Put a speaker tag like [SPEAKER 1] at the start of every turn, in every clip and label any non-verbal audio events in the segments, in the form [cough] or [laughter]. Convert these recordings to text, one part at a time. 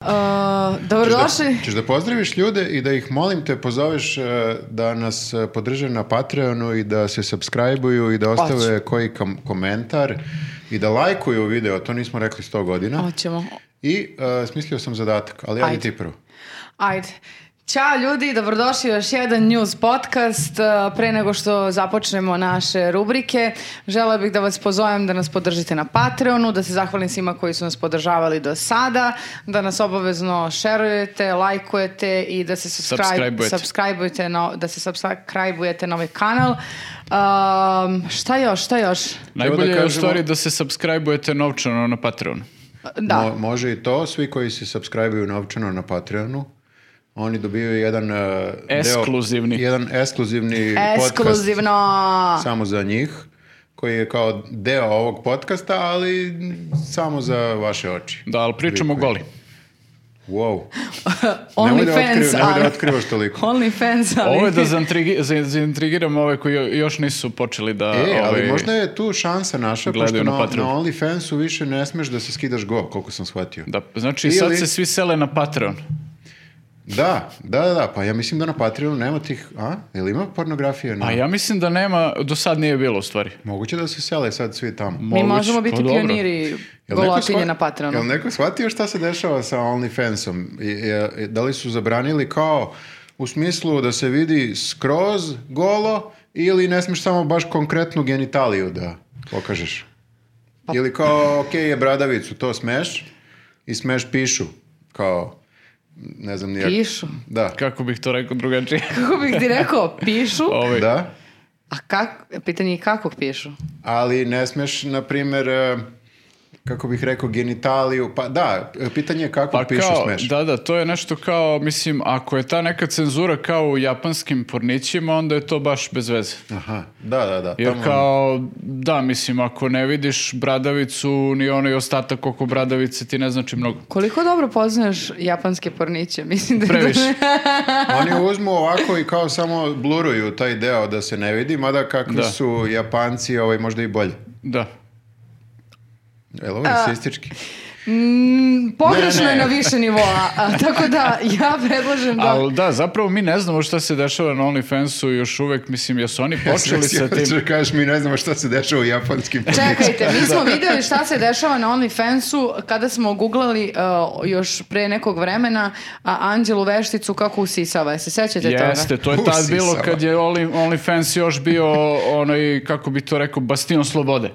[SPEAKER 1] Uh, došli.
[SPEAKER 2] Da, ćeš da pozdraviš ljude i da ih molim te pozoveš e, da nas e, podrže na Patreonu i da se subscribe-uju i
[SPEAKER 1] Pa
[SPEAKER 2] da ostave koji kam- komentar i da lajkuju video, to nismo rekli sto godina.
[SPEAKER 1] Hoćemo.
[SPEAKER 2] I e, smislio sam zadatak, ali ajde
[SPEAKER 1] Ajde.
[SPEAKER 2] ti prvo.
[SPEAKER 1] Ajde. Ćao ljudi, dobrodošli u još jedan news podcast. Uh, Pre nego što započnemo naše rubrike, žela bih da vas pozovem da nas podržite na Patreonu, da se zahvalim svima koji su nas podržavali do sada, da nas obavezno šerujete, lajkujete i da se subscribe-
[SPEAKER 3] Subscribeujete.
[SPEAKER 1] subscribeujete na, da se subscribeujete na ovaj kanal. Um, šta još, šta još?
[SPEAKER 3] Najbolje
[SPEAKER 2] da
[SPEAKER 3] je u
[SPEAKER 2] kažemo-
[SPEAKER 3] stvari da se subscribe-ujete novčano na Patreon.
[SPEAKER 1] Da.
[SPEAKER 2] Mo- može i to, svi koji se subscribe-uju novčano na Patreonu, oni dobiju jedan... e,
[SPEAKER 3] Ekskluzivni.
[SPEAKER 2] Deo, jedan ekskluzivni podcast
[SPEAKER 1] Ekskluzivno.
[SPEAKER 2] samo za njih, koji je kao deo ovog podcasta, ali samo za vaše oči.
[SPEAKER 3] Da, ali pričamo
[SPEAKER 2] Vidite.
[SPEAKER 3] goli.
[SPEAKER 2] Wow.
[SPEAKER 1] Only
[SPEAKER 2] nemoj da,
[SPEAKER 1] fans,
[SPEAKER 2] otkriva- nemoj da
[SPEAKER 1] ali-
[SPEAKER 2] otkrivaš
[SPEAKER 3] [laughs]
[SPEAKER 2] toliko.
[SPEAKER 1] Only fans, ali...
[SPEAKER 3] Ovo je da zaintrigi- za- zaintrigiramo ove koji jo- još nisu počeli da...
[SPEAKER 2] E, ali
[SPEAKER 3] ovaj,
[SPEAKER 2] možda je tu šansa naša, pošto
[SPEAKER 3] gledaju
[SPEAKER 2] na,
[SPEAKER 3] na
[SPEAKER 2] na
[SPEAKER 3] Patreon.
[SPEAKER 2] OnlyFansu više ne smeš da se skidaš go, koliko sam shvatio.
[SPEAKER 3] Da, znači
[SPEAKER 2] Ili-
[SPEAKER 3] sad se svi sele na Patreon.
[SPEAKER 2] Da, da, da, da, pa ja mislim da na Patreonu nema tih, a? Ili ima pornografije? Na...
[SPEAKER 3] A Pa ja mislim da nema, do sad nije bilo u stvari.
[SPEAKER 2] Moguće da se sele sad svi tamo.
[SPEAKER 1] Mi
[SPEAKER 3] Moguće,
[SPEAKER 1] možemo
[SPEAKER 3] pa
[SPEAKER 1] biti
[SPEAKER 3] dobro.
[SPEAKER 1] pioniri
[SPEAKER 2] Jel neko
[SPEAKER 1] golotinje
[SPEAKER 2] shva-
[SPEAKER 1] na Patreonu.
[SPEAKER 2] Jel neko shvatio šta se dešava sa OnlyFansom? I- i- i- Da li su zabranili kao u smislu da se vidi skroz golo ili ne smiješ samo baš konkretnu genitaliju da pokažeš?
[SPEAKER 1] Pa-
[SPEAKER 2] Ili kao, ok, je bradavicu, to smeš i smeš pišu, kao, ne znam nijak.
[SPEAKER 1] Pišu. [laughs]
[SPEAKER 2] Da.
[SPEAKER 3] Kako bih to
[SPEAKER 2] [laughs]
[SPEAKER 3] rekao drugačije?
[SPEAKER 1] Kako bih ti rekao?
[SPEAKER 3] [laughs]
[SPEAKER 1] Pišu.
[SPEAKER 3] Ovaj,
[SPEAKER 2] Da,
[SPEAKER 1] A kak, pitanje je kako pišu.
[SPEAKER 2] ali ne smeš, na primjer, e, kako bih rekao, genitaliju, pa da, pitanje je kako
[SPEAKER 3] Pa
[SPEAKER 2] pišu
[SPEAKER 3] kao,
[SPEAKER 2] smeš.
[SPEAKER 3] da, da, to je nešto kao, mislim, ako je ta neka cenzura kao u japanskim pornićima, onda je to baš bez veze.
[SPEAKER 2] Aha, da, da, da.
[SPEAKER 3] Jer
[SPEAKER 2] tamo-
[SPEAKER 3] kao, da, mislim, ako ne vidiš bradavicu, ni onaj ostatak oko bradavice ti ne znači mnogo.
[SPEAKER 1] Koliko dobro poznaješ japanske porniće? [laughs] Mislim da je to-
[SPEAKER 3] Previše.
[SPEAKER 2] Oni uzmu ovako i kao samo bluruju taj deo da se ne vidi, mada kakvi
[SPEAKER 3] Da.
[SPEAKER 2] su Japanci ovaj, možda i bolje.
[SPEAKER 3] Da.
[SPEAKER 2] Jel ovo rasistički?
[SPEAKER 1] Mm, Pogrešno
[SPEAKER 2] Ne,
[SPEAKER 1] je
[SPEAKER 2] ne.
[SPEAKER 1] na više nivoa. A, tako da ja predlažem da...
[SPEAKER 3] Ali da, zapravo mi ne znamo šta se dešava na OnlyFansu još uvek, mislim,
[SPEAKER 2] [laughs]
[SPEAKER 3] jesu oni počeli sa tim...
[SPEAKER 2] Kažeš, mi ne znamo šta se dešava u japanskim
[SPEAKER 1] Čekajte,
[SPEAKER 3] [laughs]
[SPEAKER 1] mi smo videli šta se dešava na OnlyFansu kada smo googlali uh, još pre nekog vremena a, Anđelu Vešticu kako usisava. Se sećate
[SPEAKER 3] Jeste,
[SPEAKER 1] toga?
[SPEAKER 3] to je tad
[SPEAKER 2] Usisava.
[SPEAKER 3] bilo kad je Only- OnlyFans još bio onaj, kako bi to rekao, bastion
[SPEAKER 2] [laughs]
[SPEAKER 3] slobode.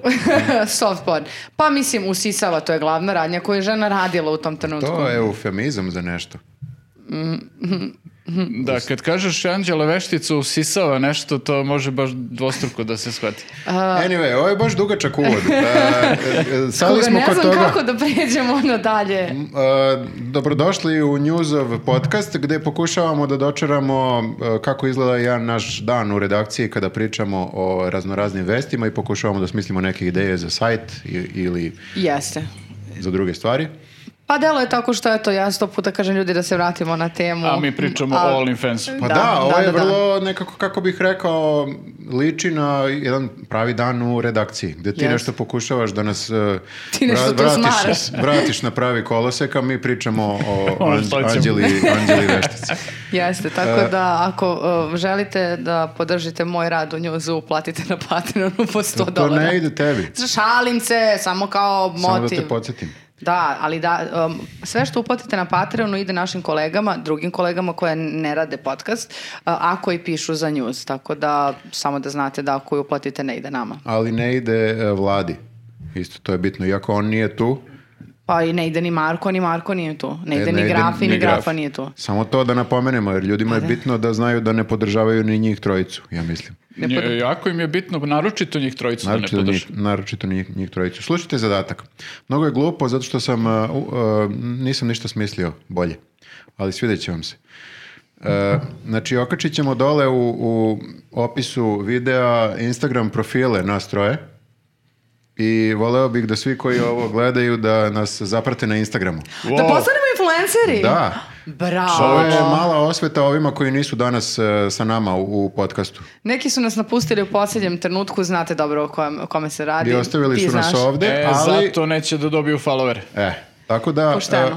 [SPEAKER 1] Soft porn. Pa mislim, usisava, to je glavna radnja koju je žena radila u tom trenutku.
[SPEAKER 2] To je eufemizam za nešto.
[SPEAKER 3] Da, kad kažeš Anđela Veštica usisava nešto, to može baš dvostruko da se shvati.
[SPEAKER 2] Anyway, ovo je baš dugačak uvod.
[SPEAKER 1] [laughs]
[SPEAKER 2] E, e, Sad
[SPEAKER 1] Koga
[SPEAKER 2] smo
[SPEAKER 1] ne
[SPEAKER 2] kod
[SPEAKER 1] znam
[SPEAKER 2] toga.
[SPEAKER 1] kako da pređemo ono dalje.
[SPEAKER 2] M, e, dobrodošli u Newsov podcast gde pokušavamo da dočeramo e, kako izgleda jedan naš dan u redakciji kada pričamo o raznoraznim vestima i pokušavamo da smislimo neke ideje za sajt i- ili
[SPEAKER 1] Jeste.
[SPEAKER 2] za druge stvari.
[SPEAKER 1] Pa delo je tako što eto, ja sto puta kažem ljudi da se vratimo na temu.
[SPEAKER 3] A mi pričamo
[SPEAKER 1] A-
[SPEAKER 3] o OnlyFansu.
[SPEAKER 2] Pa da,
[SPEAKER 1] Da,
[SPEAKER 2] ovo
[SPEAKER 1] da, da,
[SPEAKER 2] je
[SPEAKER 1] da.
[SPEAKER 2] vrlo nekako, kako bih rekao, liči na jedan pravi dan u redakciji, gde ti
[SPEAKER 1] Jeste.
[SPEAKER 2] nešto pokušavaš da nas eh,
[SPEAKER 1] Ti nešto
[SPEAKER 2] vra-
[SPEAKER 1] tu
[SPEAKER 2] vratiš,
[SPEAKER 1] smaraš.
[SPEAKER 2] vratiš na pravi kolosek, a mi pričamo o
[SPEAKER 3] Ono
[SPEAKER 2] anđ-
[SPEAKER 3] što ćemo.
[SPEAKER 2] anđeli, anđeli veštici.
[SPEAKER 1] Jeste,
[SPEAKER 2] E.
[SPEAKER 1] tako da ako uh, želite da podržite moj rad u njuzu, platite na Patreonu po 100
[SPEAKER 2] To
[SPEAKER 1] dolara.
[SPEAKER 2] ne ide tebi,
[SPEAKER 1] Šalim se, samo kao motiv.
[SPEAKER 2] samo da te podsjetim.
[SPEAKER 1] Da, ali da, um, sve što uplatite na Patreonu ide našim kolegama, drugim kolegama koje ne rade podcast, uh, a koji pišu za news. Tako da, samo da znate da ako ju uplatite ne ide nama.
[SPEAKER 2] Ali ne ide eh, vladi. Isto to je bitno, iako on nije tu,
[SPEAKER 1] Pa i ne ide ni Marko, ni Marko nije tu. Ne
[SPEAKER 2] E,
[SPEAKER 1] ide
[SPEAKER 2] ne
[SPEAKER 1] ni
[SPEAKER 2] ide
[SPEAKER 1] Grafi,
[SPEAKER 2] ni
[SPEAKER 1] ni Grafa
[SPEAKER 2] Graf.
[SPEAKER 1] nije tu. Pa
[SPEAKER 2] samo to da napomenemo, jer ljudima je bitno da znaju da ne podržavaju ni njih trojicu, ja mislim.
[SPEAKER 1] Ne
[SPEAKER 3] Nje-
[SPEAKER 1] pod-
[SPEAKER 3] Jako im je bitno, naročito njih trojicu da ne
[SPEAKER 2] Naročito,
[SPEAKER 3] podrže.
[SPEAKER 2] njih, naročito njih, njih trojicu. Slušajte zadatak. Mnogo je glupo zato što sam, uh, uh, nisam ništa smislio bolje, ali svidjet će vam se. Uh, znači, okačit ćemo dole u, u opisu videa Instagram profile nas troje i voleo bih da svi koji ovo gledaju da nas zaprate na Instagramu.
[SPEAKER 1] Da
[SPEAKER 3] Wow.
[SPEAKER 1] postanemo influenceri?
[SPEAKER 2] Da,
[SPEAKER 1] Bravo.
[SPEAKER 2] ovo je mala osveta ovima koji nisu danas uh, sa nama u, u podcastu.
[SPEAKER 1] Neki su nas napustili u posljednjem trenutku, znate dobro o kojem- o kome se radi.
[SPEAKER 2] I ostavili
[SPEAKER 1] Ti
[SPEAKER 2] su nas
[SPEAKER 1] znaš.
[SPEAKER 2] ovde,
[SPEAKER 3] E,
[SPEAKER 2] ali...
[SPEAKER 3] zato neće da dobiju followere.
[SPEAKER 2] E, Tako da,
[SPEAKER 1] Pošteno.
[SPEAKER 2] e,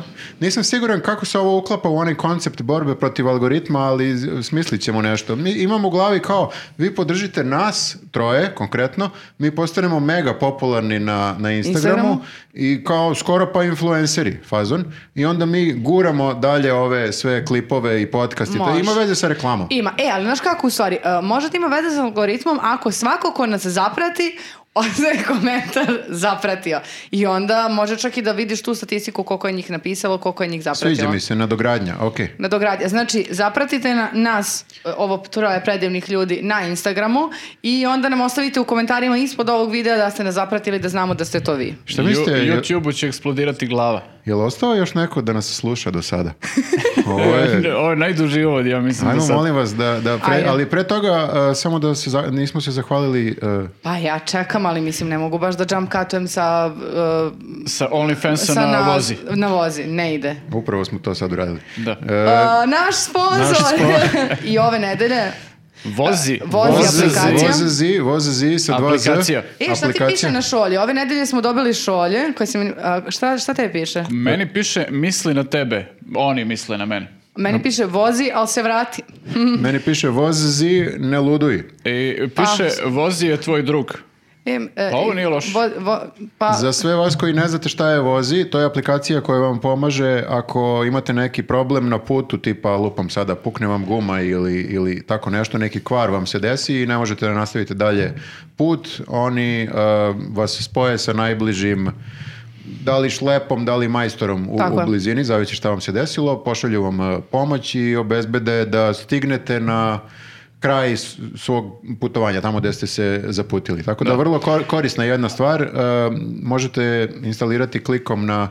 [SPEAKER 2] nisam siguran kako se ovo uklapa u onaj koncept borbe protiv algoritma, ali z- smislit ćemo nešto. Mi imamo u glavi kao, vi podržite nas, troje konkretno, mi postanemo mega popularni na, na Instagramu,
[SPEAKER 1] Instagramu.
[SPEAKER 2] i kao skoro pa influenceri fazon i onda mi guramo dalje ove sve klipove i podcast i to
[SPEAKER 1] Može.
[SPEAKER 2] ima veze sa reklamom.
[SPEAKER 1] Ima. E, ali znaš kako u stvari, e, možda to ima veze sa algoritmom ako svako ko nas zaprati, [laughs] ostaje komentar zapratio. I onda može čak i da vidiš tu statistiku koliko je njih napisalo, koliko je njih zapratilo.
[SPEAKER 2] Sviđa mi se, nadogradnja, okej.
[SPEAKER 1] Nadogradnja. Znači, zapratite na, nas, e, ovo troje predivnih ljudi, na Instagramu i onda nam ostavite u komentarima ispod ovog videa da ste nas zapratili, da znamo da ste to vi.
[SPEAKER 2] Šta mislite,
[SPEAKER 3] Ju-
[SPEAKER 2] je,
[SPEAKER 3] YouTube-u će eksplodirati glava.
[SPEAKER 2] jel ostao još neko da nas sluša do
[SPEAKER 1] [laughs]
[SPEAKER 2] sada? Ovo je...
[SPEAKER 3] [laughs] Ovo je najduži uvod, ja mislim da
[SPEAKER 2] Ajmo,
[SPEAKER 3] sad.
[SPEAKER 2] molim vas, da, da pre-
[SPEAKER 1] Ajde.
[SPEAKER 2] ali pre toga, e, samo da se za- nismo se zahvalili e,
[SPEAKER 1] Pa ja čekam, ali mislim, ne mogu baš da jump cutujem sa... e,
[SPEAKER 3] Sa OnlyFansa
[SPEAKER 1] sa
[SPEAKER 3] na, vozi.
[SPEAKER 1] Na vozi, ne ide.
[SPEAKER 2] upravo smo to sad uradili.
[SPEAKER 3] Da.
[SPEAKER 2] E,
[SPEAKER 1] A, naš sponsor.
[SPEAKER 2] naš
[SPEAKER 1] [laughs] I ove nedelje.
[SPEAKER 3] Vozi.
[SPEAKER 1] Vozi
[SPEAKER 3] Vozi.
[SPEAKER 1] aplikacija.
[SPEAKER 2] Voze zi, voze zi sa dva z.
[SPEAKER 3] Aplikacija.
[SPEAKER 1] E, šta ti piše na šolji? Ove nedelje smo dobili šolje. Koje si mi, a, šta, šta te piše?
[SPEAKER 3] Meni piše misli na tebe. Oni misle na mene.
[SPEAKER 1] Meni piše vozi, ali se vrati.
[SPEAKER 2] Meni piše voze zi, ne luduj.
[SPEAKER 3] I piše vozi je tvoj drug.
[SPEAKER 1] E, e,
[SPEAKER 3] Pa ovo nije loše.
[SPEAKER 1] vo- vo- pa,
[SPEAKER 2] Za sve vas koji ne znate šta je vozi, to je aplikacija koja vam pomaže ako imate neki problem na putu, tipa lupam sada, pukne vam guma ili, ili tako nešto, neki kvar vam se desi i ne možete da nastavite dalje put. Oni eh, vas spoje sa najbližim da li šlepom, da li majstorom u,
[SPEAKER 1] Tako
[SPEAKER 2] u
[SPEAKER 1] je.
[SPEAKER 2] blizini, zavisi šta vam se desilo, pošalju vam eh, pomoć i obezbede da stignete na kraj s- svog putovanja, tamo gde ste se zaputili. Tako da, vrlo kor- korisna jedna stvar. E, možete instalirati klikom na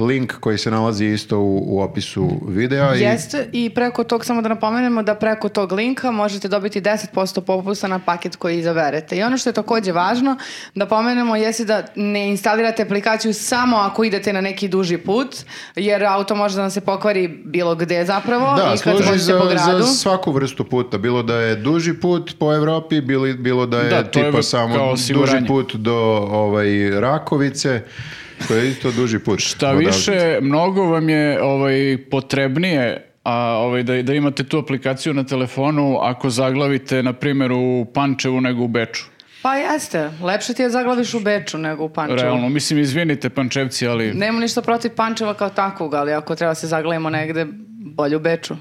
[SPEAKER 2] link koji se nalazi isto u, u opisu videa. i-
[SPEAKER 1] Jeste, i preko tog, samo da napomenemo da preko tog linka možete dobiti 10% popusta na paket koji izaberete. I ono što je takođe važno da pomenemo jeste da ne instalirate aplikaciju samo ako idete na neki duži put, jer auto može da vam se pokvari bilo gde zapravo
[SPEAKER 2] Da,
[SPEAKER 1] i kad
[SPEAKER 2] služi
[SPEAKER 1] vozite
[SPEAKER 2] za,
[SPEAKER 1] po gradu.
[SPEAKER 2] za svaku vrstu puta. Bilo da je duži put po Evropi, bilo, bilo da je
[SPEAKER 3] Da, to je
[SPEAKER 2] tipa
[SPEAKER 3] kao
[SPEAKER 2] samo duži
[SPEAKER 3] osiguranje.
[SPEAKER 2] put do ovaj, Rakovice, koji je isto duži put.
[SPEAKER 3] Šta
[SPEAKER 2] odavde.
[SPEAKER 3] više, mnogo vam je ovaj, potrebnije a, ovaj, da, da imate tu aplikaciju na telefonu ako zaglavite, na primjer, u Pančevu nego u Beču.
[SPEAKER 1] Pa jeste, lepše ti je zaglaviš u Beču nego u Pančevu.
[SPEAKER 3] Realno, mislim, izvinite Pančevci, ali...
[SPEAKER 1] Nemam ništa protiv Pančeva kao takvog, ali ako treba se zaglavimo negde, bolje u Beču.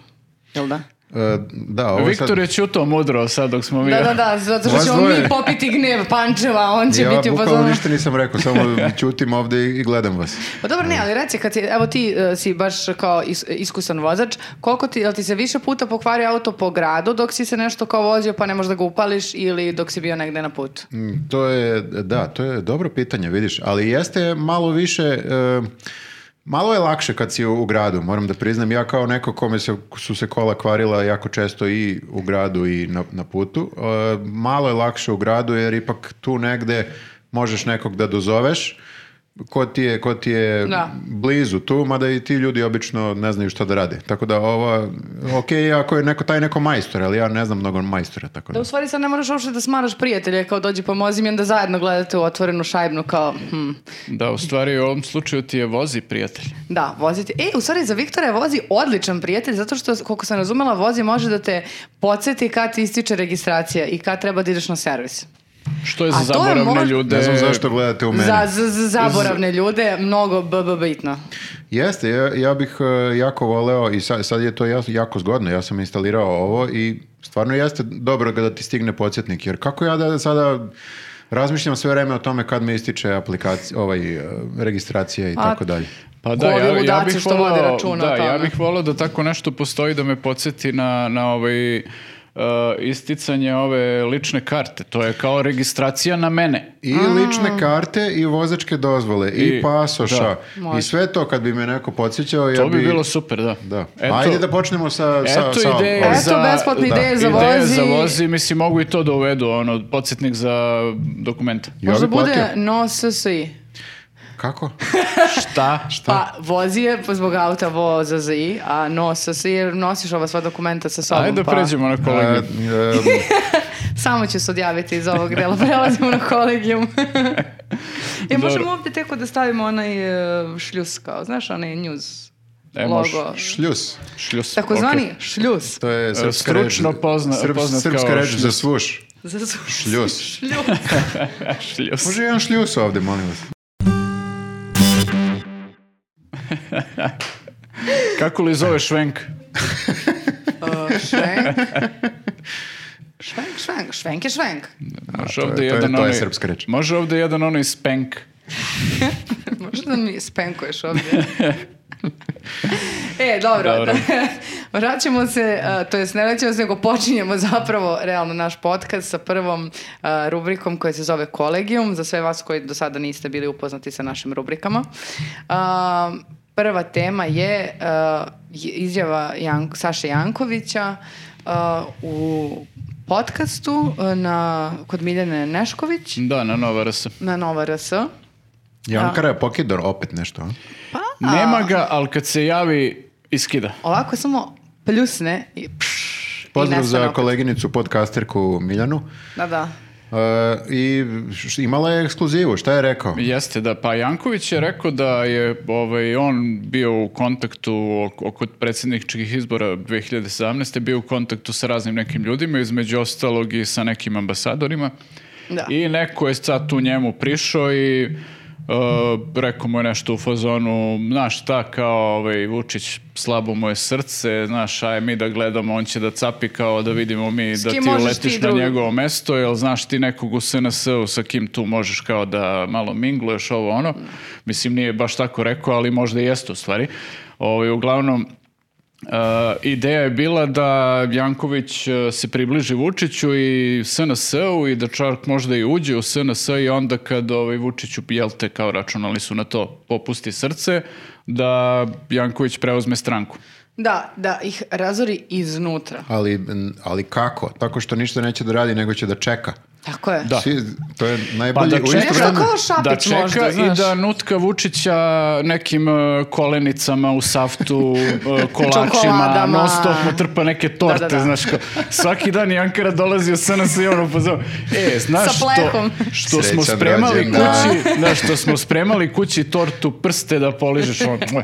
[SPEAKER 1] Jel da?
[SPEAKER 2] E, da, ovo je sad-
[SPEAKER 3] Viktor je čuto mudro sad dok smo mi...
[SPEAKER 1] Da, da, da, zato što
[SPEAKER 2] Vas
[SPEAKER 1] ćemo
[SPEAKER 2] dvoje.
[SPEAKER 1] mi popiti gnev Pančeva, a on će
[SPEAKER 2] Ja
[SPEAKER 1] biti u
[SPEAKER 2] bukvalno
[SPEAKER 1] fazonu.
[SPEAKER 2] ništa nisam rekao, samo ćutim ovde i i gledam vas.
[SPEAKER 1] Pa dobro, ne, ali reci, kad si, evo ti e, si baš kao is- iskusan vozač, koliko ti, jel ti se više puta pokvario auto po gradu dok si se nešto kao vozio pa ne možeš da ga upališ ili dok si bio negde na putu?
[SPEAKER 2] Mm, To je, da, to je dobro pitanje, vidiš, ali jeste malo više... e, Malo je lakše kad si u u gradu, moram da priznam. Ja kao neko kome se, su se kola kvarila jako često i u gradu i na, na putu, e, malo je lakše u gradu jer ipak tu negde možeš nekog da dozoveš ko ti je, ko ti je
[SPEAKER 1] Da.
[SPEAKER 2] blizu tu, mada i ti ljudi obično ne znaju šta da rade. Tako da ova, ok, ako je neko, taj neko majstor, ali ja ne znam mnogo majstora, tako
[SPEAKER 1] Da u stvari sad ne moraš uopšte da smaraš prijatelje, kao dođi pomozi mi, onda zajedno gledate u otvorenu šajbnu kao, hm,
[SPEAKER 3] [laughs] Da, u stvari u ovom slučaju ti je vozi prijatelj.
[SPEAKER 1] Da, voziti. E, u stvari za Viktora je vozi odličan prijatelj, zato što, koliko sam razumela, vozi može da te podsjeti kad ti ističe registracija i kad treba da ideš na servis.
[SPEAKER 3] Što je
[SPEAKER 1] A
[SPEAKER 3] za
[SPEAKER 1] to je
[SPEAKER 3] zaboravne
[SPEAKER 1] možda-
[SPEAKER 3] ljude...
[SPEAKER 2] Ne znam zašto gledate u mene.
[SPEAKER 1] Za, za, za zaboravne ljude, mnogo bb bitno.
[SPEAKER 2] Jeste, ja, ja bih e, jako voleo i sad, sad je to jas- jako zgodno, ja sam instalirao ovo i stvarno jeste dobro ga da ti stigne podsjetnik, jer kako ja da sada razmišljam sve vreme o tome kad mi ističe aplikacija, ovaj, e, registracija i
[SPEAKER 1] Pa,
[SPEAKER 2] tako dalje.
[SPEAKER 3] Pa da,
[SPEAKER 1] Ovi
[SPEAKER 3] ja, ja
[SPEAKER 1] ludaci
[SPEAKER 3] bih
[SPEAKER 1] što vode
[SPEAKER 3] volao-
[SPEAKER 1] računa o
[SPEAKER 3] da, ja
[SPEAKER 1] tome.
[SPEAKER 3] bih volao da tako nešto postoji da me podsjeti na, na ovaj, e, isticanje ove lične karte. To je kao registracija na mene.
[SPEAKER 2] I lične karte, i vozačke dozvole, i,
[SPEAKER 3] I-
[SPEAKER 2] pasoša,
[SPEAKER 3] da.
[SPEAKER 2] i sve to kad bi me neko podsjećao, ja
[SPEAKER 3] To bi
[SPEAKER 2] bi...
[SPEAKER 3] bilo super, da.
[SPEAKER 2] Da. Pa
[SPEAKER 3] Eto,
[SPEAKER 2] Ajde da počnemo sa... sa,
[SPEAKER 3] Eto
[SPEAKER 2] sa
[SPEAKER 3] ideje
[SPEAKER 2] ovim.
[SPEAKER 1] Eto,
[SPEAKER 3] Pa za...
[SPEAKER 1] besplatne ideje za
[SPEAKER 3] Ideje
[SPEAKER 1] vozi.
[SPEAKER 3] za vozi, mislim, mogu i to da uvedu, ono, podsjetnik za dokumenta.
[SPEAKER 2] Ja
[SPEAKER 1] Možda
[SPEAKER 2] bi
[SPEAKER 1] bude
[SPEAKER 2] platio.
[SPEAKER 1] no SSI.
[SPEAKER 2] Kako?
[SPEAKER 3] Šta?
[SPEAKER 1] Pa, vozi je zbog auta voza za i, a no SSI jer nosiš ova sva dokumenta sa sobom.
[SPEAKER 3] Ajde da
[SPEAKER 1] pa
[SPEAKER 3] pređemo na kolegiju.
[SPEAKER 2] E, e,
[SPEAKER 1] [laughs]
[SPEAKER 3] [laughs]
[SPEAKER 1] Samo ću se odjaviti iz ovog dela, prelazimo na kolegijum. I možemo ovdje teko da stavimo onaj e, šljus kao, znaš, onaj news
[SPEAKER 3] E, može.
[SPEAKER 1] logo.
[SPEAKER 2] Šljus.
[SPEAKER 3] Šljus.
[SPEAKER 1] Takozvani
[SPEAKER 3] okej.
[SPEAKER 1] šljus.
[SPEAKER 2] To je srpska reč.
[SPEAKER 3] E, stručno pozna- poznat
[SPEAKER 2] srpska
[SPEAKER 3] kao
[SPEAKER 2] reč
[SPEAKER 3] šljus.
[SPEAKER 2] za svuš.
[SPEAKER 1] Za su-
[SPEAKER 2] Šljus.
[SPEAKER 1] [laughs] šljus.
[SPEAKER 3] Šljus.
[SPEAKER 2] Može jedan šljus ovde, molim vas.
[SPEAKER 3] Kako li zove švenk?
[SPEAKER 1] E, švenk. Švenk, švenk, švenk je švenk.
[SPEAKER 2] to
[SPEAKER 3] Može
[SPEAKER 2] je-
[SPEAKER 3] ovdje
[SPEAKER 2] to je-
[SPEAKER 3] jedan
[SPEAKER 2] to je
[SPEAKER 3] onaj-
[SPEAKER 2] srpska reč.
[SPEAKER 3] Može ovdje jedan onaj spenk.
[SPEAKER 1] [laughs] Možda mi spenkuješ
[SPEAKER 3] [laughs]
[SPEAKER 1] ovdje. E, dobro.
[SPEAKER 3] Dobro.
[SPEAKER 1] [laughs] vraćamo se, a, to jest ne vraćamo se, nego počinjemo zapravo realno naš podcast sa prvom a, rubrikom koja se zove Kolegium, za sve vas koji do sada niste bili upoznati sa našim rubrikama. A, prva tema je a, je- izjava Jan- Saše Jankovića a, u podcastu a, na, kod Miljane Nešković
[SPEAKER 3] Da, na Nova RS.
[SPEAKER 1] na Nova RS.
[SPEAKER 2] Jankara je pokidor, opet nešto. a?
[SPEAKER 3] Nema ga, ali kad se javi, iskida.
[SPEAKER 1] ovako samo pljusne i pš, i
[SPEAKER 2] Pozdrav
[SPEAKER 1] nestane
[SPEAKER 2] za
[SPEAKER 1] opet.
[SPEAKER 2] koleginicu podcasterku Miljanu.
[SPEAKER 1] Da, da.
[SPEAKER 2] E, I š- imala je ekskluzivu, šta je rekao?
[SPEAKER 3] Jeste, da. Pa Janković je rekao da je ovaj, on bio u kontaktu ok- oko predsjedničkih izbora 2017. bio u kontaktu sa raznim nekim ljudima, između ostalog i sa nekim ambasadorima.
[SPEAKER 1] Da.
[SPEAKER 3] I neko je sad tu njemu prišao i e, rekao mu je nešto u fazonu, znaš šta, kao ovaj, Vučić, slabo mu je srce, znaš, aj mi da gledamo, on će da capi kao da vidimo mi
[SPEAKER 1] S
[SPEAKER 3] Znači, da
[SPEAKER 1] kim
[SPEAKER 3] ti
[SPEAKER 1] možeš
[SPEAKER 3] letiš
[SPEAKER 1] ti
[SPEAKER 3] na
[SPEAKER 1] drugi?
[SPEAKER 3] njegovo mesto, jel znaš ti nekog u SNS-u sa kim tu možeš kao da malo mingluješ ovo ono. Mislim, nije baš tako rekao, ali možda i jeste u stvari. Ovaj, uglavnom, Uh, ideja je bila da Janković uh, se približi Vučiću i SNS-u i da čak možda i uđe u SNS i onda kad ovaj, Vučiću, jel te, kao računali su na to, popusti srce, da Janković preuzme stranku.
[SPEAKER 1] Da, da, ih razori iznutra.
[SPEAKER 2] Ali, n- ali kako? Tako što ništa neće da radi, nego će da čeka.
[SPEAKER 1] Tako je.
[SPEAKER 3] Da. Pa
[SPEAKER 2] Svi- to je najbolji
[SPEAKER 3] da
[SPEAKER 2] u
[SPEAKER 3] čeka-
[SPEAKER 2] isto
[SPEAKER 1] Nešto
[SPEAKER 2] vreme.
[SPEAKER 1] kao Šapić
[SPEAKER 3] da čeka
[SPEAKER 1] možda,
[SPEAKER 3] i
[SPEAKER 1] znaš.
[SPEAKER 3] da nutka Vučića nekim e, kolenicama u saftu,
[SPEAKER 1] [laughs]
[SPEAKER 3] e, kolačima,
[SPEAKER 1] Čokoladama.
[SPEAKER 3] non stop mu trpa neke torte,
[SPEAKER 1] Da, da, da.
[SPEAKER 3] znaš kao, svaki dan Jankara dolazi u SNS i ono pozove, e, znaš
[SPEAKER 1] [laughs] Sa
[SPEAKER 3] što,
[SPEAKER 1] plehom.
[SPEAKER 3] što smo
[SPEAKER 2] Srećan
[SPEAKER 3] spremali
[SPEAKER 2] rođendan.
[SPEAKER 3] kući, znaš, što smo spremali kući tortu prste da poližeš ono, moj.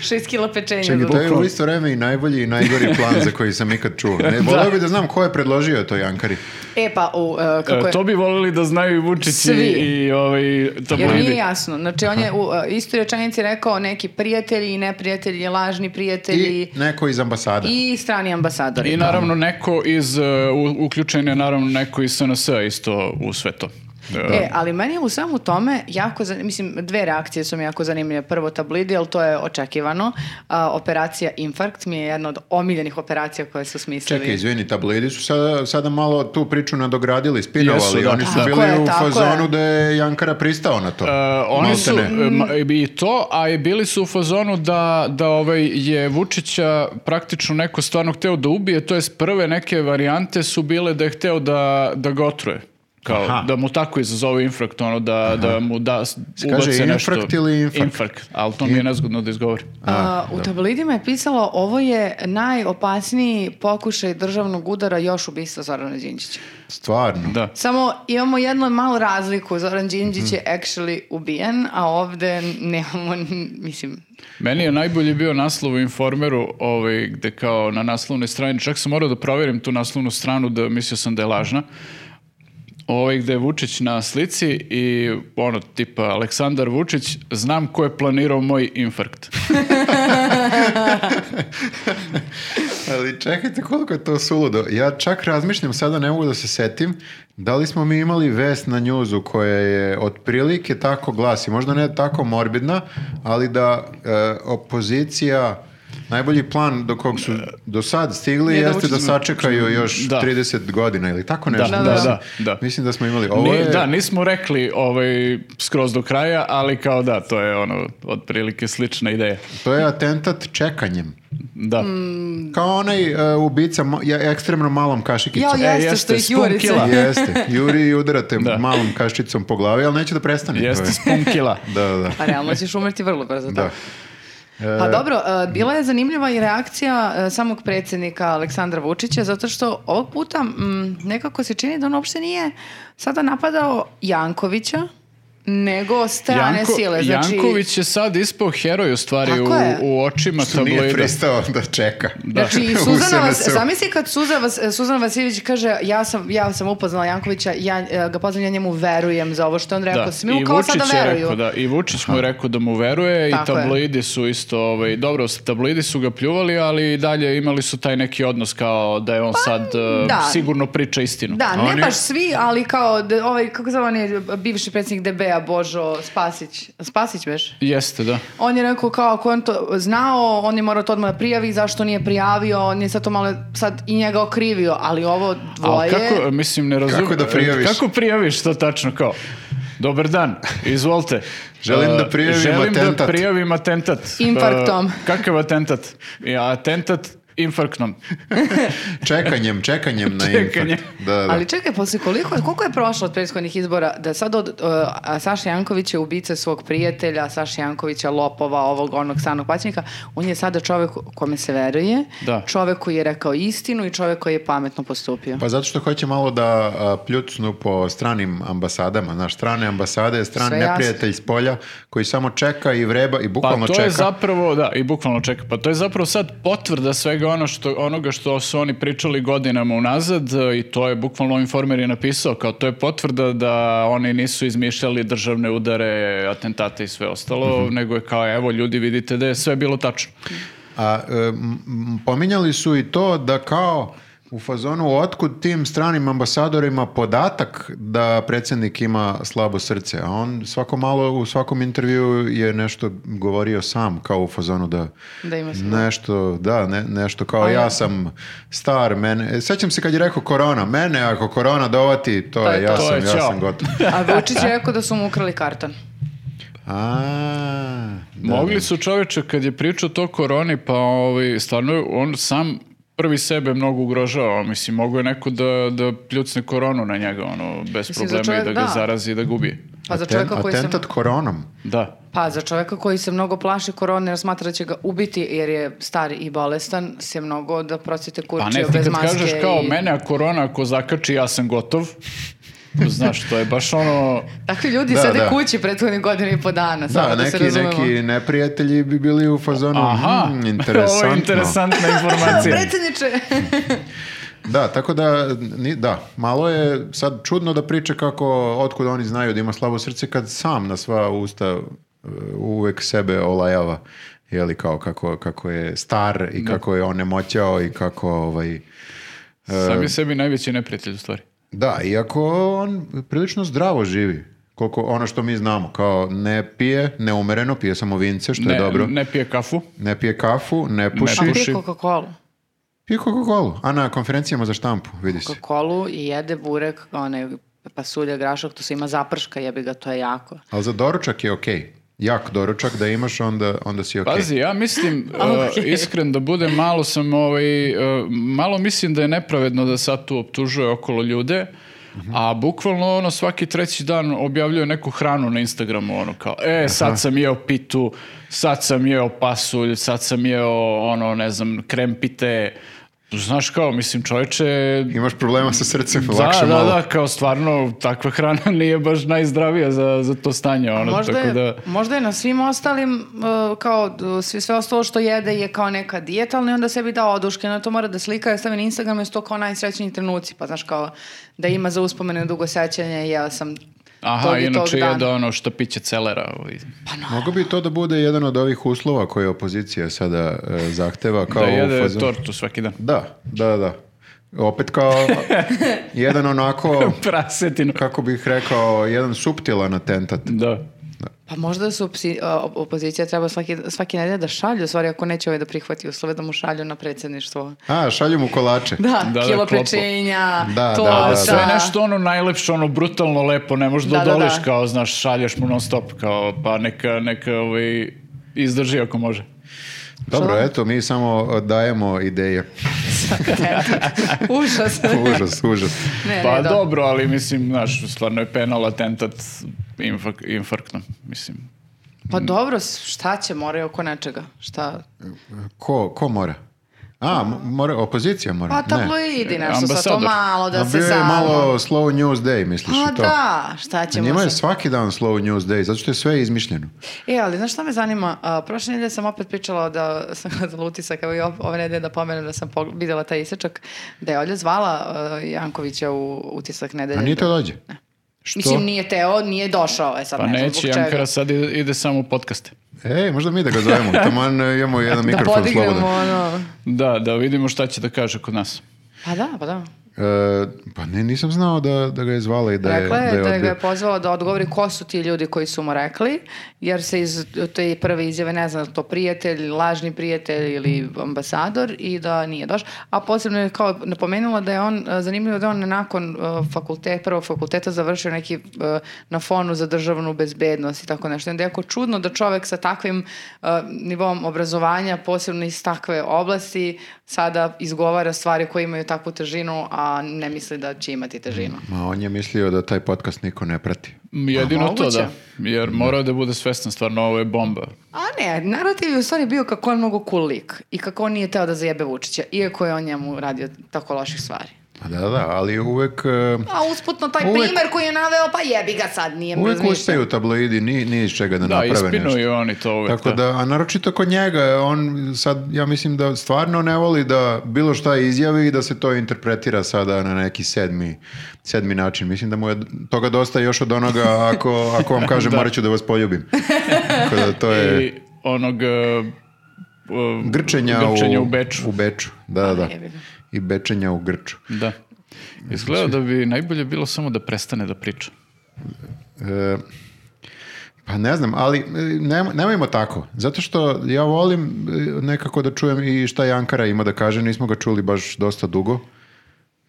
[SPEAKER 1] Šest kila pečenja.
[SPEAKER 2] Čekaj, to
[SPEAKER 1] dodatno.
[SPEAKER 2] je u isto vreme i najbolji i najgori plan za koji sam ikad čuo.
[SPEAKER 3] [laughs]
[SPEAKER 2] Ne, voleo bi da znam ko je predložio to Jankari.
[SPEAKER 1] E pa, u, uh, kako
[SPEAKER 3] E,
[SPEAKER 1] je...
[SPEAKER 3] to bi volili da znaju i Vučić i,
[SPEAKER 1] Svi.
[SPEAKER 3] i ovaj,
[SPEAKER 1] Jer
[SPEAKER 3] tabloidi.
[SPEAKER 1] nije jasno. Znači, on je u uh, istoj rečenici rekao neki prijatelji i neprijatelji, lažni
[SPEAKER 2] I
[SPEAKER 1] prijatelji
[SPEAKER 2] neko iz ambasada.
[SPEAKER 1] i, strani ambasadori.
[SPEAKER 3] I naravno neko iz, e, u- uključen je naravno neko iz SNS-a isto u sve to. E,
[SPEAKER 1] E, ali meni je u svemu tome jako, zan- mislim, dve reakcije su mi jako zanimljive. Prvo tablidi, ali to je očekivano. A, operacija Infarkt mi je jedna od omiljenih operacija koje su smislili.
[SPEAKER 2] Čekaj, izvini, tabloidi su sada, sada malo tu priču nadogradili, spinovali.
[SPEAKER 3] Jesu, da.
[SPEAKER 2] Oni su
[SPEAKER 3] Tako
[SPEAKER 2] bili
[SPEAKER 1] je,
[SPEAKER 2] u
[SPEAKER 1] tako
[SPEAKER 2] fazonu
[SPEAKER 1] je.
[SPEAKER 2] da je Jankara pristao na to.
[SPEAKER 3] E, oni
[SPEAKER 2] Malte
[SPEAKER 3] su
[SPEAKER 2] ne.
[SPEAKER 3] e, ma- i to, a i bili su u fazonu da, da ovaj je Vučića praktično neko stvarno hteo da ubije, to jest prve neke varijante su bile da je hteo da, da ga otruje. Kao,
[SPEAKER 2] Aha.
[SPEAKER 3] da mu tako izazove infrakt, ono, da, da mu da s-
[SPEAKER 2] Se kaže
[SPEAKER 3] ubace nešto.
[SPEAKER 2] infrakt ili infarkt?
[SPEAKER 3] Infarkt, ali to mi je nezgodno da izgovori.
[SPEAKER 1] A, u tabloidima je pisalo ovo je najopasniji pokušaj državnog udara još ubistva Zorana Đinđića.
[SPEAKER 2] Stvarno.
[SPEAKER 3] Da.
[SPEAKER 1] Samo imamo jednu malu razliku. Zoran Đinđić je actually ubijen, a ovde nemamo, n- mislim...
[SPEAKER 3] Meni je najbolji bio naslov u Informeru, ovaj, gde kao na naslovnoj strani, čak sam morao da proverim tu naslovnu stranu, da mislio sam da je lažna, ovaj, gde je Vučić na slici i ono, tipa, Aleksandar Vučić, znam ko je planirao moj infarkt.
[SPEAKER 2] Ali čekajte koliko je to suludo. Ja čak razmišljam, sada ne mogu da se setim, da li smo mi imali vest na njuzu koja je otprilike tako glasi, možda ne tako morbidna, ali da e, opozicija, najbolji plan do kog su do sad stigli
[SPEAKER 1] Je da
[SPEAKER 2] jeste da
[SPEAKER 1] Vučić-
[SPEAKER 2] sačekaju još
[SPEAKER 3] Da.
[SPEAKER 2] 30 godina ili tako nešto.
[SPEAKER 3] Da,
[SPEAKER 1] da,
[SPEAKER 2] mislim.
[SPEAKER 3] da, da.
[SPEAKER 2] Mislim da smo imali. Ovo
[SPEAKER 3] Ni-
[SPEAKER 2] je,
[SPEAKER 3] Da, nismo rekli ovaj, skroz do kraja, ali kao da, to je ono, otprilike slična ideja.
[SPEAKER 2] To je atentat čekanjem.
[SPEAKER 3] Da.
[SPEAKER 1] Mm.
[SPEAKER 2] Kao onaj e, ubica ma- ja- ekstremno malom kašikicom.
[SPEAKER 1] Jao, jeste,
[SPEAKER 3] jeste,
[SPEAKER 1] što ih
[SPEAKER 3] spun
[SPEAKER 1] jurice.
[SPEAKER 3] kila.
[SPEAKER 2] Jeste. Juri i udarate
[SPEAKER 3] Da.
[SPEAKER 2] malom kaščicom po glavi, ali neće da prestane. to
[SPEAKER 3] Jeste
[SPEAKER 2] je.
[SPEAKER 3] spunkila.
[SPEAKER 2] Da, da, da.
[SPEAKER 1] Pa realno ćeš umrti vrlo brzo.
[SPEAKER 2] Da.
[SPEAKER 1] tako. Pa dobro, e, bila je zanimljiva i reakcija e, samog predsjednika Aleksandra Vučića, zato što ovog puta mm, nekako se čini da on uopšte nije sada napadao Jankovića, nego strane
[SPEAKER 3] Janko-
[SPEAKER 1] sile. Znači,
[SPEAKER 3] Janković je sad ispao heroj u stvari u,
[SPEAKER 1] Tako je.
[SPEAKER 3] u očima
[SPEAKER 2] Što nije
[SPEAKER 3] tabloida.
[SPEAKER 2] pristao da čeka.
[SPEAKER 1] Znači, i
[SPEAKER 3] [laughs]
[SPEAKER 2] U
[SPEAKER 1] Suzana, Vas,
[SPEAKER 2] SNS-u.
[SPEAKER 1] zamisli kad Suza Vas, Suzana Vasiljević kaže ja sam, ja sam upoznala Jankovića, ja e, ga poznam, ja njemu verujem za ovo što je on rekao. Smi mu kao sada
[SPEAKER 3] je
[SPEAKER 1] veruju.
[SPEAKER 3] rekao, da, i Vučić mu je rekao da mu veruje
[SPEAKER 1] Tako
[SPEAKER 3] i
[SPEAKER 1] je.
[SPEAKER 3] tabloidi su isto, ovaj, dobro, tabloidi su ga pljuvali, ali i dalje imali su taj neki odnos kao da je on sad eh,
[SPEAKER 1] Pa, da.
[SPEAKER 3] sigurno priča istinu.
[SPEAKER 1] Da,
[SPEAKER 2] A
[SPEAKER 1] ne
[SPEAKER 2] on je-
[SPEAKER 1] baš svi, ali kao d- ovaj, kako zove on je bivši predsjednik DB-a, Božo Spasić. Spasić beš?
[SPEAKER 3] Jeste, da.
[SPEAKER 1] On je rekao kao ako je on to znao, on je morao to odmah da prijavi, zašto nije prijavio, on je sad to malo sad i njega okrivio, ali ovo
[SPEAKER 3] Ali
[SPEAKER 1] dvoje...
[SPEAKER 3] kako, mislim, ne razumem.
[SPEAKER 2] Kako da prijaviš?
[SPEAKER 3] Kako prijaviš to tačno kao? Dobar dan, izvolite.
[SPEAKER 2] [laughs] Želim
[SPEAKER 3] Eh,
[SPEAKER 2] da prijavim
[SPEAKER 3] želim da
[SPEAKER 2] atentat.
[SPEAKER 3] prijavim atentat.
[SPEAKER 1] Infarktom.
[SPEAKER 3] Eh, kakav atentat? Ja, atentat infarktnom.
[SPEAKER 2] Čekanjem, čekanjem na
[SPEAKER 3] Čekanjem.
[SPEAKER 2] infarkt. Da, da.
[SPEAKER 1] Ali čekaj, posle koliko, koliko je prošlo od prethodnih izbora da sad od uh, a Saša Janković je ubica svog prijatelja, Saša Jankovića, lopova, ovog, onog, sanog paćnika, on je sada čovek kome se veruje,
[SPEAKER 3] Da.
[SPEAKER 1] čovek koji je rekao istinu i čovek koji je pametno postupio.
[SPEAKER 2] Pa zato što hoće malo da a, pljucnu po stranim ambasadama. Znaš, strane ambasade, stran
[SPEAKER 1] Sve jasno.
[SPEAKER 2] neprijatelj s polja koji samo čeka i vreba i
[SPEAKER 3] Pa
[SPEAKER 2] bukvalno
[SPEAKER 3] to
[SPEAKER 2] čeka.
[SPEAKER 3] je zapravo, da, i bukvalno čeka. Pa to je zapravo sad potvrda svega ono što, onoga što su oni pričali godinama unazad e, i to je bukvalno informer je napisao kao to je potvrda da oni nisu izmišljali državne udare, atentate i sve ostalo,
[SPEAKER 2] Mhm.
[SPEAKER 3] nego je kao evo ljudi vidite da je sve bilo tačno.
[SPEAKER 2] A e, m, m, pominjali su i to da kao u fazonu otkud tim stranim ambasadorima podatak da predsjednik ima slabo srce, a on svako malo u svakom intervju je nešto govorio sam kao u fazonu da
[SPEAKER 1] Da ima slabo.
[SPEAKER 2] nešto, da, ne, nešto kao ja sam star, mene, e, sećam se kad je rekao korona, mene ako korona dovati, to,
[SPEAKER 1] To je
[SPEAKER 2] je, ja
[SPEAKER 3] to. To
[SPEAKER 2] sam,
[SPEAKER 3] je
[SPEAKER 2] ja
[SPEAKER 3] ćao.
[SPEAKER 2] sam gotov.
[SPEAKER 1] A Vučić je rekao da su mu ukrali karton.
[SPEAKER 2] A, da,
[SPEAKER 3] Mogli su čoveče kad je pričao to koroni, pa ovaj, stvarno je on sam prvi sebe mnogo ugrožava, mislim, mogo je neko da, da pljucne koronu na njega, ono, bez
[SPEAKER 1] Mislim, za
[SPEAKER 3] problema i
[SPEAKER 1] čovjek-
[SPEAKER 3] da ga
[SPEAKER 1] da.
[SPEAKER 3] zarazi i da gubi.
[SPEAKER 1] Pa za
[SPEAKER 2] Aten-
[SPEAKER 1] čoveka koji se...
[SPEAKER 2] Atentat koronom.
[SPEAKER 3] Da.
[SPEAKER 1] Pa za čoveka koji se mnogo plaši korone, jer smatra da će ga ubiti jer je star i bolestan, se mnogo da procite
[SPEAKER 3] Pa ne,
[SPEAKER 1] kurčio
[SPEAKER 3] ti
[SPEAKER 1] bez
[SPEAKER 3] kad
[SPEAKER 1] maske.
[SPEAKER 3] kažeš kao
[SPEAKER 1] i-
[SPEAKER 3] mene, a korona ako zakači, ja sam gotov. Znaš, to je baš ono...
[SPEAKER 1] Takvi ljudi
[SPEAKER 2] Da,
[SPEAKER 1] sede
[SPEAKER 2] da.
[SPEAKER 1] kući prethodnih godinu i po dana, samo
[SPEAKER 2] Da,
[SPEAKER 1] da, se
[SPEAKER 2] neki,
[SPEAKER 1] razumemo.
[SPEAKER 2] neki neprijatelji bi bili u fazonu.
[SPEAKER 3] Aha, [laughs]
[SPEAKER 2] "Hmm,
[SPEAKER 3] ovo
[SPEAKER 2] interesantno.
[SPEAKER 3] je interesantna
[SPEAKER 1] Evo, [laughs]
[SPEAKER 3] informacija. [laughs]
[SPEAKER 1] predsjedniče!
[SPEAKER 2] Da, tako da, ni- da, malo je sad čudno da priča kako, otkud oni znaju da ima slabo srce kad sam na sva usta e, uvek sebe olajava. Jeli kao kako, kako je star i kako je on nemoćao i kako ovaj...
[SPEAKER 3] Sam je sebi najveći neprijatelj u stvari.
[SPEAKER 2] Da, iako on prilično zdravo živi. Koliko ono što mi znamo, kao ne pije, neumereno, pije samo vince, što
[SPEAKER 3] Ne,
[SPEAKER 2] je dobro. Ne,
[SPEAKER 3] ne pije kafu.
[SPEAKER 2] pije kafu, ne puši.
[SPEAKER 1] A
[SPEAKER 3] Puši.
[SPEAKER 1] pije Coca-Cola.
[SPEAKER 2] Pije Coca-Cola, a na konferencijama za štampu, vidi se.
[SPEAKER 1] Coca-Cola i jede burek, onaj pasulja, grašak, to se ima zaprška, jebi ga, to je jako.
[SPEAKER 2] Ali za doručak je okej. Jak doručak da imaš, onda, onda si okej.
[SPEAKER 3] Pazi, ja
[SPEAKER 1] [laughs]
[SPEAKER 3] mislim,
[SPEAKER 1] Ok.
[SPEAKER 3] uh, iskren da budem, malo sam ovaj, uh, malo mislim da je nepravedno da sad tu optužuje okolo ljude, a bukvalno ono svaki treći dan objavljuje neku hranu na Instagramu, ono kao, e, sad sam jeo pitu, sad sam jeo pasulj, sad sam jeo, ono, ne znam, krempite, znaš kao, mislim, čovječe,
[SPEAKER 2] Imaš problema sa srcem,
[SPEAKER 3] da,
[SPEAKER 2] lakše
[SPEAKER 3] da,
[SPEAKER 2] malo.
[SPEAKER 3] da, kao stvarno takva hrana [laughs] nije baš najzdravija za, za to stanje, ono,
[SPEAKER 1] Možda
[SPEAKER 3] tako
[SPEAKER 1] je,
[SPEAKER 3] da...
[SPEAKER 1] možda je na svim ostalim, uh, kao d- svi, sve ostalo što jede je kao neka dijeta, ali onda sebi da oduške, na to mora da slika, ja stavi na Instagram, jer su to kao najsrećniji trenuci, pa znaš kao da ima za uspomene dugo sećanje, jeo sam
[SPEAKER 3] Aha,
[SPEAKER 1] tog i tog
[SPEAKER 3] inače
[SPEAKER 1] dana.
[SPEAKER 3] jede ono što piće celera. Ovaj.
[SPEAKER 2] Mogu bi to da bude jedan od ovih uslova koje opozicija sada e, zahteva. Kao
[SPEAKER 3] da jede
[SPEAKER 2] u fazonu-
[SPEAKER 3] tortu svaki dan. [laughs]
[SPEAKER 2] Da, da, da. Opet
[SPEAKER 1] [laughs]
[SPEAKER 2] kao jedan onako,
[SPEAKER 3] Prasetinu.
[SPEAKER 2] kako bih rekao, jedan suptilan atentat.
[SPEAKER 3] Da.
[SPEAKER 1] Pa možda su psi, a, op- opozicija treba svaki, svaki nedelje da šalju, u stvari ako neće ovaj da prihvati uslove da mu šalju na predsjedništvo. [laughs]
[SPEAKER 2] A, šalju mu kolače.
[SPEAKER 1] Da,
[SPEAKER 3] Da, da,
[SPEAKER 1] kilo
[SPEAKER 3] klopo.
[SPEAKER 1] pečenja,
[SPEAKER 2] Da,
[SPEAKER 1] to,
[SPEAKER 2] da, da, da.
[SPEAKER 3] Sve je nešto ono najlepše, ono brutalno lepo, ne možeš da,
[SPEAKER 1] Da, da,
[SPEAKER 3] odoliš
[SPEAKER 1] da.
[SPEAKER 3] kao, znaš, šalješ mu non stop, kao, pa neka, neka, ovaj, izdrži ako može.
[SPEAKER 2] Dobro,
[SPEAKER 1] Šalam.
[SPEAKER 2] eto, mi samo e, dajemo ideje.
[SPEAKER 1] [laughs]
[SPEAKER 2] [laughs]
[SPEAKER 3] [laughs]
[SPEAKER 1] Užas.
[SPEAKER 2] Užas, užas.
[SPEAKER 1] ne,
[SPEAKER 3] pa
[SPEAKER 1] ne, da.
[SPEAKER 3] dobro, ali mislim, znaš, stvarno je penal atentat infak, infarktnom, mislim.
[SPEAKER 1] Pa dobro, s- šta će, moraju oko nečega. Šta?
[SPEAKER 2] Ko, ko mora? A, A, mo- mora, opozicija mora.
[SPEAKER 1] Pa
[SPEAKER 2] ne. E,
[SPEAKER 1] tabloidi nešto, sa to
[SPEAKER 3] Ambasador.
[SPEAKER 1] malo da
[SPEAKER 2] A
[SPEAKER 1] se
[SPEAKER 2] bio je
[SPEAKER 1] samo...
[SPEAKER 2] malo slow news day, misliš
[SPEAKER 1] A
[SPEAKER 2] i to.
[SPEAKER 1] da, šta ćemo
[SPEAKER 2] Njima je
[SPEAKER 1] sad?
[SPEAKER 2] svaki dan slow news day, zato što je sve izmišljeno.
[SPEAKER 1] E, ali znaš šta me zanima? A, prošle nedelje sam opet pričala da sam [laughs] gledala utisak, evo i ov- ove nedelje da pomenem da sam pog- videla taj isečak, da je Olja zvala a, Jankovića u utisak nedelje.
[SPEAKER 2] A nije to dođe.
[SPEAKER 1] Što? Mislim, nije teo, nije došao, e sad
[SPEAKER 3] Pa
[SPEAKER 1] ne znam
[SPEAKER 3] neće,
[SPEAKER 1] zbog čega.
[SPEAKER 3] Jankara sad ide, ide samo u podcaste.
[SPEAKER 2] Ej, E, možda mi da ga
[SPEAKER 1] [laughs]
[SPEAKER 2] zovemo. Taman e, imamo jedan
[SPEAKER 1] Da
[SPEAKER 2] mikrofon slobodan.
[SPEAKER 1] podignemo ono...
[SPEAKER 3] Da, da vidimo šta će da kaže kod nas.
[SPEAKER 1] Pa da, pa da.
[SPEAKER 2] E, pa ne, nisam znao da, da ga je zvala i da je,
[SPEAKER 1] Rekla je Dakle, da,
[SPEAKER 2] odbio.
[SPEAKER 1] ga je pozvala da odgovori ko su ti ljudi koji su mu rekli, jer se iz te prve izjave ne zna da li to prijatelj, lažni prijatelj ili ambasador i da nije došao. A posebno je kao napomenula da je on, e, zanimljivo da je on nakon fakulteta, prvog fakulteta završio neki e, na fonu za državnu bezbednost i tako nešto. I Onda je jako čudno da čovek sa takvim e, nivom obrazovanja, posebno iz takve oblasti, sada izgovara stvari koje imaju takvu težinu, a ne misli da će imati težinu.
[SPEAKER 2] Ma on je mislio da taj podcast niko ne prati.
[SPEAKER 3] M, Jedino to
[SPEAKER 1] Pa moguće.
[SPEAKER 3] da, jer mora da bude svestan stvarno ovo je bomba.
[SPEAKER 1] A ne, narativ je u stvari bio kako on mnogo cool lik i kako on nije teo da zajebe Vučića, iako je on njemu radio tako loših stvari.
[SPEAKER 2] Pa da, da, ali uvek... e,
[SPEAKER 1] A usputno taj
[SPEAKER 2] Uvek-
[SPEAKER 1] primer koji je naveo, pa jebi ga sad, nije mi
[SPEAKER 2] Uvijek
[SPEAKER 1] razmišljao.
[SPEAKER 2] uspeju tabloidi, ni, ni iz čega da,
[SPEAKER 3] Da,
[SPEAKER 2] naprave nešto.
[SPEAKER 3] ispinuju oni to uvek.
[SPEAKER 2] Tako da, a naročito kod njega, on sad, ja mislim da stvarno ne voli da bilo šta izjavi i da se to interpretira sada na neki sedmi, sedmi način. Mislim da mu je toga dosta još od onoga, ako, ako
[SPEAKER 3] [laughs]
[SPEAKER 2] vam kažem, morat ću da vas poljubim. Tako da to je
[SPEAKER 3] I onog... e, e,
[SPEAKER 2] grčenja,
[SPEAKER 3] grčenja
[SPEAKER 2] u,
[SPEAKER 3] u Beču.
[SPEAKER 2] U Beču, da, da, da.
[SPEAKER 1] jebi ga.
[SPEAKER 2] I bečenja u Grču.
[SPEAKER 3] Da. Izgleda da bi najbolje bilo samo da prestane da priča.
[SPEAKER 2] E, pa ne znam, ali e, nemo- nemojmo tako. Zato što ja volim e, nekako da čujem i šta Jankara ima da kaže. Nismo ga čuli baš dosta dugo.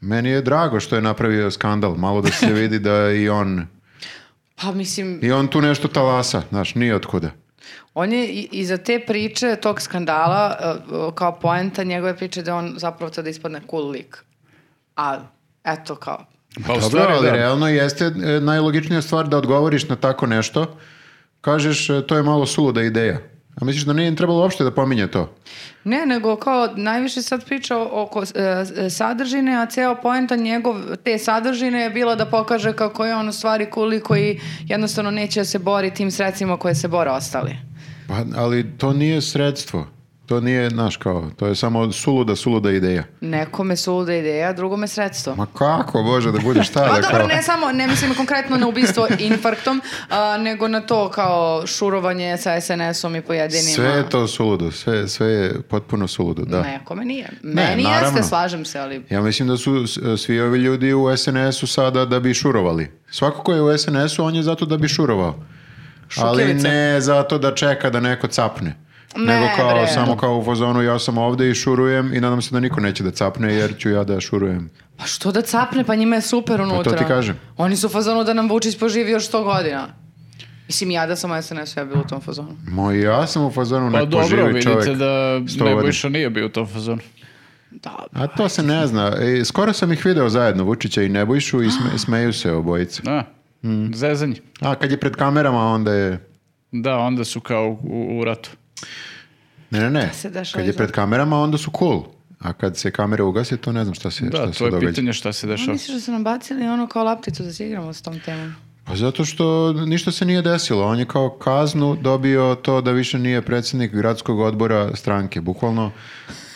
[SPEAKER 2] Meni je drago što je napravio skandal. Malo da
[SPEAKER 3] [laughs]
[SPEAKER 2] se vidi da i on...
[SPEAKER 1] Pa mislim,
[SPEAKER 2] I on tu nešto talasa, znaš, nije otkuda.
[SPEAKER 1] on je i- iza te priče, tog skandala, e, e, kao poenta njegove priče da je on zapravo to da ispadne cool lik. A, eto kao,
[SPEAKER 3] Pa u
[SPEAKER 2] Dobro,
[SPEAKER 3] stvari,
[SPEAKER 2] ali
[SPEAKER 3] da.
[SPEAKER 2] realno jeste e, najlogičnija stvar da odgovoriš na tako nešto. Kažeš, e, to je malo suluda ideja. A misliš da nije trebalo uopšte da pominje to?
[SPEAKER 1] Ne, nego kao najviše sad priča o- oko e, s- sadržine, a ceo poenta njegov te sadržine je bila da pokaže kako je on u stvari kuli koji jednostavno neće da se bori tim sredstvima koje se bore ostali.
[SPEAKER 2] Pa, ali to nije sredstvo. To nije, znaš kao, to je samo suluda, suluda ideja.
[SPEAKER 1] Nekome suluda ideja, drugome sredstvo.
[SPEAKER 2] Ma kako, Bože, da budeš
[SPEAKER 1] [laughs]
[SPEAKER 2] šta
[SPEAKER 1] Pa
[SPEAKER 2] da
[SPEAKER 1] dobro,
[SPEAKER 2] kao...
[SPEAKER 1] ne samo, ne mislim konkretno na
[SPEAKER 2] [laughs]
[SPEAKER 1] ubistvo infarktom, a, nego na to kao šurovanje sa SNS-om i pojedinima.
[SPEAKER 2] Sve je to suludo, sve, sve je potpuno suludo, da.
[SPEAKER 1] Nekome nije. Meni
[SPEAKER 2] naravno.
[SPEAKER 1] jeste, slažem se, ali
[SPEAKER 2] Ja mislim da su s- svi ovi ljudi u SNS-u sada da bi šurovali. Svako ko je u SNS-u, on je zato da bi šurovao. Ali
[SPEAKER 1] Šutljivica.
[SPEAKER 2] ne zato da čeka da neko capne.
[SPEAKER 1] Ne,
[SPEAKER 2] Nego kao,
[SPEAKER 1] bre.
[SPEAKER 2] samo kao u fazonu, ja sam ovde i šurujem i nadam se da niko neće da capne jer ću ja da šurujem.
[SPEAKER 1] Pa što da capne, pa njima je super unutra. ono.
[SPEAKER 2] ti kažem.
[SPEAKER 1] Oni su u fazonu da nam Vučić poživi još 100 godina. Mislim, ja da sam u SNS, ja bi bila u tom fazonu.
[SPEAKER 2] Moj, ja sam u fazonu,
[SPEAKER 3] Pa
[SPEAKER 2] nek
[SPEAKER 3] dobro,
[SPEAKER 2] poživi
[SPEAKER 3] vidite
[SPEAKER 2] čovek
[SPEAKER 3] da
[SPEAKER 2] 100 godina.
[SPEAKER 3] Nebojša nije bio u tom fazonu.
[SPEAKER 1] Da.
[SPEAKER 2] A to se ne zna. E, skoro sam ih video zajedno, Vučića i Nebojšu, i sme- smeju se obojice.
[SPEAKER 3] Da,
[SPEAKER 2] Mm.
[SPEAKER 3] zezanje.
[SPEAKER 2] A kad je pred kamerama, onda je...
[SPEAKER 3] Da, onda su kao u, u ratu.
[SPEAKER 2] Ne, ne, ne.
[SPEAKER 1] se dešava
[SPEAKER 2] Kad je
[SPEAKER 1] iza-
[SPEAKER 2] pred kamerama, onda su cool. A kad se kamere ugase, to ne znam šta se,
[SPEAKER 3] Da,
[SPEAKER 2] šta
[SPEAKER 3] to
[SPEAKER 2] se
[SPEAKER 3] je
[SPEAKER 2] događa.
[SPEAKER 3] pitanje šta se
[SPEAKER 1] A
[SPEAKER 3] dešava.
[SPEAKER 1] misliš da su nam bacili ono kao lapticu da se igramo s tom temom?
[SPEAKER 2] Pa zato što ništa se nije desilo. On je kao kaznu dobio to da više nije predsjednik gradskog odbora stranke. Bukvalno,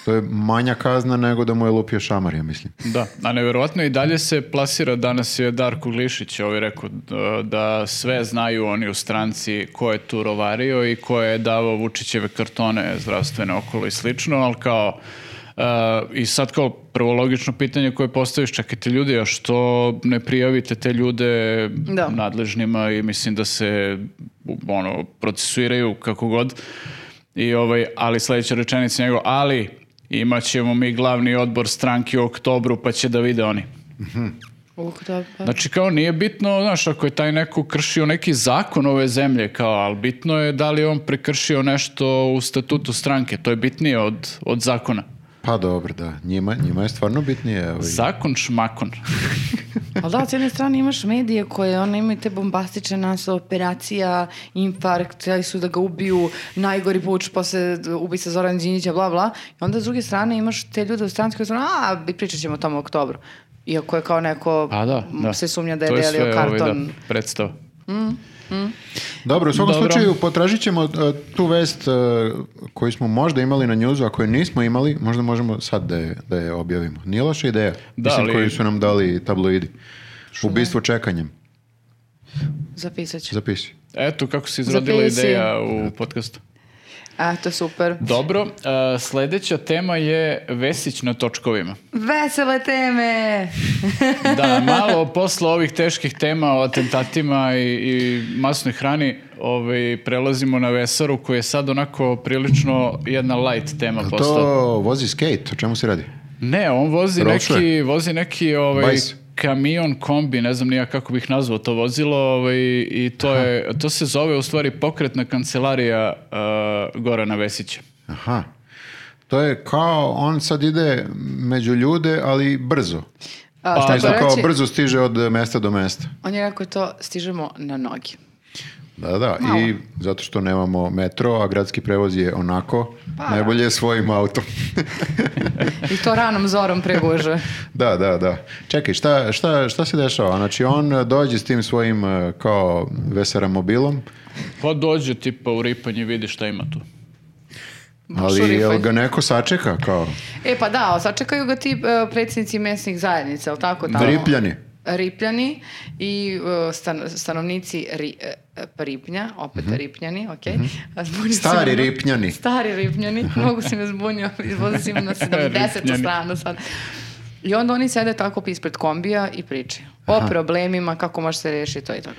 [SPEAKER 2] to je manja kazna nego da mu je lupio šamar, ja mislim.
[SPEAKER 3] Da, a nevjerojatno i dalje se plasira, danas je Darko Glišić ovaj rekao d- da sve znaju oni u stranci ko je tu rovario i ko je davao Vučićeve kartone zdravstvene okolo i slično, ali kao e, i sad kao prvo logično pitanje koje postaviš, čekajte ljudi, a što ne prijavite te ljude
[SPEAKER 1] Da.
[SPEAKER 3] nadležnima i mislim da se u- ono, procesuiraju kako god. I ovaj, ali sledeća rečenica njegova, ali imat ćemo mi glavni odbor stranke u oktobru pa će da vide oni.
[SPEAKER 1] U, da, pa.
[SPEAKER 3] Znači kao nije bitno, znaš, ako je taj neko kršio neki zakon ove zemlje, kao, ali bitno je da li je on prekršio nešto u statutu stranke, to je bitnije od, od zakona.
[SPEAKER 2] Pa dobro, da. Njima, njima je stvarno bitnije. Ovaj.
[SPEAKER 3] Zakon šmakon.
[SPEAKER 1] Ali da, s jedne strane imaš medije koje ono, imaju te bombastične naslove, operacija, infarkt, htjeli su da ga ubiju, najgori puč posle ubica Zoran Đinjića, bla, bla. I onda s druge strane imaš te ljude u stranci koji su, a, bi- pričat ćemo o tome u oktobru. Iako je kao neko
[SPEAKER 3] Pa da,
[SPEAKER 1] m,
[SPEAKER 3] da.
[SPEAKER 1] se sumnja da je
[SPEAKER 3] To je
[SPEAKER 1] delio
[SPEAKER 3] sve ovaj,
[SPEAKER 1] karton.
[SPEAKER 3] da, predstava.
[SPEAKER 2] Dobro, u svakom
[SPEAKER 3] Dobro.
[SPEAKER 2] slučaju potražit ćemo e, tu vest e, koju smo možda imali na njuzu, a koju nismo imali, možda možemo sad da je, da je objavimo. Nije loša ideja,
[SPEAKER 3] Da,
[SPEAKER 2] mislim,
[SPEAKER 3] ali-
[SPEAKER 2] koju su nam dali tabloidi. Ubistvo čekanjem.
[SPEAKER 1] Zapisat ću.
[SPEAKER 2] Zapisi.
[SPEAKER 3] Eto kako se izrodila
[SPEAKER 1] Zapisi.
[SPEAKER 3] ideja u podcastu.
[SPEAKER 1] A, to je super.
[SPEAKER 3] Dobro, a, sljedeća tema je Vesić na točkovima.
[SPEAKER 1] Vesele teme!
[SPEAKER 3] Da, malo posle ovih teških tema o atentatima i, i masnoj hrani ovaj, prelazimo na Vesaru koji je sad onako prilično jedna light tema postala.
[SPEAKER 2] To vozi skate, o čemu se radi?
[SPEAKER 3] Ne, on vozi
[SPEAKER 2] Roče.
[SPEAKER 3] neki, vozi neki ovaj,
[SPEAKER 2] Bajs.
[SPEAKER 3] kamion kombi, ne znam nija kako bih nazvao to vozilo ovaj, i to, je, to se zove u stvari pokretna kancelarija eh, Gorana Vesića.
[SPEAKER 2] Aha. To je kao, on sad ide među ljude, ali brzo.
[SPEAKER 1] A,
[SPEAKER 3] Pa,
[SPEAKER 1] šta ću
[SPEAKER 2] Znači, kao
[SPEAKER 1] reći?
[SPEAKER 2] brzo stiže od e, mesta do mesta.
[SPEAKER 1] On je rekao to, stižemo na nogi.
[SPEAKER 2] Da, da,
[SPEAKER 1] Malo.
[SPEAKER 2] i zato što nemamo metro, a gradski prevoz je onako,
[SPEAKER 1] Pa,
[SPEAKER 2] najbolje je svojim autom.
[SPEAKER 1] I to ranom zorom preguže.
[SPEAKER 2] da, da, da. Čekaj, šta, šta, šta se dešava? Znači, on e, dođe s tim svojim e, kao veseramobilom,
[SPEAKER 3] Pa dođe tipa u ripanje, vidi šta ima tu.
[SPEAKER 2] [laughs] ali
[SPEAKER 1] Šurifaj.
[SPEAKER 2] jel ga neko sačeka kao
[SPEAKER 1] E pa da, ali sačekaju ga ti e, predsjednici mesnih zajednica, jel tako tamo?
[SPEAKER 2] dripljani?
[SPEAKER 1] Ripljani i e, stan- stanovnici ri, e, e, Ripnja, opet
[SPEAKER 3] Mhm.
[SPEAKER 1] Ripnjani, ok.
[SPEAKER 2] Stari ripnjani.
[SPEAKER 1] ono- Stari Ripnjani, mnogo si me zbunio, [laughs] izvozio si
[SPEAKER 3] [laughs]
[SPEAKER 1] me na 70.
[SPEAKER 3] Mhm. Ripnjani.
[SPEAKER 1] stranu sad. I onda oni sede tako ispred kombija i pričaju o problemima, kako može se riješiti to i to.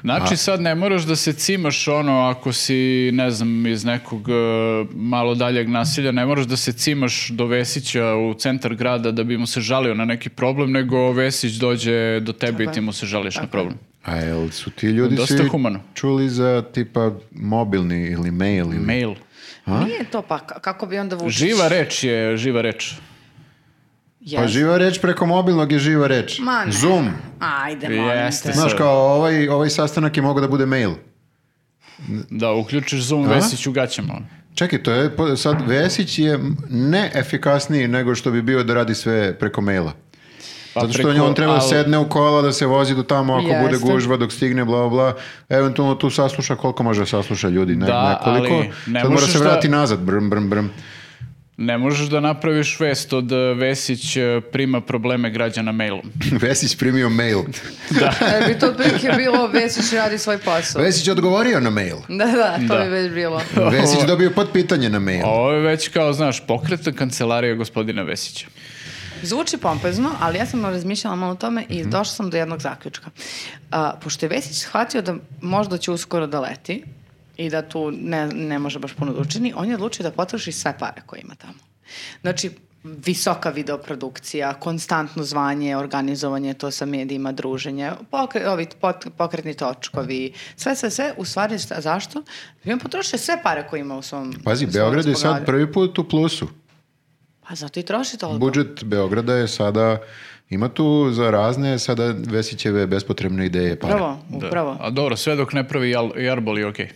[SPEAKER 3] Znači sad ne moraš da se cimaš ono ako si, ne znam, iz nekog e, malo daljeg nasilja, ne moraš da se cimaš do Vesića u centar grada da bi mu se žalio na neki problem, nego Vesić dođe do tebe
[SPEAKER 1] Tako
[SPEAKER 3] i
[SPEAKER 1] je.
[SPEAKER 3] ti mu se žališ na
[SPEAKER 1] Tako je.
[SPEAKER 3] problem.
[SPEAKER 2] A jel su ti ljudi
[SPEAKER 3] Dosta
[SPEAKER 2] svi
[SPEAKER 3] humano.
[SPEAKER 2] čuli za tipa mobilni ili mail ili...
[SPEAKER 3] Mail.
[SPEAKER 1] Nije to pa, ka- kako bi onda Vučić...
[SPEAKER 3] Živa reč je živa reč.
[SPEAKER 2] Pa
[SPEAKER 1] Jeste.
[SPEAKER 2] živa reč preko mobilnog je živa reč.
[SPEAKER 1] Ma ne.
[SPEAKER 2] Zoom.
[SPEAKER 1] Ajde, molim te.
[SPEAKER 3] Jeste.
[SPEAKER 2] Znaš kao ovaj, ovaj sastanak je mogao da bude mail.
[SPEAKER 3] Da, uključiš Zoom, Vesić u gaćama. ono.
[SPEAKER 2] Čekaj, to je po- sad Vesić je neefikasniji nego što bi bio da radi sve preko maila.
[SPEAKER 3] Pa
[SPEAKER 2] Zato što
[SPEAKER 3] preko-
[SPEAKER 2] on treba
[SPEAKER 3] al-
[SPEAKER 2] sedne u kola da se vozi do tamo ako bude
[SPEAKER 1] Jeste.
[SPEAKER 2] gužva dok stigne bla bla, bla. Eventualno tu sasluša koliko može sasluša ljudi, ne,
[SPEAKER 3] Da,
[SPEAKER 2] nekoliko.
[SPEAKER 3] ali ne
[SPEAKER 2] sad mora
[SPEAKER 3] možeš
[SPEAKER 2] se
[SPEAKER 3] da-
[SPEAKER 2] vrati nazad brm brm brm. [laughs]
[SPEAKER 3] Ne možeš da napraviš vest od e, Vesić e, prima probleme građana mailom.
[SPEAKER 2] Vesić primio mail.
[SPEAKER 1] E, bi to otprilike bilo, Vesić radi svoj posao.
[SPEAKER 2] Vesić odgovorio na
[SPEAKER 3] [laughs]
[SPEAKER 2] mail.
[SPEAKER 1] Da, da, to
[SPEAKER 3] Da.
[SPEAKER 1] bi već bilo.
[SPEAKER 2] Vesić dobio potpitanje na mail.
[SPEAKER 3] A Pa Ovo je već kao, znaš, pokretna kancelarija gospodina Vesića.
[SPEAKER 1] Zvuči pompezno, ali ja sam razmišljala malo o tome
[SPEAKER 2] Mhm.
[SPEAKER 1] i došla sam do jednog zaključka. A, pošto je Vesić shvatio da možda će uskoro da leti i da tu ne, ne može baš puno da učini, on je odlučio da potroši sve pare koje ima tamo. Znači, visoka videoprodukcija, konstantno zvanje, organizovanje to sa medijima, druženje, pokre, ovi pot- pokretni točkovi, sve, sve, sve, u stvari šta- zašto? I on potrošio sve pare koje ima u svom...
[SPEAKER 2] Pazi,
[SPEAKER 1] svom
[SPEAKER 2] Beograd je sad
[SPEAKER 1] raspolaganju.
[SPEAKER 2] prvi put u plusu.
[SPEAKER 1] Pa zato i troši toliko.
[SPEAKER 2] Budžet Beograda je sada, ima tu za razne sada Vesićeve bespotrebne ideje pare.
[SPEAKER 1] Upravo,
[SPEAKER 3] Da.
[SPEAKER 1] upravo.
[SPEAKER 3] A dobro, sve dok ne pravi jal, jarbol je okej.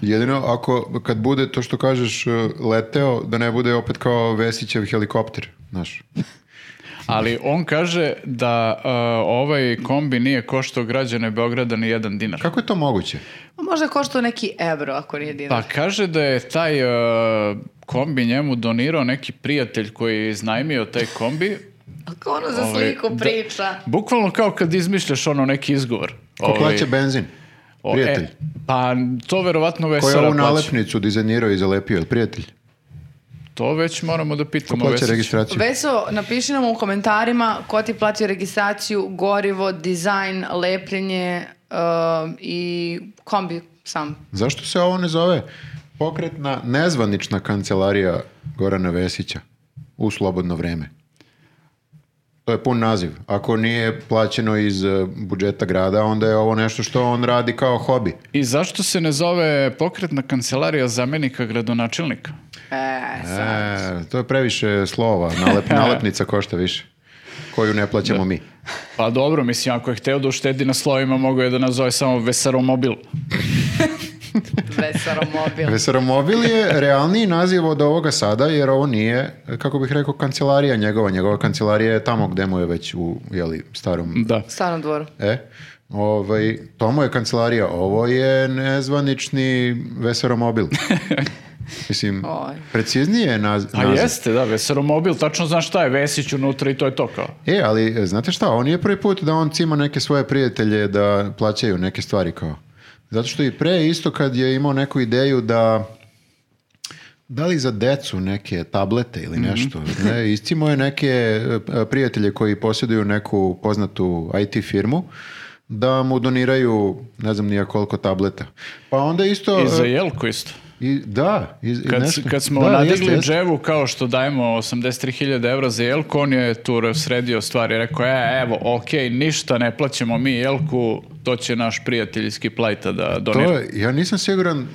[SPEAKER 2] Jedino ako, kad bude to što kažeš e, leteo, da ne bude opet kao Vesićev helikopter, znaš.
[SPEAKER 3] Ali on kaže da e, ovaj kombi nije koštao građane Beograda ni jedan dinar.
[SPEAKER 2] Kako je to moguće?
[SPEAKER 1] Ma Možda je koštao neki evro, ako nije dinar.
[SPEAKER 3] Pa kaže da je taj e, kombi njemu donirao neki prijatelj koji je iznajmio taj kombi.
[SPEAKER 1] Ako ono za [laughs]
[SPEAKER 3] Ovaj,
[SPEAKER 1] sliku
[SPEAKER 3] da-
[SPEAKER 1] priča.
[SPEAKER 3] Bukvalno kao kad izmišljaš ono neki izgovor.
[SPEAKER 2] Ko
[SPEAKER 3] Ovaj,
[SPEAKER 2] plaća benzin?
[SPEAKER 3] o, e,
[SPEAKER 2] Prijatelj.
[SPEAKER 3] pa to verovatno
[SPEAKER 2] Ko je
[SPEAKER 3] Vesara
[SPEAKER 2] ovu
[SPEAKER 3] plaća.
[SPEAKER 2] nalepnicu dizajnirao i zalepio, jel prijatelj?
[SPEAKER 3] To već moramo da
[SPEAKER 2] Ko
[SPEAKER 3] pitamo
[SPEAKER 2] plaća
[SPEAKER 3] Vesića.
[SPEAKER 2] registraciju?
[SPEAKER 1] Veso, napiši nam u komentarima ko ti platio registraciju, gorivo, dizajn, lepljenje um, i kombi sam.
[SPEAKER 2] Zašto se ovo ne zove pokretna nezvanična kancelarija Gorana Vesića u slobodno vreme? To je pun naziv. Ako nije plaćeno iz e, budžeta grada, onda je ovo nešto što on radi kao hobi.
[SPEAKER 3] I zašto se ne zove pokretna kancelarija zamenika gradonačelnika?
[SPEAKER 1] E, sad.
[SPEAKER 2] E, to je previše slova, nalep,
[SPEAKER 3] [laughs]
[SPEAKER 2] nalepnica košta više, koju ne plaćamo mi.
[SPEAKER 3] Pa dobro, mislim, ako je hteo da uštedi na slovima, mogao je da nazove samo Vesaromobil.
[SPEAKER 2] [laughs]
[SPEAKER 1] Vesaromobil.
[SPEAKER 2] Veseromobil je realniji naziv od ovoga sada, jer ovo nije, kako bih rekao, kancelarija njegova. Njegova kancelarija je tamo gde mu je već u jeli, starom...
[SPEAKER 3] Da.
[SPEAKER 1] Stvarno dvoru.
[SPEAKER 2] E, ovaj, to mu je kancelarija. Ovo je nezvanični
[SPEAKER 3] [laughs]
[SPEAKER 2] Veseromobil. Mislim,
[SPEAKER 1] Oj.
[SPEAKER 2] preciznije je naz-
[SPEAKER 3] A
[SPEAKER 2] naziv.
[SPEAKER 3] jeste, da, Vesaromobil, tačno znaš šta je, Vesić unutra i to je to kao.
[SPEAKER 2] E, ali e, znate šta, on nije prvi put da on cima neke svoje prijatelje da plaćaju neke stvari kao. Zato što i pre isto kad je imao neku ideju da da li za decu neke tablete ili
[SPEAKER 3] Mhm.
[SPEAKER 2] nešto. Ne, iscimo je neke e, p- prijatelje koji posjeduju neku poznatu IT firmu da mu doniraju ne znam nija koliko tableta. Pa onda isto...
[SPEAKER 3] I za
[SPEAKER 2] e,
[SPEAKER 3] Jelku isto.
[SPEAKER 2] i, da, i, i
[SPEAKER 3] Kad,
[SPEAKER 2] nešto.
[SPEAKER 3] kad smo
[SPEAKER 2] Da,
[SPEAKER 3] nadigli
[SPEAKER 2] jeste, jeste.
[SPEAKER 3] dževu kao što dajemo 83.000 evra za jelku, on je tu sredio stvari. Rekao, e, evo, ok, ništa ne plaćamo mi jelku, to će naš prijatelj iz Kiplajta da
[SPEAKER 2] Pa To
[SPEAKER 3] donira.
[SPEAKER 2] je, ja nisam siguran,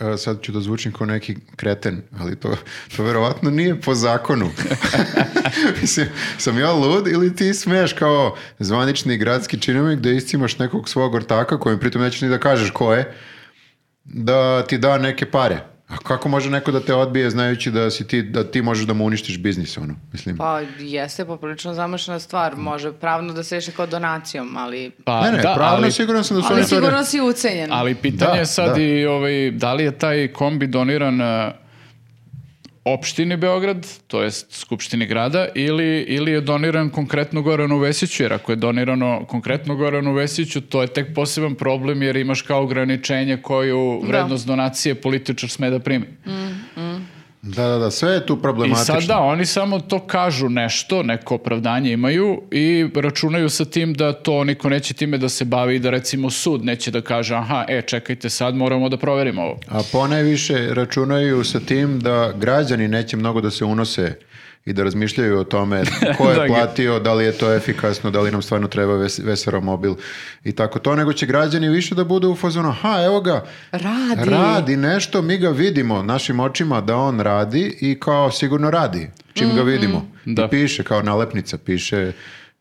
[SPEAKER 2] a, sad ću da zvučim kao neki kreten, ali to, to verovatno nije po zakonu. [laughs] Mislim, sam ja lud ili ti smeš kao zvanični gradski činovnik da iscimaš nekog svog ortaka kojem pritom nećeš ni da kažeš ko je, da ti da neke pare. A kako može neko da te odbije znajući da, si ti, da ti možeš da mu uništiš biznis? Ono? Mislim,
[SPEAKER 1] Pa jeste poprilično zamašna stvar. Može pravno da se reši kao donacijom, ali...
[SPEAKER 3] Pa,
[SPEAKER 2] ne, ne,
[SPEAKER 3] da,
[SPEAKER 2] pravno
[SPEAKER 3] ali,
[SPEAKER 2] siguran sam da su
[SPEAKER 1] Ali
[SPEAKER 2] oni to...
[SPEAKER 1] sigurno si ucenjen.
[SPEAKER 3] ali pitanje
[SPEAKER 2] Da,
[SPEAKER 3] je sad
[SPEAKER 2] da.
[SPEAKER 3] i ovaj, da li je taj kombi doniran e, opštini Beograd, to jest Skupštini grada, ili, ili je doniran konkretno Goranu Vesiću, jer ako je donirano konkretno Goranu Vesiću, to je tek poseban problem jer imaš kao ograničenje koju
[SPEAKER 1] Da.
[SPEAKER 3] vrednost donacije političar sme da primi.
[SPEAKER 2] Mm. Da, da, da, sve je tu
[SPEAKER 3] I
[SPEAKER 2] problematično.
[SPEAKER 3] sad da, oni samo to kažu nešto, neko opravdanje imaju i računaju sa tim da to niko neće time da se bavi i da recimo sud neće da kaže aha, e, čekajte sad, moramo da proverimo ovo.
[SPEAKER 2] A ponajviše računaju sa tim da građani neće mnogo da se unose i da razmišljaju o
[SPEAKER 3] [laughs]
[SPEAKER 2] tome ko
[SPEAKER 3] Da,
[SPEAKER 2] je
[SPEAKER 3] ge-
[SPEAKER 2] platio, da li je to efikasno, da li nam stvarno treba ves, veseromobil i tako to, nego će građani više da budu u fazonu, aha, evo ga,
[SPEAKER 1] Radi.
[SPEAKER 2] radi nešto, mi ga vidimo našim očima da on radi i kao sigurno radi, čim
[SPEAKER 1] Mhm.
[SPEAKER 2] ga vidimo.
[SPEAKER 3] Da.
[SPEAKER 2] I piše, kao nalepnica, piše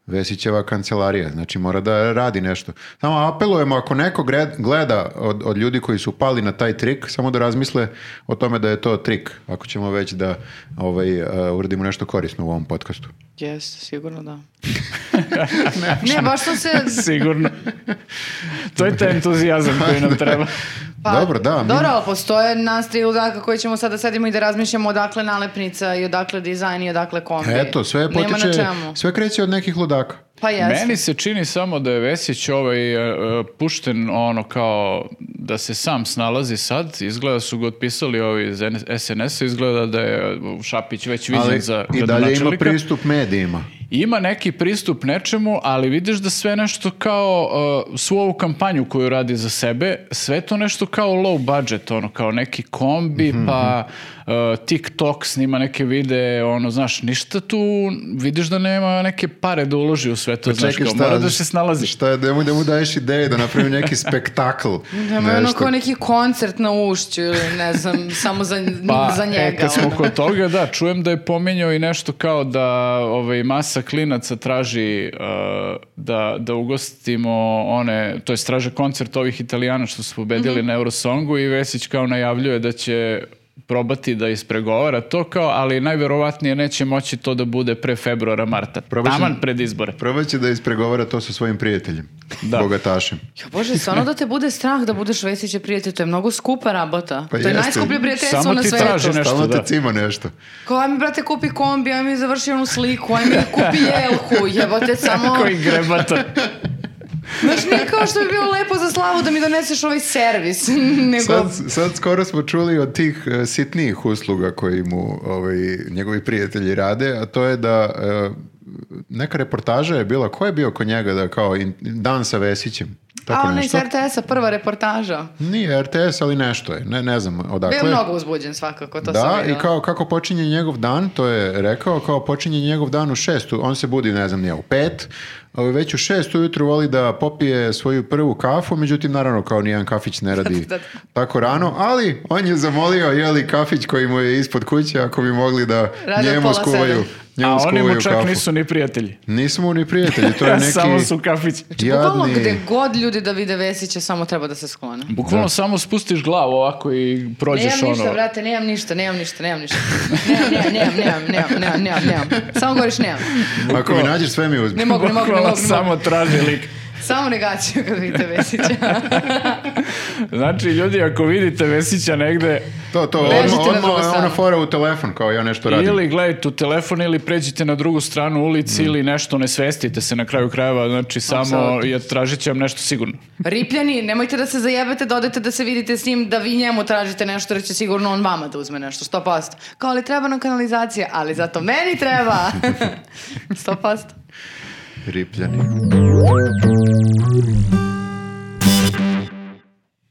[SPEAKER 2] Vesićeva kancelarija, znači mora da radi nešto. Samo apelujemo ako neko gre- gleda od, od ljudi koji su pali na taj trik, samo da razmisle o tome da je to trik, ako ćemo već da ovaj, uh, uradimo nešto korisno u ovom podcastu.
[SPEAKER 1] Jeste, sigurno da. ne, baš sam se...
[SPEAKER 3] [laughs] Sigurno. to je taj entuzijazam koji nam treba.
[SPEAKER 1] Pa,
[SPEAKER 2] Dobro, da, mi-
[SPEAKER 1] Dobro, ali postoje nas tri ludaka koji ćemo sada sedimo i da razmišljamo odakle nalepnica i odakle dizajn i odakle kombi.
[SPEAKER 2] Eto, sve
[SPEAKER 1] Nema na
[SPEAKER 2] potiče,
[SPEAKER 1] čemu.
[SPEAKER 2] sve kreće od nekih ludaka.
[SPEAKER 1] Pa jeste.
[SPEAKER 3] Meni se čini samo da je Vesić ovaj, e, e, pušten ono kao da se sam snalazi sad. Izgleda su ga otpisali ovi iz SNS-a, izgleda da je e, Šapić već viđen
[SPEAKER 2] Ali
[SPEAKER 3] za
[SPEAKER 2] i dalje ima
[SPEAKER 3] gradonačelnika.
[SPEAKER 2] pristup medijima.
[SPEAKER 3] Ima neki pristup nečemu, ali vidiš da sve nešto kao uh, svu ovu kampanju koju radi za sebe, sve to nešto kao low budget, ono kao neki kombi,
[SPEAKER 2] Mhm,
[SPEAKER 3] pa uh, TikTok snima neke videe, ono znaš, ništa tu, vidiš da nema neke pare da uloži u sve to, znaš,
[SPEAKER 2] Pa Čekaj,
[SPEAKER 3] kao,
[SPEAKER 2] šta-
[SPEAKER 3] mora da se snalaziš.
[SPEAKER 2] Šta, je, nemoj da mu daješ ideje da napravi neki spektakl.
[SPEAKER 1] [laughs] Nema ono
[SPEAKER 2] nešto.
[SPEAKER 1] kao neki koncert na ušću ili ne znam, [laughs] samo za,
[SPEAKER 3] Pa,
[SPEAKER 1] [laughs] za njega.
[SPEAKER 3] e, kad smo
[SPEAKER 1] ono.
[SPEAKER 3] kod toga, da, čujem da je pominjao i nešto kao da ovaj, masa klinaca traži uh, da, da ugostimo one, to je straže koncert ovih italijana što su pobedili
[SPEAKER 1] Mhm.
[SPEAKER 3] na Eurosongu i Vesić kao najavljuje da će probati da ispregovara to kao, ali najverovatnije neće moći to da bude pre februara, marta.
[SPEAKER 2] Probat će-
[SPEAKER 3] Taman pred
[SPEAKER 2] [laughs]
[SPEAKER 3] izbore.
[SPEAKER 2] Probat će da ispregovara to sa svojim prijateljem,
[SPEAKER 3] Da.
[SPEAKER 2] bogatašem.
[SPEAKER 1] Jo, Bože, stvarno da te bude strah da budeš Vesiće prijatelj, to je mnogo skupa rabota.
[SPEAKER 2] Pa
[SPEAKER 1] to je
[SPEAKER 2] jeste.
[SPEAKER 1] najskuplje prijateljstvo
[SPEAKER 3] Samo
[SPEAKER 1] na
[SPEAKER 3] ti
[SPEAKER 1] svetu.
[SPEAKER 3] traže nešto.
[SPEAKER 2] Stalno te
[SPEAKER 3] da.
[SPEAKER 2] cima nešto.
[SPEAKER 1] Kao, aj mi, brate, kupi kombi, aj mi završi onu sliku, aj mi kupi
[SPEAKER 3] [laughs]
[SPEAKER 1] jelku, jebote, samo...
[SPEAKER 3] Koji
[SPEAKER 2] [laughs]
[SPEAKER 3] grebata.
[SPEAKER 1] Znaš, nije kao što bi bilo lepo za slavu da mi doneseš ovaj servis, [laughs] nego...
[SPEAKER 2] Sad, sad skoro smo čuli od tih e, sitnijih usluga koji mu ovaj, njegovi prijatelji rade, a to je da e, neka reportaža je bila, ko je bio kod njega da kao in- dan sa Vesićem?
[SPEAKER 1] A
[SPEAKER 2] Tako
[SPEAKER 1] ona iz
[SPEAKER 2] nešto.
[SPEAKER 1] RTS-a, prva reportaža.
[SPEAKER 2] Nije RTS, ali nešto je. Ne, ne znam odakle.
[SPEAKER 1] Bio je mnogo uzbuđen svakako, to sam
[SPEAKER 2] Dakle? Da,
[SPEAKER 1] vidjela.
[SPEAKER 2] i kao kako počinje njegov dan, to je rekao, kao počinje njegov dan u šestu, on se budi, ne znam, nije u pet, ali već u šest ujutru voli da popije svoju prvu kafu, međutim, naravno, kao nijedan kafić ne
[SPEAKER 1] [laughs]
[SPEAKER 2] radi
[SPEAKER 1] Da, da,
[SPEAKER 2] tako rano, ali on je zamolio, jeli kafić koji mu je ispod kuće, ako bi mogli da
[SPEAKER 1] Rade od
[SPEAKER 2] njemu
[SPEAKER 1] pola
[SPEAKER 2] skuvaju,
[SPEAKER 1] sedam.
[SPEAKER 2] njemu
[SPEAKER 3] A oni mu
[SPEAKER 2] skuvaju
[SPEAKER 3] čak
[SPEAKER 2] kafu.
[SPEAKER 3] nisu ni prijatelji.
[SPEAKER 2] Nisu mu ni prijatelji,
[SPEAKER 3] [laughs]
[SPEAKER 2] to je neki...
[SPEAKER 3] Samo su kafići.
[SPEAKER 1] Znači, Bukvalno
[SPEAKER 2] jadni-
[SPEAKER 1] gde god ljudi da vide Vesića, samo treba da se sklone.
[SPEAKER 3] Bukvalno samo spustiš glavu ovako i prođeš
[SPEAKER 1] Nemam ništa,
[SPEAKER 3] ono.
[SPEAKER 1] brate, nemam ništa, nemam ništa, nemam ništa. Nemam, nemam, nemam, nemam, nemam, nemam, nemam. Samo govoriš nemam.
[SPEAKER 2] Ako mi nađeš, sve mi uzmi.
[SPEAKER 1] Ne mogu, ne mogu, ne
[SPEAKER 3] Bukvalno
[SPEAKER 1] mogu. ne mogu.
[SPEAKER 3] samo traži lik.
[SPEAKER 1] Samo negaciju kad vidite
[SPEAKER 2] [laughs]
[SPEAKER 1] Vesića.
[SPEAKER 3] Znači, ljudi, ako vidite Vesića negde,
[SPEAKER 2] To, to,
[SPEAKER 1] Ležite
[SPEAKER 2] odmah,
[SPEAKER 1] na drugu
[SPEAKER 2] odmah je ona
[SPEAKER 1] stranu.
[SPEAKER 2] fora u telefon, kao ja nešto radim.
[SPEAKER 3] ili gledajte u telefon ili pređite na drugu stranu ulici ili nešto, ne svestite se na kraju krajeva, znači samo
[SPEAKER 1] Apsolutno.
[SPEAKER 3] je tražit će vam nešto sigurno.
[SPEAKER 1] Ripljani, nemojte da se zajebete, da odete da se vidite s njim, da vi njemu tražite nešto, jer će sigurno on vama da uzme nešto, 100%. Kao, ali treba nam kanalizacija, ali zato meni treba. [laughs] 100%.
[SPEAKER 2] Ripljani.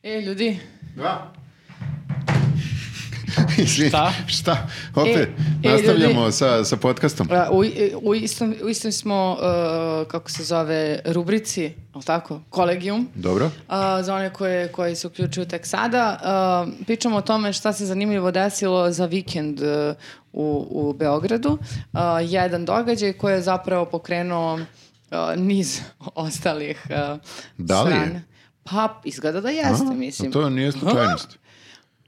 [SPEAKER 1] E, ljudi,
[SPEAKER 2] Dva. [laughs] Izvini,
[SPEAKER 3] Šta?
[SPEAKER 2] Šta? Opet,
[SPEAKER 1] E, e,
[SPEAKER 2] nastavljamo sa, sa podcastom.
[SPEAKER 1] a, e, u, i- u, istom, u istom smo, e, kako se zove, rubrici, je tako, kolegijum.
[SPEAKER 2] Dobro.
[SPEAKER 1] A, za one koje, koji se uključuju tek sada. a, pričamo o tome šta se zanimljivo desilo za vikend e, u, u Beogradu. A, jedan događaj koji je zapravo pokrenuo a, niz ostalih a,
[SPEAKER 2] Da li je?
[SPEAKER 1] strana. Pa, izgleda da jeste,
[SPEAKER 2] A,
[SPEAKER 1] mislim.
[SPEAKER 2] To nije slučajnost.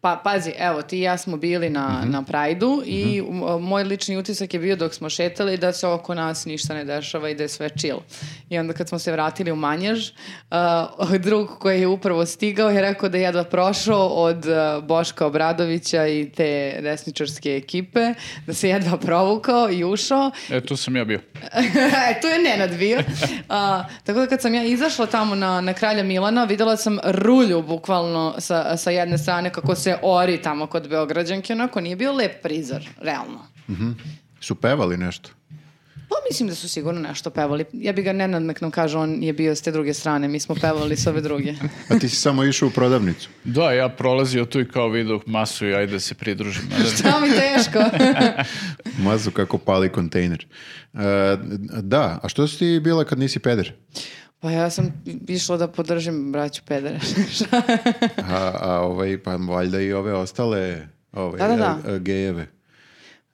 [SPEAKER 1] Pa, pazi, evo, ti i ja smo bili na, na Prajdu i m- moj lični utisak je bio dok smo šetali da se oko nas ništa ne dešava i da je sve chill. I onda kad smo se vratili u Manjež, uh, [laughs] drug koji je upravo stigao je rekao da je jedva prošao od uh, Boška Obradovića i te desničarske ekipe, da se jedva provukao i ušao
[SPEAKER 3] E, tu sam ja bio.
[SPEAKER 1] [laughs] E, tu je Nenad bio. A, tako da kad sam ja izašla tamo na, na Kralja Milana, videla sam rulju bukvalno sa, sa jedne strane kako se ori tamo kod Beograđanke. Onako nije bio lep prizor, realno.
[SPEAKER 2] Su pevali nešto.
[SPEAKER 1] Pa mislim da su sigurno nešto pevali. Ja bi ga Nenad nek nam kaže, on je bio s te druge strane, mi smo pevali s ove
[SPEAKER 3] [laughs]
[SPEAKER 1] druge. [laughs]
[SPEAKER 2] A ti si samo išao u prodavnicu.
[SPEAKER 3] Da, ja prolazio tu i kao vidio masu i ajde da se pridružim.
[SPEAKER 1] Šta mi teško?
[SPEAKER 2] Mazu kako pali kontejner. E, da, a što si ti bila kad nisi peder?
[SPEAKER 1] pa ja sam išla da podržim braću pedere.
[SPEAKER 2] A, a ovaj, pa valjda i ove ostale ove,
[SPEAKER 1] Da, da, da.
[SPEAKER 2] e, e, gejeve.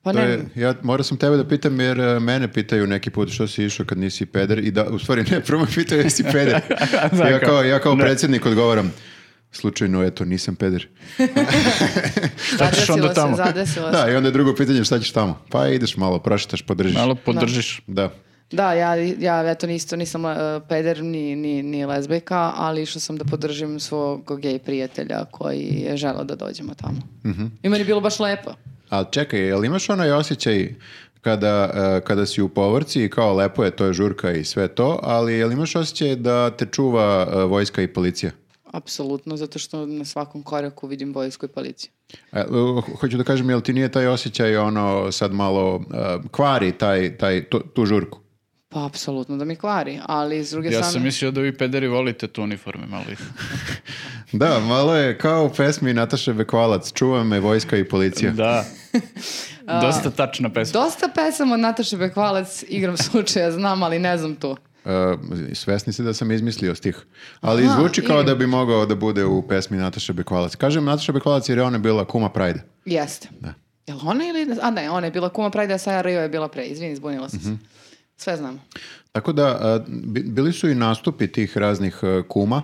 [SPEAKER 1] pa
[SPEAKER 2] To
[SPEAKER 1] ne,
[SPEAKER 2] je, ja morao sam tebe da pitam jer e, mene pitaju neki put što si išao kad nisi peder i da, u stvari ne, prvo me pitaju jesi peder.
[SPEAKER 3] Da,
[SPEAKER 2] ja kao, ja kao
[SPEAKER 3] ne.
[SPEAKER 2] predsjednik odgovaram, slučajno, eto, nisam peder.
[SPEAKER 3] Šta ćeš onda
[SPEAKER 1] zadesilo se,
[SPEAKER 3] tamo?
[SPEAKER 1] zadesilo se.
[SPEAKER 2] Da, i onda je drugo pitanje šta ćeš tamo? Pa ideš malo, prašitaš, podržiš.
[SPEAKER 3] Malo podržiš.
[SPEAKER 2] Da.
[SPEAKER 1] Da, ja, ja eto isto nisam e, peder ni, ni, ni lezbijka, ali išla sam da podržim svog gej prijatelja koji je želao da dođemo tamo.
[SPEAKER 3] Mhm.
[SPEAKER 1] I meni je bilo baš lepo.
[SPEAKER 2] Ali čekaj, jel imaš onaj osjećaj kada, e, kada si u povorci i kao lepo je, to je žurka i sve to, ali jel imaš osjećaj da te čuva e, vojska i policija?
[SPEAKER 1] Apsolutno, zato što na svakom koraku vidim vojsku i policiju.
[SPEAKER 2] E, ho- Hoću da kažem, jel ti nije taj osjećaj ono sad malo e, kvari taj, taj, tu, tu žurku?
[SPEAKER 1] Pa, apsolutno da mi kvari, ali s druge
[SPEAKER 3] Ja sam
[SPEAKER 1] strane...
[SPEAKER 3] mislio da vi pederi volite tu uniforme malo. i-
[SPEAKER 2] Da, malo je kao u pesmi Nataše Bekvalac, čuva me vojska i policija.
[SPEAKER 3] Da. Dosta tačna pesma.
[SPEAKER 1] Dosta pesama od Nataše Bekvalac, igram [laughs] slučaja, znam, ali ne znam to.
[SPEAKER 2] E, svesni ste da sam izmislio stih. Ali
[SPEAKER 1] Aha,
[SPEAKER 2] zvuči kao
[SPEAKER 1] i-
[SPEAKER 2] da bi mogao da bude u pesmi Nataše Bekvalac. Kažem Nataša Bekvalac jer je ona bila kuma Prajda.
[SPEAKER 1] Jeste. Da. Jel ona ili... A ne, ona je bila kuma Prajda, a Saja Rio je bila pre. Izvini, zbunila sam se.
[SPEAKER 3] Mhm.
[SPEAKER 1] Sve znam.
[SPEAKER 2] Tako da, e, bi- bili su i nastupi tih raznih e, kuma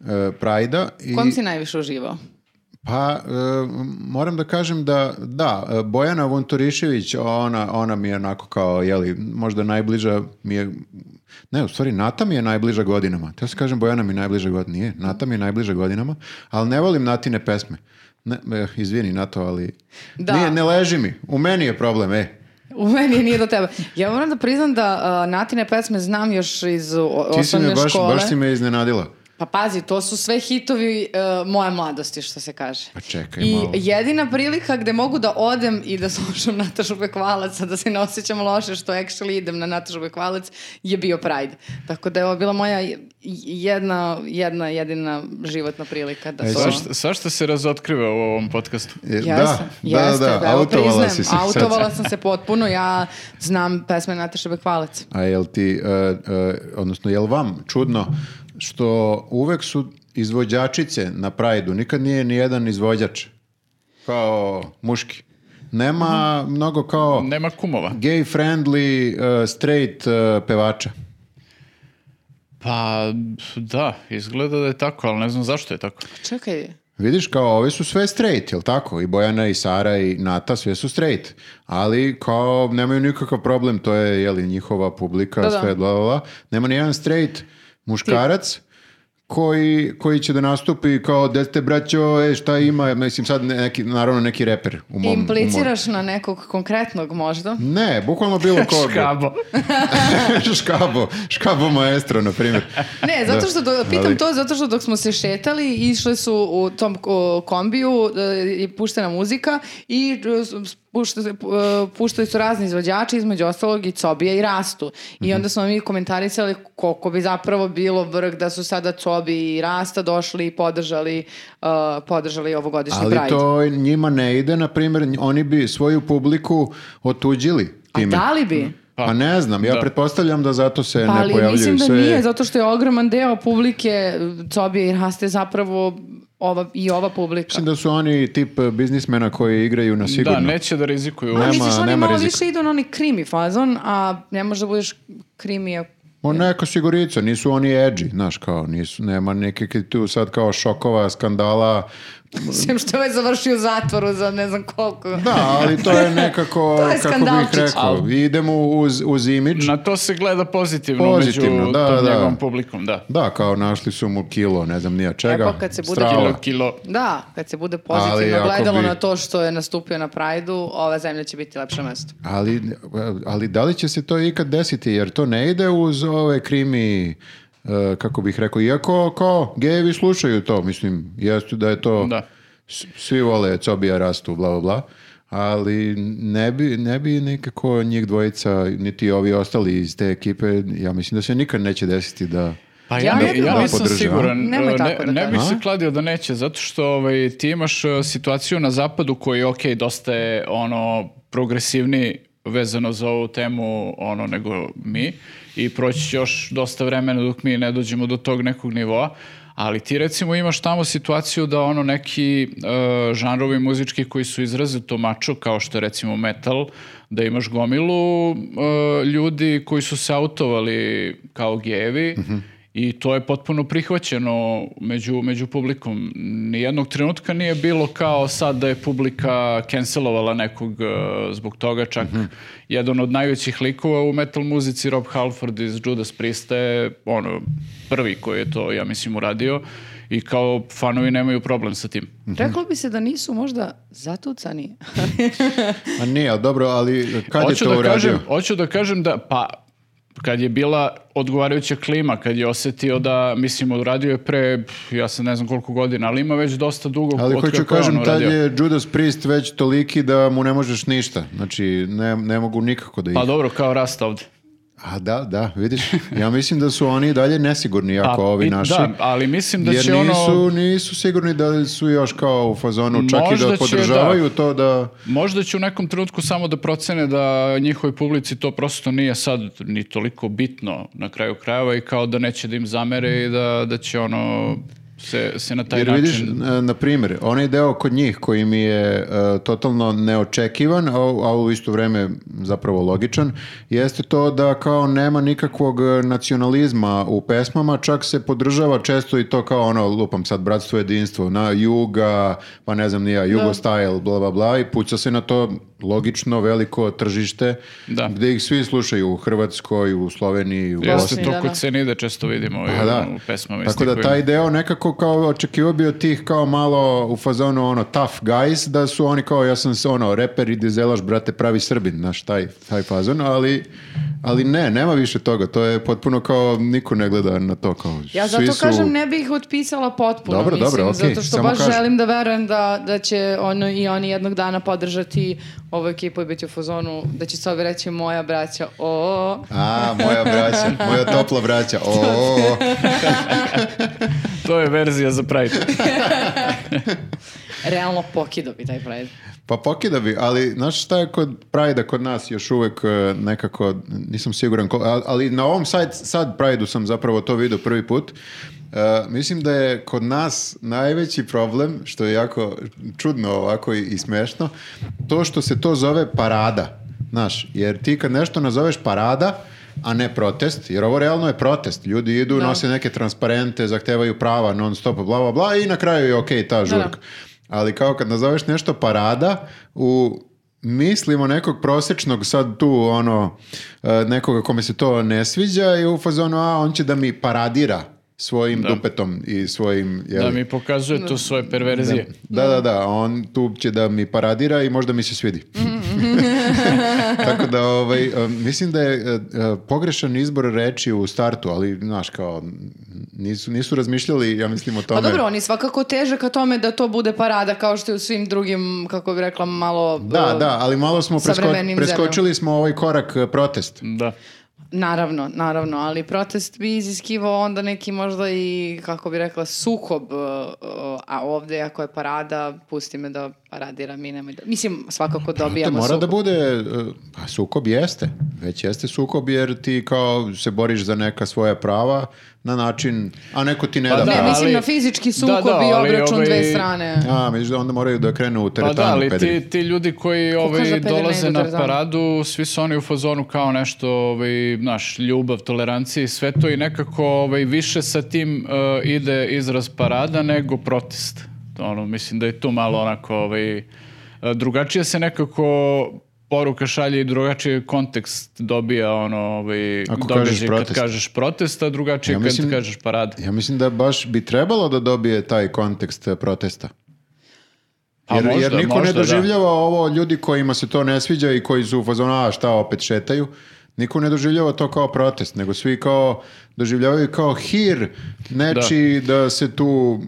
[SPEAKER 2] e, Prajda. I...
[SPEAKER 1] Kom si najviše uživao?
[SPEAKER 2] Pa, e, moram da kažem da, da, e, Bojana Vunturišević, ona, ona mi je onako kao, jeli, možda najbliža mi je, ne, u stvari, Nata mi je najbliža godinama. Teo se kažem, Bojana mi je najbliža godinama, nije, Nata mi je najbliža godinama, ali ne volim Natine pesme. Ne, eh, izvini, Nato, ali...
[SPEAKER 1] Da.
[SPEAKER 2] Nije, ne leži mi, u meni je problem, e.
[SPEAKER 1] U meni nije do tebe. Ja moram da priznam da a, Natine uh, pesme znam još iz o-
[SPEAKER 2] Ti si me
[SPEAKER 1] osnovne
[SPEAKER 2] baš,
[SPEAKER 1] škole.
[SPEAKER 2] baš si me iznenadila.
[SPEAKER 1] Pa pazi, to su sve hitovi e, moje mladosti, što se kaže.
[SPEAKER 2] Pa čekaj
[SPEAKER 1] I
[SPEAKER 2] malo.
[SPEAKER 1] jedina prilika gde mogu da odem i da slušam Natašu Bekvalac, a da se ne osjećam loše što actually idem na Natašu Bekvalac, je bio Pride. Tako da je ovo bila moja j- jedna, jedna jedina životna prilika da
[SPEAKER 2] E,
[SPEAKER 1] to...
[SPEAKER 2] zašto-
[SPEAKER 3] Svašta, svašta se razotkriva u ovom podcastu.
[SPEAKER 2] E,
[SPEAKER 1] Jesam,
[SPEAKER 2] da,
[SPEAKER 1] jeste,
[SPEAKER 2] da, da,
[SPEAKER 1] evo,
[SPEAKER 2] autovala
[SPEAKER 1] priznajem,
[SPEAKER 2] si se sad.
[SPEAKER 1] Autovala sam se potpuno, ja znam pesme Nataše Bekvalac.
[SPEAKER 2] A jel ti, e, e, odnosno jel vam čudno što uvek su izvođačice na Prajdu, nikad nije ni jedan izvođač kao muški. Nema mnogo kao
[SPEAKER 3] Nema kumova.
[SPEAKER 2] gay friendly e, straight e, pevača.
[SPEAKER 3] Pa, da, izgleda da je tako, ali ne znam zašto je tako.
[SPEAKER 1] Čekaj,
[SPEAKER 2] Vidiš kao ove su sve straight, jel tako? I Bojana i Sara i Nata sve su straight. Ali kao nemaju nikakav problem, to je jeli, njihova publika,
[SPEAKER 1] Da, da.
[SPEAKER 2] sve bla bla bla. Nema ni jedan straight muškarac koji, koji će da nastupi kao dete braćo, e šta ima, mislim sad ne- neki, naravno neki reper u mom... u mom-
[SPEAKER 1] impliciraš na nekog konkretnog
[SPEAKER 2] [laughs]
[SPEAKER 1] možda?
[SPEAKER 2] Ne, bukvalno bilo koga.
[SPEAKER 3] Škabo.
[SPEAKER 2] [laughs] škabo. Škabo maestro, na primjer.
[SPEAKER 1] Ne, zato što do, pitam
[SPEAKER 2] Ali-
[SPEAKER 1] to zato što dok smo se šetali išle su u tom o, kombiju e, i puštena muzika i e, s- pušta, se- pu- e, puštali su razni izvođači između ostalog i Cobija i Rastu. I
[SPEAKER 2] Mhm.
[SPEAKER 1] onda smo mi komentarisali koliko bi zapravo bilo vrh da su sada Cobi i Rasta došli i podržali e, podržali ovogodišnji
[SPEAKER 2] Ali
[SPEAKER 1] Pride.
[SPEAKER 2] to njima ne ide, na primjer, oni bi svoju publiku otuđili
[SPEAKER 1] A
[SPEAKER 2] time.
[SPEAKER 1] da li bi?
[SPEAKER 2] Pa ne znam, ja pretpostavljam da zato se
[SPEAKER 1] Pa,
[SPEAKER 2] ne
[SPEAKER 1] ali
[SPEAKER 2] pojavljuju
[SPEAKER 1] mislim da
[SPEAKER 2] sve.
[SPEAKER 1] nije, zato što je ogroman deo publike Cobija i Raste zapravo ova, i ova publika.
[SPEAKER 2] Mislim da su oni tip eh, biznismena koji igraju na sigurno. Znači-
[SPEAKER 3] Da, neće da rizikuju.
[SPEAKER 1] Pa
[SPEAKER 2] Nema-
[SPEAKER 1] misliš, oni
[SPEAKER 2] nema
[SPEAKER 1] malo
[SPEAKER 2] rizika.
[SPEAKER 1] više idu na onaj krimi fazon, a ne možeš da budeš krimi. ako-
[SPEAKER 2] O, neka sigurica, nisu oni edgy, znaš, kao, nisu, nema neke tu sad kao šokova, skandala,
[SPEAKER 1] Sem što je ovaj završio u zatvoru za ne znam koliko.
[SPEAKER 2] da, ali to
[SPEAKER 1] [laughs]
[SPEAKER 2] je nekako,
[SPEAKER 1] To je
[SPEAKER 2] kako bih
[SPEAKER 1] skandalčić.
[SPEAKER 2] rekao, idemo uz, uz imidž,
[SPEAKER 3] Na to se gleda pozitivno,
[SPEAKER 2] Pozitivno,
[SPEAKER 3] među
[SPEAKER 2] da,
[SPEAKER 3] tom
[SPEAKER 2] da.
[SPEAKER 3] njegovom publikom, da.
[SPEAKER 2] da, kao našli su mu kilo, ne znam nija čega,
[SPEAKER 1] E, pa kad se bude
[SPEAKER 2] strava.
[SPEAKER 3] Kilo, kilo.
[SPEAKER 1] Da, kad se bude
[SPEAKER 2] Ali
[SPEAKER 1] pozitivno
[SPEAKER 2] ako
[SPEAKER 1] gledalo
[SPEAKER 2] bi-
[SPEAKER 1] na to što je nastupio na Prajdu, ova zemlja će biti lepše mesto.
[SPEAKER 2] Ali, ali da li će se to ikad desiti, jer to ne ide uz ove krimi, eh, kako bih rekao, iako kao gejevi slušaju to, mislim, jeste da je to,
[SPEAKER 3] Da.
[SPEAKER 2] s- svi vole cobija rastu, bla, bla, bla, ali ne bi, ne bi nekako njih dvojica, niti ovi ostali iz te ekipe, ja mislim da se nikad neće desiti da...
[SPEAKER 3] Pa
[SPEAKER 1] Ja
[SPEAKER 3] ja,
[SPEAKER 1] ne
[SPEAKER 3] ne-
[SPEAKER 1] bih
[SPEAKER 3] ja
[SPEAKER 1] da
[SPEAKER 3] nisam
[SPEAKER 2] podržavam.
[SPEAKER 3] siguran.
[SPEAKER 1] Nemoj
[SPEAKER 3] e,
[SPEAKER 1] tako da
[SPEAKER 3] ne, ne bih
[SPEAKER 1] kažeš.
[SPEAKER 3] se kladio da neće, zato što ovaj, ti imaš e, situaciju na zapadu koji je ok, dosta je ono, progresivniji vezano za ovu temu ono nego mi i proći će još dosta vremena dok mi ne dođemo do tog nekog nivoa, ali ti recimo imaš tamo situaciju da ono neki e, žanrovi muzički koji su izrazito mačo kao što je recimo metal, da imaš gomilu e, ljudi koji su se autovali kao gejevi i to je potpuno prihvaćeno među, među publikom. Nijednog trenutka nije bilo kao sad da je publika cancelovala nekog e, zbog toga. Čak jedan od najvećih likova u metal muzici, Rob Halford iz Judas Priest je ono, prvi koji je to, ja mislim, uradio i kao fanovi nemaju problem sa tim.
[SPEAKER 2] Mhm.
[SPEAKER 1] Reklo bi se da nisu možda zatucani.
[SPEAKER 2] A nije, ali dobro, ali kad
[SPEAKER 3] hoću
[SPEAKER 2] je to
[SPEAKER 3] da
[SPEAKER 2] uradio?
[SPEAKER 3] kažem, hoću da kažem da pa kad je bila odgovarajuća klima, kad je osetio da, mislim, odradio je pre, pf, ja sam ne znam koliko godina, ali ima već dosta dugo
[SPEAKER 2] Ali
[SPEAKER 3] od
[SPEAKER 2] hoću
[SPEAKER 3] kako je on
[SPEAKER 2] kažem, tad
[SPEAKER 3] uradio.
[SPEAKER 2] je Judas Priest već toliki da mu ne možeš ništa. Znači, ne, ne mogu nikako da ih
[SPEAKER 3] Pa dobro, kao rast ovde.
[SPEAKER 2] A da, da, vidiš, ja mislim da su oni i dalje nesigurni
[SPEAKER 3] [laughs]
[SPEAKER 2] jako
[SPEAKER 3] Pa,
[SPEAKER 2] ovi
[SPEAKER 3] i-
[SPEAKER 2] naši.
[SPEAKER 3] Da, ali mislim da
[SPEAKER 2] jer
[SPEAKER 3] će
[SPEAKER 2] nisu,
[SPEAKER 3] ono...
[SPEAKER 2] nisu sigurni da su još kao u fazonu, čak i
[SPEAKER 3] Možda
[SPEAKER 2] da
[SPEAKER 3] će,
[SPEAKER 2] podržavaju to da...
[SPEAKER 3] Možda će u nekom trenutku samo da procene da njihovoj publici to prosto nije sad ni toliko bitno na kraju krajeva i kao da neće da im zamere i da, da će ono se, se na taj
[SPEAKER 2] Jer
[SPEAKER 3] način...
[SPEAKER 2] vidiš, na- na primjer, onaj deo kod njih koji mi je e, totalno neočekivan, a, a u isto vrijeme zapravo logičan, jeste to da kao nema nikakvog e, nacionalizma u pesmama, čak se podržava često i to kao ono, lupam sad, bratstvo, jedinstvo, na juga, pa ne znam nija, jugo style, bla, bla, bla, i puca se na to logično veliko tržište,
[SPEAKER 3] Da.
[SPEAKER 2] gde ih svi slušaju u Hrvatskoj, u Sloveniji, u Bosni.
[SPEAKER 3] Jeste,
[SPEAKER 1] da,
[SPEAKER 3] to
[SPEAKER 1] da.
[SPEAKER 3] kod Senide često vidimo i
[SPEAKER 2] Pa da.
[SPEAKER 3] u pesmama.
[SPEAKER 2] Tako
[SPEAKER 3] istim
[SPEAKER 2] da
[SPEAKER 3] kojima-
[SPEAKER 2] taj deo nekako kao očekivao bio tih kao malo u fazonu ono tough guys, da su oni kao ja sam se ono reper i dizelaš brate pravi srbin, znaš taj, taj fazon, ali Ali ne, nema više toga. To je potpuno kao niko ne gleda na to kao.
[SPEAKER 1] Ja zato
[SPEAKER 2] svi su-
[SPEAKER 1] kažem ne bih otpisala potpuno,
[SPEAKER 2] Dobro,
[SPEAKER 1] mislim,
[SPEAKER 2] dobro, okej,
[SPEAKER 1] zato što
[SPEAKER 2] samo
[SPEAKER 1] baš
[SPEAKER 2] kažem.
[SPEAKER 1] želim da verujem da, da će ono i oni jednog dana podržati ovu ekipu i biti u fazonu, da će se ovi reći moja braća, o,
[SPEAKER 2] A, moja braća, moja topla braća. O, o, o.
[SPEAKER 3] To je verzija za Pride.
[SPEAKER 1] realno pokido bi taj Pride.
[SPEAKER 2] Pa pokida bi, ali znaš šta je kod Pride-a kod nas još uvek e, nekako, nisam siguran, ko- a- ali na ovom sajt, sad Pride-u sam zapravo to vidio prvi put. E, mislim da je kod nas najveći problem, što je jako čudno ovako i, i smešno, to što se to zove parada. Znaš, jer ti kad nešto nazoveš parada, a ne protest, jer ovo realno je protest. Ljudi idu,
[SPEAKER 1] Da.
[SPEAKER 2] nose neke transparente, zahtevaju prava non stop, bla, bla, bla, i na kraju je okej ta žurka. Ali kao kad nazoveš nešto parada, u mislimo nekog prosječnog sad tu ono e, nekoga kome se to ne sviđa i u fazonu a on će da mi paradira svojim dupetom i svojim je
[SPEAKER 3] Da mi pokazuje tu svoje perverzije.
[SPEAKER 2] da, da, da, on tu će da mi paradira i možda mi
[SPEAKER 1] [laughs]
[SPEAKER 2] se svidi. Tako da, ovaj, e, mislim da je e, e, pogrešan izbor reči u startu, ali, znaš, kao, nisu, nisu razmišljali, ja mislim, o
[SPEAKER 1] Pa
[SPEAKER 2] tome.
[SPEAKER 1] dobro, oni svakako teže ka tome da to bude parada kao što je u svim drugim, kako bi rekla, malo...
[SPEAKER 2] Da,
[SPEAKER 1] e,
[SPEAKER 2] da, ali malo smo presko-
[SPEAKER 1] savremenim
[SPEAKER 2] preskočili smo ovaj korak e, protest.
[SPEAKER 3] Da.
[SPEAKER 1] Naravno, naravno, ali protest bi iziskivao onda neki možda i, kako bi rekla, sukob, e, e, a ovdje ako je parada, pusti me da paradiram i nemoj da... Mislim, svakako
[SPEAKER 2] Te
[SPEAKER 1] dobijamo
[SPEAKER 2] mora
[SPEAKER 1] sukob.
[SPEAKER 2] da bude, e, pa sukob jeste, već jeste sukob jer ti kao se boriš za neka svoja prava na način, a neko ti ne
[SPEAKER 3] Pa
[SPEAKER 2] da,
[SPEAKER 3] da,
[SPEAKER 1] Ne,
[SPEAKER 2] pravo.
[SPEAKER 1] mislim
[SPEAKER 3] ali-
[SPEAKER 1] na fizički
[SPEAKER 3] Da,
[SPEAKER 1] sukob
[SPEAKER 3] da,
[SPEAKER 1] i
[SPEAKER 3] ali
[SPEAKER 1] obračun
[SPEAKER 3] ovaj-
[SPEAKER 1] dve strane.
[SPEAKER 2] A, misliš da onda moraju da krenu u
[SPEAKER 3] Pa
[SPEAKER 2] teretanu,
[SPEAKER 3] da, ali
[SPEAKER 2] pederi.
[SPEAKER 3] ti, ti ljudi koji
[SPEAKER 1] kaže
[SPEAKER 3] ovaj,
[SPEAKER 1] pederi ne
[SPEAKER 3] dolaze
[SPEAKER 1] idu
[SPEAKER 3] na
[SPEAKER 1] teretanu?
[SPEAKER 3] paradu, svi su oni u fazonu kao nešto, ovaj, naš, ljubav, tolerancija i sve to i nekako ovaj, više sa tim eh, ide izraz parada nego protest. Ono, mislim da je tu malo onako, ovaj, eh, drugačije se nekako poruka šalje i drugačiji kontekst dobija ono ovaj
[SPEAKER 2] Ako
[SPEAKER 3] događaj
[SPEAKER 2] kažeš protest.
[SPEAKER 3] kad kažeš protest a drugačije
[SPEAKER 2] Ja
[SPEAKER 3] kad
[SPEAKER 2] mislim-
[SPEAKER 3] kažeš parada
[SPEAKER 2] Ja mislim da baš bi trebalo da dobije taj kontekst e, protesta.
[SPEAKER 3] Pa
[SPEAKER 2] Jer,
[SPEAKER 3] možda,
[SPEAKER 2] jer niko
[SPEAKER 3] možda,
[SPEAKER 2] ne
[SPEAKER 3] da.
[SPEAKER 2] doživljava ovo ljudi kojima se to ne sviđa i koji su u fazonu, a šta opet šetaju. Niko ne doživljava to kao protest, nego svi kao doživljavaju kao hir nečiji da, se tu uh,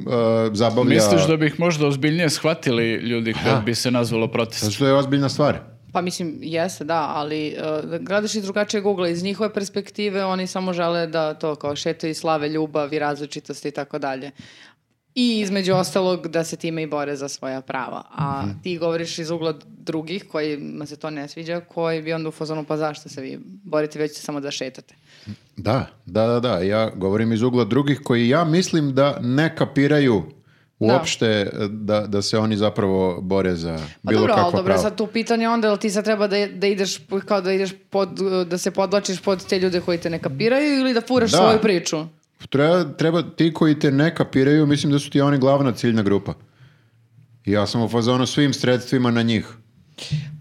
[SPEAKER 2] zabavlja.
[SPEAKER 3] Misliš da bi ih možda ozbiljnije shvatili ljudi kad bi se nazvalo protest?
[SPEAKER 2] Zato što je ozbiljna stvar.
[SPEAKER 1] Pa mislim, jeste, da, ali uh, gledaš iz drugačijeg ugla, iz njihove perspektive oni samo žele da to kao šetaju i slave ljubav i različitost i tako dalje. I između ostalog da se time i bore za svoja prava. A
[SPEAKER 2] Mhm.
[SPEAKER 1] ti govoriš iz ugla drugih kojima se to ne sviđa, koji bi onda u fazonu pa zašto se vi borite, već samo da šetate.
[SPEAKER 2] Da, da, da, da. Ja govorim iz ugla drugih koji ja mislim da ne kapiraju uopšte e, da, da se oni zapravo bore za
[SPEAKER 1] Pa
[SPEAKER 2] bilo
[SPEAKER 1] dobro,
[SPEAKER 2] kakva
[SPEAKER 1] ali dobro,
[SPEAKER 2] prava.
[SPEAKER 1] sad tu pitanje onda, jel ti sad treba da, da ideš, kao da ideš pod, uh, da se podlačiš pod te ljude koji te ne kapiraju ili da furaš
[SPEAKER 2] Da.
[SPEAKER 1] svoju priču?
[SPEAKER 2] Treba, treba ti koji te ne kapiraju, mislim da su ti oni glavna ciljna grupa. I Ja sam u fazonu svim sredstvima na njih.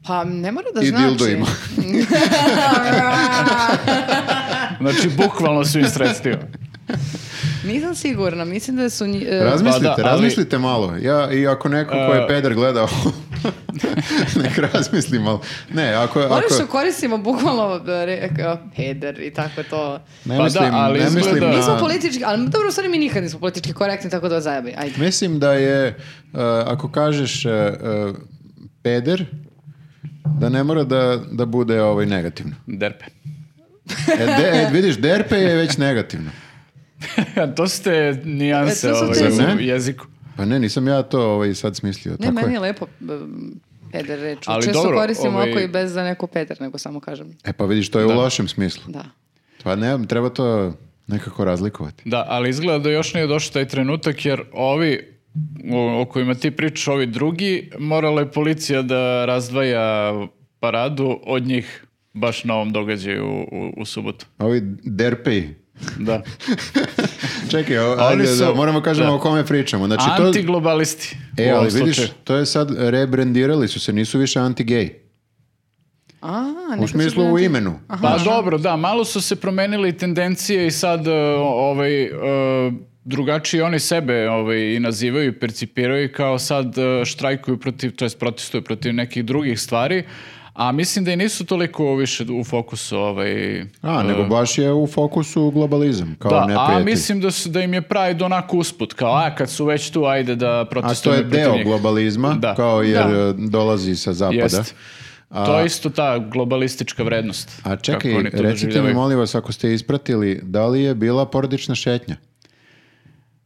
[SPEAKER 1] Pa ne mora da
[SPEAKER 2] I
[SPEAKER 1] znači.
[SPEAKER 2] dildoima.
[SPEAKER 3] Znači, bukvalno svim sredstvima.
[SPEAKER 1] [laughs] Nisam sigurna, mislim da su... nji- e,
[SPEAKER 2] Razmislite,
[SPEAKER 3] Pa da, ali-
[SPEAKER 2] razmislite malo. Ja, I ako neko ko je
[SPEAKER 3] E.
[SPEAKER 2] peder gledao, [laughs] nek razmisli malo. Ne, ako... ako
[SPEAKER 1] Moraš što koristimo bukvalno e, re- kao, peder i tako to.
[SPEAKER 2] ne
[SPEAKER 3] Pa da,
[SPEAKER 2] mislim,
[SPEAKER 3] ali
[SPEAKER 2] ne
[SPEAKER 3] izgleda-
[SPEAKER 2] mislim na-
[SPEAKER 1] Mi smo politički, ali dobro, u stvari mi nikad nismo politički korektni, tako da zajebi. Ajde.
[SPEAKER 2] Mislim da je, uh, ako kažeš uh, uh, peder, da ne mora da, da bude ovaj negativno.
[SPEAKER 3] [laughs] Derpe.
[SPEAKER 2] E, de- e, vidiš, derpe je već negativno.
[SPEAKER 3] to su te nijanse
[SPEAKER 1] E, to su
[SPEAKER 3] ovaj,
[SPEAKER 1] te-
[SPEAKER 2] Zar ne?
[SPEAKER 3] u jeziku.
[SPEAKER 2] Pa ne, nisam ja to ovaj, sad smislio.
[SPEAKER 1] Ne,
[SPEAKER 2] tako
[SPEAKER 1] meni
[SPEAKER 2] je.
[SPEAKER 1] je lepo e, peder reč.
[SPEAKER 3] Ali
[SPEAKER 1] Često
[SPEAKER 3] dobro,
[SPEAKER 1] koristim
[SPEAKER 3] ovaj-
[SPEAKER 1] ovako i bez da neko peder, nego samo kažem.
[SPEAKER 2] E pa vidiš, to je u lošem smislu.
[SPEAKER 1] Da.
[SPEAKER 2] Pa ne, treba to nekako razlikovati.
[SPEAKER 3] Da, ali izgleda da još nije došao taj trenutak, jer ovi o, o kojima ti pričaš, ovi drugi, morala je policija da razdvaja paradu od njih baš na ovom događaju u, u, u subotu.
[SPEAKER 2] Ovi derpeji.
[SPEAKER 3] Da.
[SPEAKER 2] Znači, Čekaj, o- ajde,
[SPEAKER 3] su-
[SPEAKER 2] da, moramo kažemo
[SPEAKER 3] da.
[SPEAKER 2] o kome pričamo. Znači, to,
[SPEAKER 3] Antiglobalisti.
[SPEAKER 2] e,
[SPEAKER 3] u ovom
[SPEAKER 2] ali vidiš,
[SPEAKER 3] slučaju.
[SPEAKER 2] to je sad rebrendirali su se, nisu više anti-gay.
[SPEAKER 1] A, nekad
[SPEAKER 2] U
[SPEAKER 1] su
[SPEAKER 2] smislu
[SPEAKER 1] bili
[SPEAKER 2] u
[SPEAKER 1] anti-
[SPEAKER 2] imenu.
[SPEAKER 3] Pa dobro, da, malo su se promenili tendencije i sad e, ovaj e, drugačije oni sebe ovaj i nazivaju i percipiraju kao sad e, štrajkuju protiv, to jest protestuju protiv nekih drugih stvari, A mislim da i nisu toliko više u fokusu ovaj...
[SPEAKER 2] A, nego baš je u fokusu globalizam, kao
[SPEAKER 3] Da, a
[SPEAKER 2] neprijatelj.
[SPEAKER 3] mislim da, su, da im je Pride onako usput, kao a kad su već tu, ajde da
[SPEAKER 2] A to
[SPEAKER 3] protestuju
[SPEAKER 2] je deo globalizma,
[SPEAKER 3] Da.
[SPEAKER 2] kao jer
[SPEAKER 1] Da.
[SPEAKER 2] e, dolazi sa zapada.
[SPEAKER 3] Jest. To je isto ta globalistička vrednost.
[SPEAKER 2] A čekaj,
[SPEAKER 3] kako oni to
[SPEAKER 2] recite mi
[SPEAKER 3] doživljavaju.
[SPEAKER 2] molim vas, ako ste ispratili, da li je bila porodična šetnja?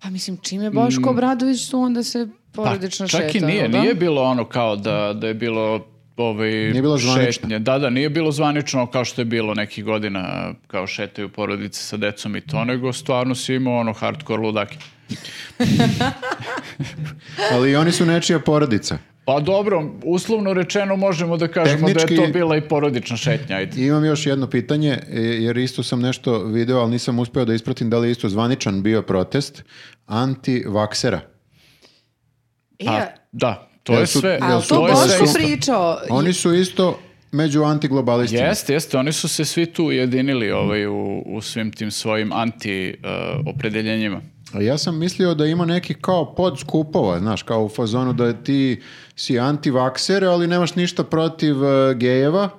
[SPEAKER 1] Pa mislim, čim je
[SPEAKER 2] Mm.
[SPEAKER 1] Boško Obradović tu, onda se porodično
[SPEAKER 3] Pa Čak
[SPEAKER 1] šeta.
[SPEAKER 3] i nije,
[SPEAKER 1] jel da?
[SPEAKER 3] nije bilo ono kao da, da je bilo ovaj,
[SPEAKER 2] Nije bilo zvanično.
[SPEAKER 3] šetnje. Da, da, nije bilo zvanično kao što je bilo nekih godina kao šetaju porodice sa decom i to, nego stvarno si imao ono hardcore ludake.
[SPEAKER 2] Ali i oni su nečija porodica.
[SPEAKER 3] Pa dobro, uslovno rečeno možemo da kažemo
[SPEAKER 2] Tehnički-
[SPEAKER 3] da je to bila i porodična šetnja, ajde.
[SPEAKER 2] I Imam još jedno pitanje, e, jer isto sam nešto video, ali nisam uspeo da ispratim da li je isto zvaničan bio protest anti-vaksera.
[SPEAKER 1] E,
[SPEAKER 3] A, da, to
[SPEAKER 2] Jel
[SPEAKER 3] je
[SPEAKER 2] su-
[SPEAKER 3] sve.
[SPEAKER 2] jel
[SPEAKER 1] ali
[SPEAKER 2] su
[SPEAKER 1] to
[SPEAKER 2] to je sve
[SPEAKER 1] Boško
[SPEAKER 2] isto.
[SPEAKER 1] pričao.
[SPEAKER 2] Oni su isto među antiglobalistima.
[SPEAKER 3] Jeste, jeste, oni su se svi tu ujedinili ovaj, u, u svim tim svojim anti uh, opredeljenjima.
[SPEAKER 2] A Ja sam mislio da ima neki kao podskupova, znaš, kao u fazonu da ti si antivakser, ali nemaš ništa protiv e, gejeva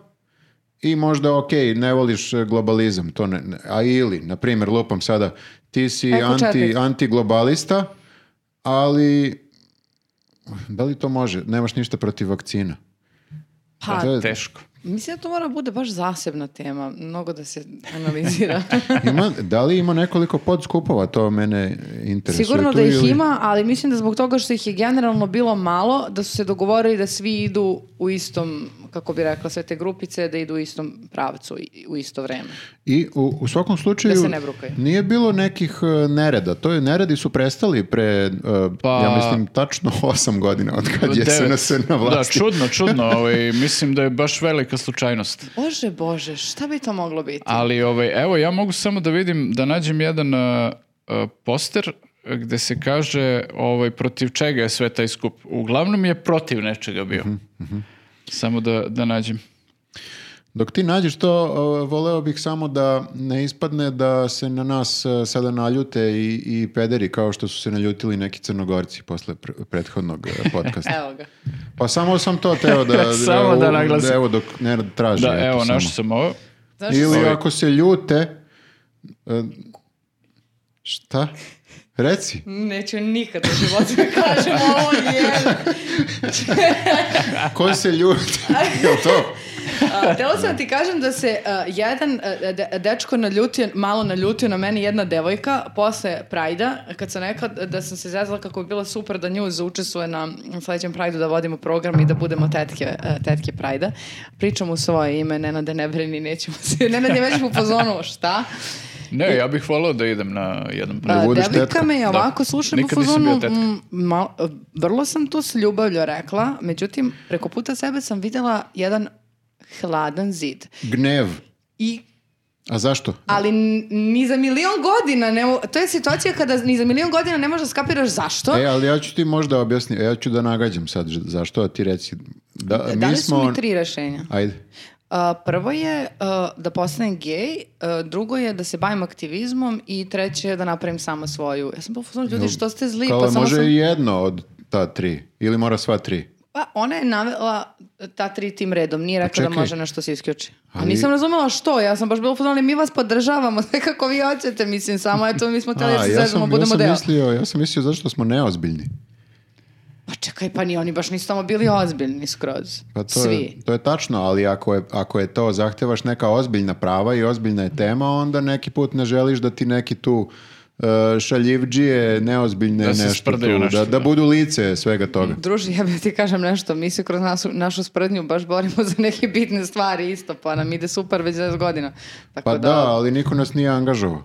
[SPEAKER 2] i možda, ok, ne voliš e, globalizam, to ne, ne- a ili, na primjer, lupam sada, ti si
[SPEAKER 1] Eko
[SPEAKER 2] anti,
[SPEAKER 1] četnik.
[SPEAKER 2] antiglobalista, ali da li to može? Nemaš ništa protiv vakcina.
[SPEAKER 1] Pa,
[SPEAKER 2] To je-
[SPEAKER 3] Teško.
[SPEAKER 1] mislim da to mora bude baš zasebna tema. Mnogo da se
[SPEAKER 2] [laughs]
[SPEAKER 1] analizira.
[SPEAKER 2] Ima, da li ima nekoliko podskupova? To mene interesuje.
[SPEAKER 1] Sigurno
[SPEAKER 2] tu
[SPEAKER 1] da ih
[SPEAKER 2] ili-
[SPEAKER 1] ima, ali mislim da zbog toga što ih je generalno bilo malo, da su se dogovorili da svi idu u istom, kako bi rekla, sve te grupice, da idu u istom pravcu i u isto vreme.
[SPEAKER 2] I u, u svakom slučaju
[SPEAKER 1] Da se ne brukaju.
[SPEAKER 2] nije bilo nekih e, nereda. To je neredi su prestali pre e,
[SPEAKER 3] Pa-
[SPEAKER 2] ja mislim tačno [laughs] 8 godina od kad je
[SPEAKER 3] Devet.
[SPEAKER 2] SNS na vlasti.
[SPEAKER 3] Da, čudno,
[SPEAKER 2] [laughs]
[SPEAKER 3] čudno. ovaj, mislim da je baš velika slučajnost.
[SPEAKER 1] Bože, bože, šta bi to moglo biti?
[SPEAKER 3] Ali ovaj, evo, ja mogu samo da vidim, da nađem jedan uh, uh, poster uh, gde se kaže ovaj, protiv čega je sve taj skup. Uglavnom je protiv nečega bio.
[SPEAKER 2] Mhm,
[SPEAKER 3] Samo da, da nađem.
[SPEAKER 2] Dok ti nađeš to, e, voleo bih samo da ne ispadne da se na nas e, sada naljute i, i pederi kao što su se naljutili neki crnogorci posle pr- prethodnog e,
[SPEAKER 1] [laughs]
[SPEAKER 2] podcasta.
[SPEAKER 1] Evo ga.
[SPEAKER 2] pa samo sam to teo da...
[SPEAKER 3] [laughs] Samo da naglasim.
[SPEAKER 2] Evo dok nered traži.
[SPEAKER 3] Da,
[SPEAKER 2] eto,
[SPEAKER 3] evo,
[SPEAKER 2] samo.
[SPEAKER 3] našao sam ovo.
[SPEAKER 1] Znaš,
[SPEAKER 2] Ili ako se ljute... e, Šta? Reci.
[SPEAKER 1] neću nikad u životu da kažem ovo je.
[SPEAKER 2] Ko se
[SPEAKER 1] [laughs]
[SPEAKER 2] ljuti? Jel to?
[SPEAKER 1] A, Htela sam ti kažem da se a, jedan a, de- dečko naljutio, malo naljutio na meni jedna devojka posle Prajda, kad sam rekla da sam se zezala kako bi bilo super da nju učestvuje na sledećem Prajdu da vodimo program i da budemo tetke, e, tetke Prajda. Pričam u svoje ime, Nenade ne brini, nećemo [laughs] se. Nenad je već u pozonu, šta?
[SPEAKER 3] Ne, ja bih volao da idem na jedan
[SPEAKER 2] Da
[SPEAKER 1] A,
[SPEAKER 3] pravi.
[SPEAKER 2] budeš
[SPEAKER 1] devojka
[SPEAKER 2] tetka.
[SPEAKER 1] me je ovako
[SPEAKER 3] Da.
[SPEAKER 1] sluša
[SPEAKER 3] Nikad
[SPEAKER 1] po
[SPEAKER 3] nisam
[SPEAKER 1] fazonu,
[SPEAKER 3] bio tetka.
[SPEAKER 1] mm, mal- vrlo sam to s ljubavlju rekla, međutim, preko puta sebe sam videla jedan hladan zid.
[SPEAKER 2] Gnev.
[SPEAKER 1] I
[SPEAKER 2] A zašto?
[SPEAKER 1] Ali n- ni za milion godina, ne, mo- to je situacija kada ni za milion godina ne možeš da skapiraš zašto.
[SPEAKER 2] E, ali ja ću ti možda objasniti. Ja ću da nagađam sad ž- zašto, a ti reci. Da,
[SPEAKER 1] da
[SPEAKER 2] E, mi
[SPEAKER 1] li
[SPEAKER 2] smo...
[SPEAKER 1] su mi tri rešenja?
[SPEAKER 2] Ajde.
[SPEAKER 1] A, prvo je a, da postanem gej, a, drugo je da se bavim aktivizmom i treće je da napravim samo svoju. Ja sam bila u fazonu, ljudi što ste zli,
[SPEAKER 2] Kao
[SPEAKER 1] pa samo
[SPEAKER 2] može
[SPEAKER 1] sam...
[SPEAKER 2] i jedno od ta tri. Ili mora sva tri.
[SPEAKER 1] Pa ona je navela ta tri tim redom, nije rekla da
[SPEAKER 2] Pa čekaj.
[SPEAKER 1] može nešto se isključi. A
[SPEAKER 2] Ali-
[SPEAKER 1] nisam razumela što, ja sam baš bila u fazonu, ali mi vas podržavamo, [laughs] sve kako vi hoćete, mislim, samo eto mi smo htjeli da
[SPEAKER 2] A,
[SPEAKER 1] se
[SPEAKER 2] ja
[SPEAKER 1] zezamo,
[SPEAKER 2] sam, ja
[SPEAKER 1] budemo
[SPEAKER 2] sam
[SPEAKER 1] deo.
[SPEAKER 2] mislio, ja sam mislio zašto smo neozbiljni.
[SPEAKER 1] Pa čekaj, pa ni oni baš nisu tamo bili ozbiljni skroz.
[SPEAKER 2] Pa to,
[SPEAKER 1] Svi.
[SPEAKER 2] Je, to je tačno, ali ako je, ako je to zahtevaš neka ozbiljna prava i ozbiljna je tema, onda neki put ne želiš da ti neki tu e, šaljivđije, neozbiljne
[SPEAKER 3] Da se
[SPEAKER 2] nešto, tu,
[SPEAKER 3] sprdaju nešto,
[SPEAKER 2] da, da
[SPEAKER 3] da.
[SPEAKER 2] budu lice svega toga.
[SPEAKER 1] Druži, ja bih ti kažem nešto, mi se kroz našu, našu sprdnju baš borimo za neke bitne stvari isto, pa nam ide super već 10 godina. Tako
[SPEAKER 2] Pa da, ali niko nas nije angažovao.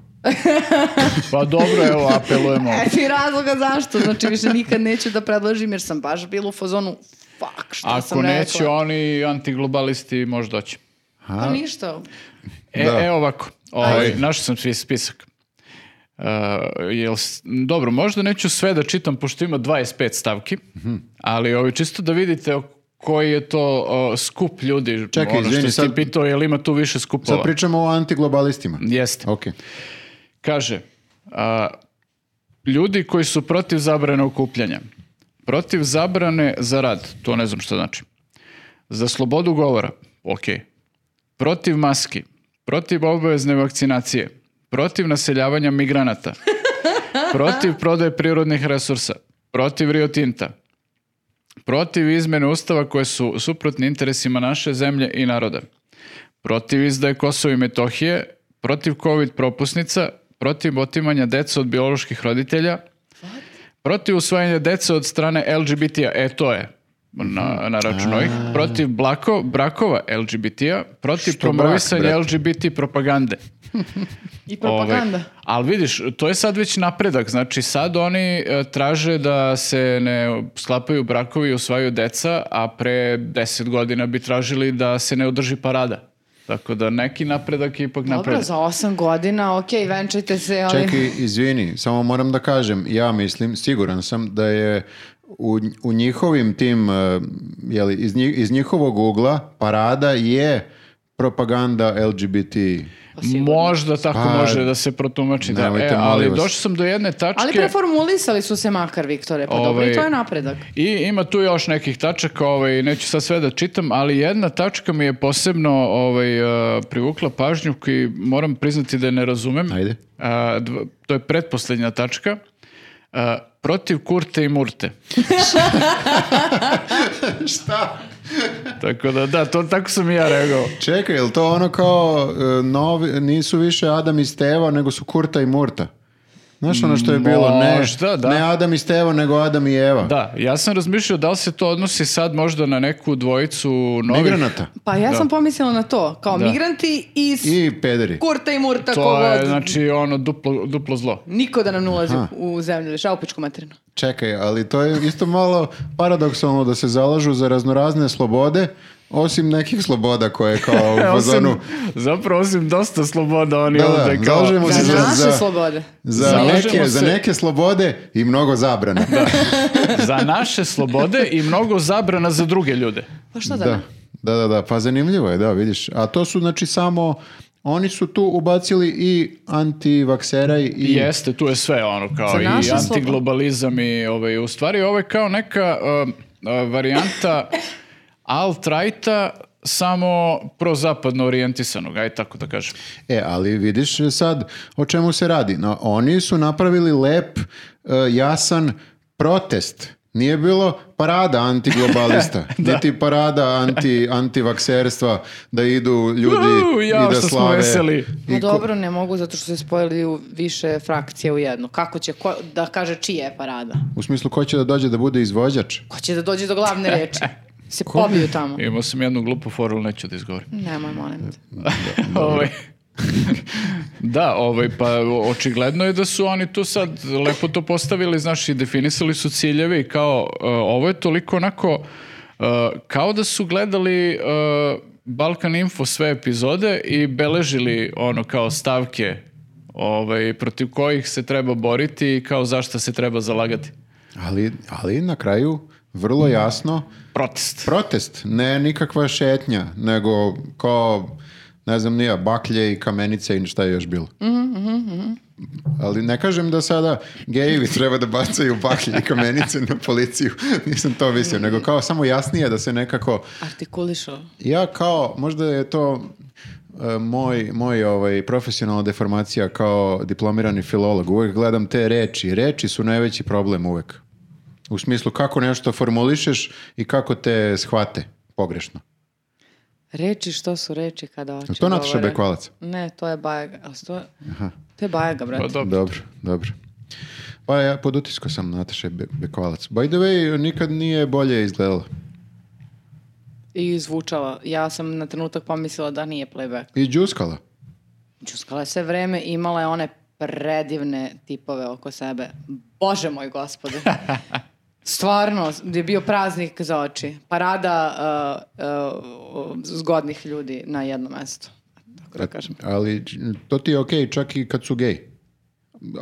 [SPEAKER 3] Pa dobro, evo,
[SPEAKER 1] [laughs]
[SPEAKER 3] apelujemo.
[SPEAKER 1] Eto i e, razloga zašto, znači više nikad neću da predložim jer sam baš bila u fazonu fuck, što
[SPEAKER 3] Ako
[SPEAKER 1] sam rekla.
[SPEAKER 3] neće oni antiglobalisti, možda će.
[SPEAKER 1] Pa ništa.
[SPEAKER 3] E,
[SPEAKER 2] Da.
[SPEAKER 3] e ovako, ovaj,
[SPEAKER 2] Ajde.
[SPEAKER 3] našao sam svi spisak. Uh, jel, s- dobro, možda neću sve da čitam, pošto ima 25 stavki,
[SPEAKER 2] Mhm.
[SPEAKER 3] ali ovaj, čisto da vidite o- koji je to o, skup ljudi.
[SPEAKER 2] Čekaj,
[SPEAKER 3] ono
[SPEAKER 2] izvini,
[SPEAKER 3] što si
[SPEAKER 2] sad-
[SPEAKER 3] ti pitao, jel ima tu više skupova?
[SPEAKER 2] Sad pričamo o antiglobalistima.
[SPEAKER 3] Jeste.
[SPEAKER 2] Ok.
[SPEAKER 3] Kaže, a, ljudi koji su protiv zabrane okupljanja, protiv zabrane za rad, to ne znam što znači, za slobodu govora, ok. Protiv maski, protiv obavezne vakcinacije, protiv naseljavanja migranata, protiv prodaje prirodnih resursa, protiv Rio Tinta, protiv izmene ustava koje su suprotni interesima naše zemlje i naroda, protiv izdaje Kosova i Metohije, protiv COVID propusnica, protiv otimanja deca od bioloških roditelja, protiv usvajanja dece od strane LGBT-a, e to je na, na račun ovih, protiv blako, brakova LGBT-a, protiv
[SPEAKER 2] Što brak,
[SPEAKER 3] promovisanja
[SPEAKER 2] brate?
[SPEAKER 3] LGBT propagande.
[SPEAKER 1] I propaganda.
[SPEAKER 3] Ovaj, ali vidiš, to je sad već napredak. Znači, sad oni e, traže da se ne sklapaju brakovi i usvajaju deca, a pre deset godina bi tražili da se ne održi parada. Tako da neki napredak je ipak
[SPEAKER 1] Dobro,
[SPEAKER 3] napredak.
[SPEAKER 1] za osam godina, okej, venčajte se, ali...
[SPEAKER 2] Čekaj, izvini, samo moram da kažem, ja mislim, siguran sam da je u, u njihovim tim, eh, jeli, iz, nji- iz njihovog ugla parada je propaganda LGBT.
[SPEAKER 1] pa
[SPEAKER 3] Možda tako
[SPEAKER 2] Pa,
[SPEAKER 3] može da se protumači. Da.
[SPEAKER 2] nemojte,
[SPEAKER 3] E, ali
[SPEAKER 2] molim vas.
[SPEAKER 3] došao sam do jedne tačke.
[SPEAKER 1] Ali preformulisali su se makar, Viktore, pa dobro, i
[SPEAKER 3] Ovaj,
[SPEAKER 1] to je napredak.
[SPEAKER 3] I ima tu još nekih tačaka, ovaj, neću sad sve da čitam, ali jedna tačka mi je posebno ovaj, eh, privukla pažnju koji moram priznati da je ne razumem.
[SPEAKER 2] Ajde.
[SPEAKER 3] A, dv- to je pretposlednja tačka. A, protiv kurte i murte.
[SPEAKER 2] Šta?
[SPEAKER 3] Tako da, da, to, tako sam i ja reagovao.
[SPEAKER 2] Čekaj, je li to ono kao eh, novi, nisu više Adam i Steva, nego su Kurta i Murta? Znaš ono što je bilo, ne,
[SPEAKER 3] Možda, da.
[SPEAKER 2] ne Adam i Steva, nego Adam i Eva.
[SPEAKER 3] Da, ja sam razmišljao da li se to odnosi sad možda na neku dvojicu novih...
[SPEAKER 2] Migranata
[SPEAKER 1] Pa ja
[SPEAKER 3] Da.
[SPEAKER 1] sam pomislila na to, kao
[SPEAKER 3] Da.
[SPEAKER 1] migranti iz
[SPEAKER 2] i pederi.
[SPEAKER 1] Kurta i Murta, ko
[SPEAKER 3] To je,
[SPEAKER 1] god.
[SPEAKER 3] znači, ono duplo, duplo zlo.
[SPEAKER 1] Niko da nam ne ulazi
[SPEAKER 2] Aha.
[SPEAKER 1] u zemlju, liša u pičku materinu.
[SPEAKER 2] Čekaj, ali to je isto malo paradoksalno da se zalažu za raznorazne slobode, osim nekih sloboda koje kao u fazonu...
[SPEAKER 3] [laughs] Osim, zapravo osim dosta sloboda oni
[SPEAKER 2] Da, da,
[SPEAKER 3] ovde kao...
[SPEAKER 2] zalažemo
[SPEAKER 1] Za
[SPEAKER 2] Za-
[SPEAKER 1] naše
[SPEAKER 2] za-
[SPEAKER 1] slobode.
[SPEAKER 2] Za
[SPEAKER 3] Zalažemo
[SPEAKER 2] neke, za
[SPEAKER 3] se-
[SPEAKER 2] neke slobode i mnogo zabrana.
[SPEAKER 3] za naše slobode i mnogo zabrana za druge ljude.
[SPEAKER 1] Pa što da,
[SPEAKER 2] da,
[SPEAKER 1] ne?
[SPEAKER 2] da, da, da, pa zanimljivo je, da, vidiš. A to su znači samo, oni su tu ubacili i antivaksera i...
[SPEAKER 3] I jeste, tu je sve ono
[SPEAKER 1] Za
[SPEAKER 3] kao i
[SPEAKER 1] naše slobode.
[SPEAKER 3] antiglobalizam i ovaj, u stvari ovo je kao neka um, uh, varijanta alt-righta samo prozapadno orijentisanog, aj tako da kažem.
[SPEAKER 2] E, ali vidiš sad o čemu se radi. No, oni su napravili lep, e, jasan protest. Nije bilo parada
[SPEAKER 3] [laughs]
[SPEAKER 2] antiglobalista, niti parada anti, antivakserstva, da idu ljudi
[SPEAKER 3] Uuu, jao,
[SPEAKER 2] i da
[SPEAKER 3] što smo
[SPEAKER 2] slave.
[SPEAKER 3] veseli.
[SPEAKER 1] No
[SPEAKER 2] I ko-
[SPEAKER 1] dobro, ne mogu zato što se spojili u više frakcije u jednu. Kako će, ko, da kaže čije je parada?
[SPEAKER 2] U smislu ko će da dođe da bude izvođač?
[SPEAKER 1] Ko će da dođe do glavne
[SPEAKER 2] [laughs]
[SPEAKER 1] reči? Se pobiju tamo.
[SPEAKER 3] Imao sam jednu glupu foru, ali neću da izgovorim.
[SPEAKER 2] [laughs]
[SPEAKER 1] Nemoj, molim te.
[SPEAKER 3] Ovaj, [laughs] da, ovaj, pa o- očigledno je da su oni tu sad lepo to postavili, znaš, i definisali su ciljeve i kao, e, ovo je toliko onako, e, kao da su gledali e, Balkan Info sve epizode i beležili ono kao stavke ovaj, protiv kojih se treba boriti i kao zašto se treba zalagati.
[SPEAKER 2] Ali, ali na kraju vrlo jasno
[SPEAKER 3] Protest.
[SPEAKER 2] protest, ne nikakva šetnja, nego kao, ne znam nija, baklje i kamenice i šta je još bilo. Ali ne kažem da sada gejevi treba da bacaju baklje i kamenice na policiju, [laughs] nisam to mislio, nego kao samo jasnije da se nekako,
[SPEAKER 1] Artikulišo.
[SPEAKER 2] ja kao, možda je to e, moj, moj ovaj, profesionalna deformacija kao diplomirani filolog, uvek gledam te reči, reči su najveći problem uvek. U smislu kako nešto formulišeš i kako te shvate pogrešno.
[SPEAKER 1] Reči što su reči kada oči
[SPEAKER 2] Je to Nataša
[SPEAKER 1] govore?
[SPEAKER 2] Bekvalac?
[SPEAKER 1] Ne, to je Bajaga. A to, to je Bajaga,
[SPEAKER 3] Pa
[SPEAKER 1] brate.
[SPEAKER 3] dobro.
[SPEAKER 2] Dobro, dobro. Pa ja pod utisko sam Nataše Be- Bekvalac. By the way, nikad nije bolje izgledala.
[SPEAKER 1] I zvučala. Ja sam na trenutak pomislila da nije playback.
[SPEAKER 2] I džuskala.
[SPEAKER 1] Čuskala je sve vreme, imala je one predivne tipove oko sebe. Bože moj
[SPEAKER 2] [laughs]
[SPEAKER 1] gospode. Stvarno, je bio praznik za oči. Parada uh, uh, zgodnih ljudi na jednom mestu. Tako da kažem.
[SPEAKER 2] Ali č- to ti je okej čak i kad su gej.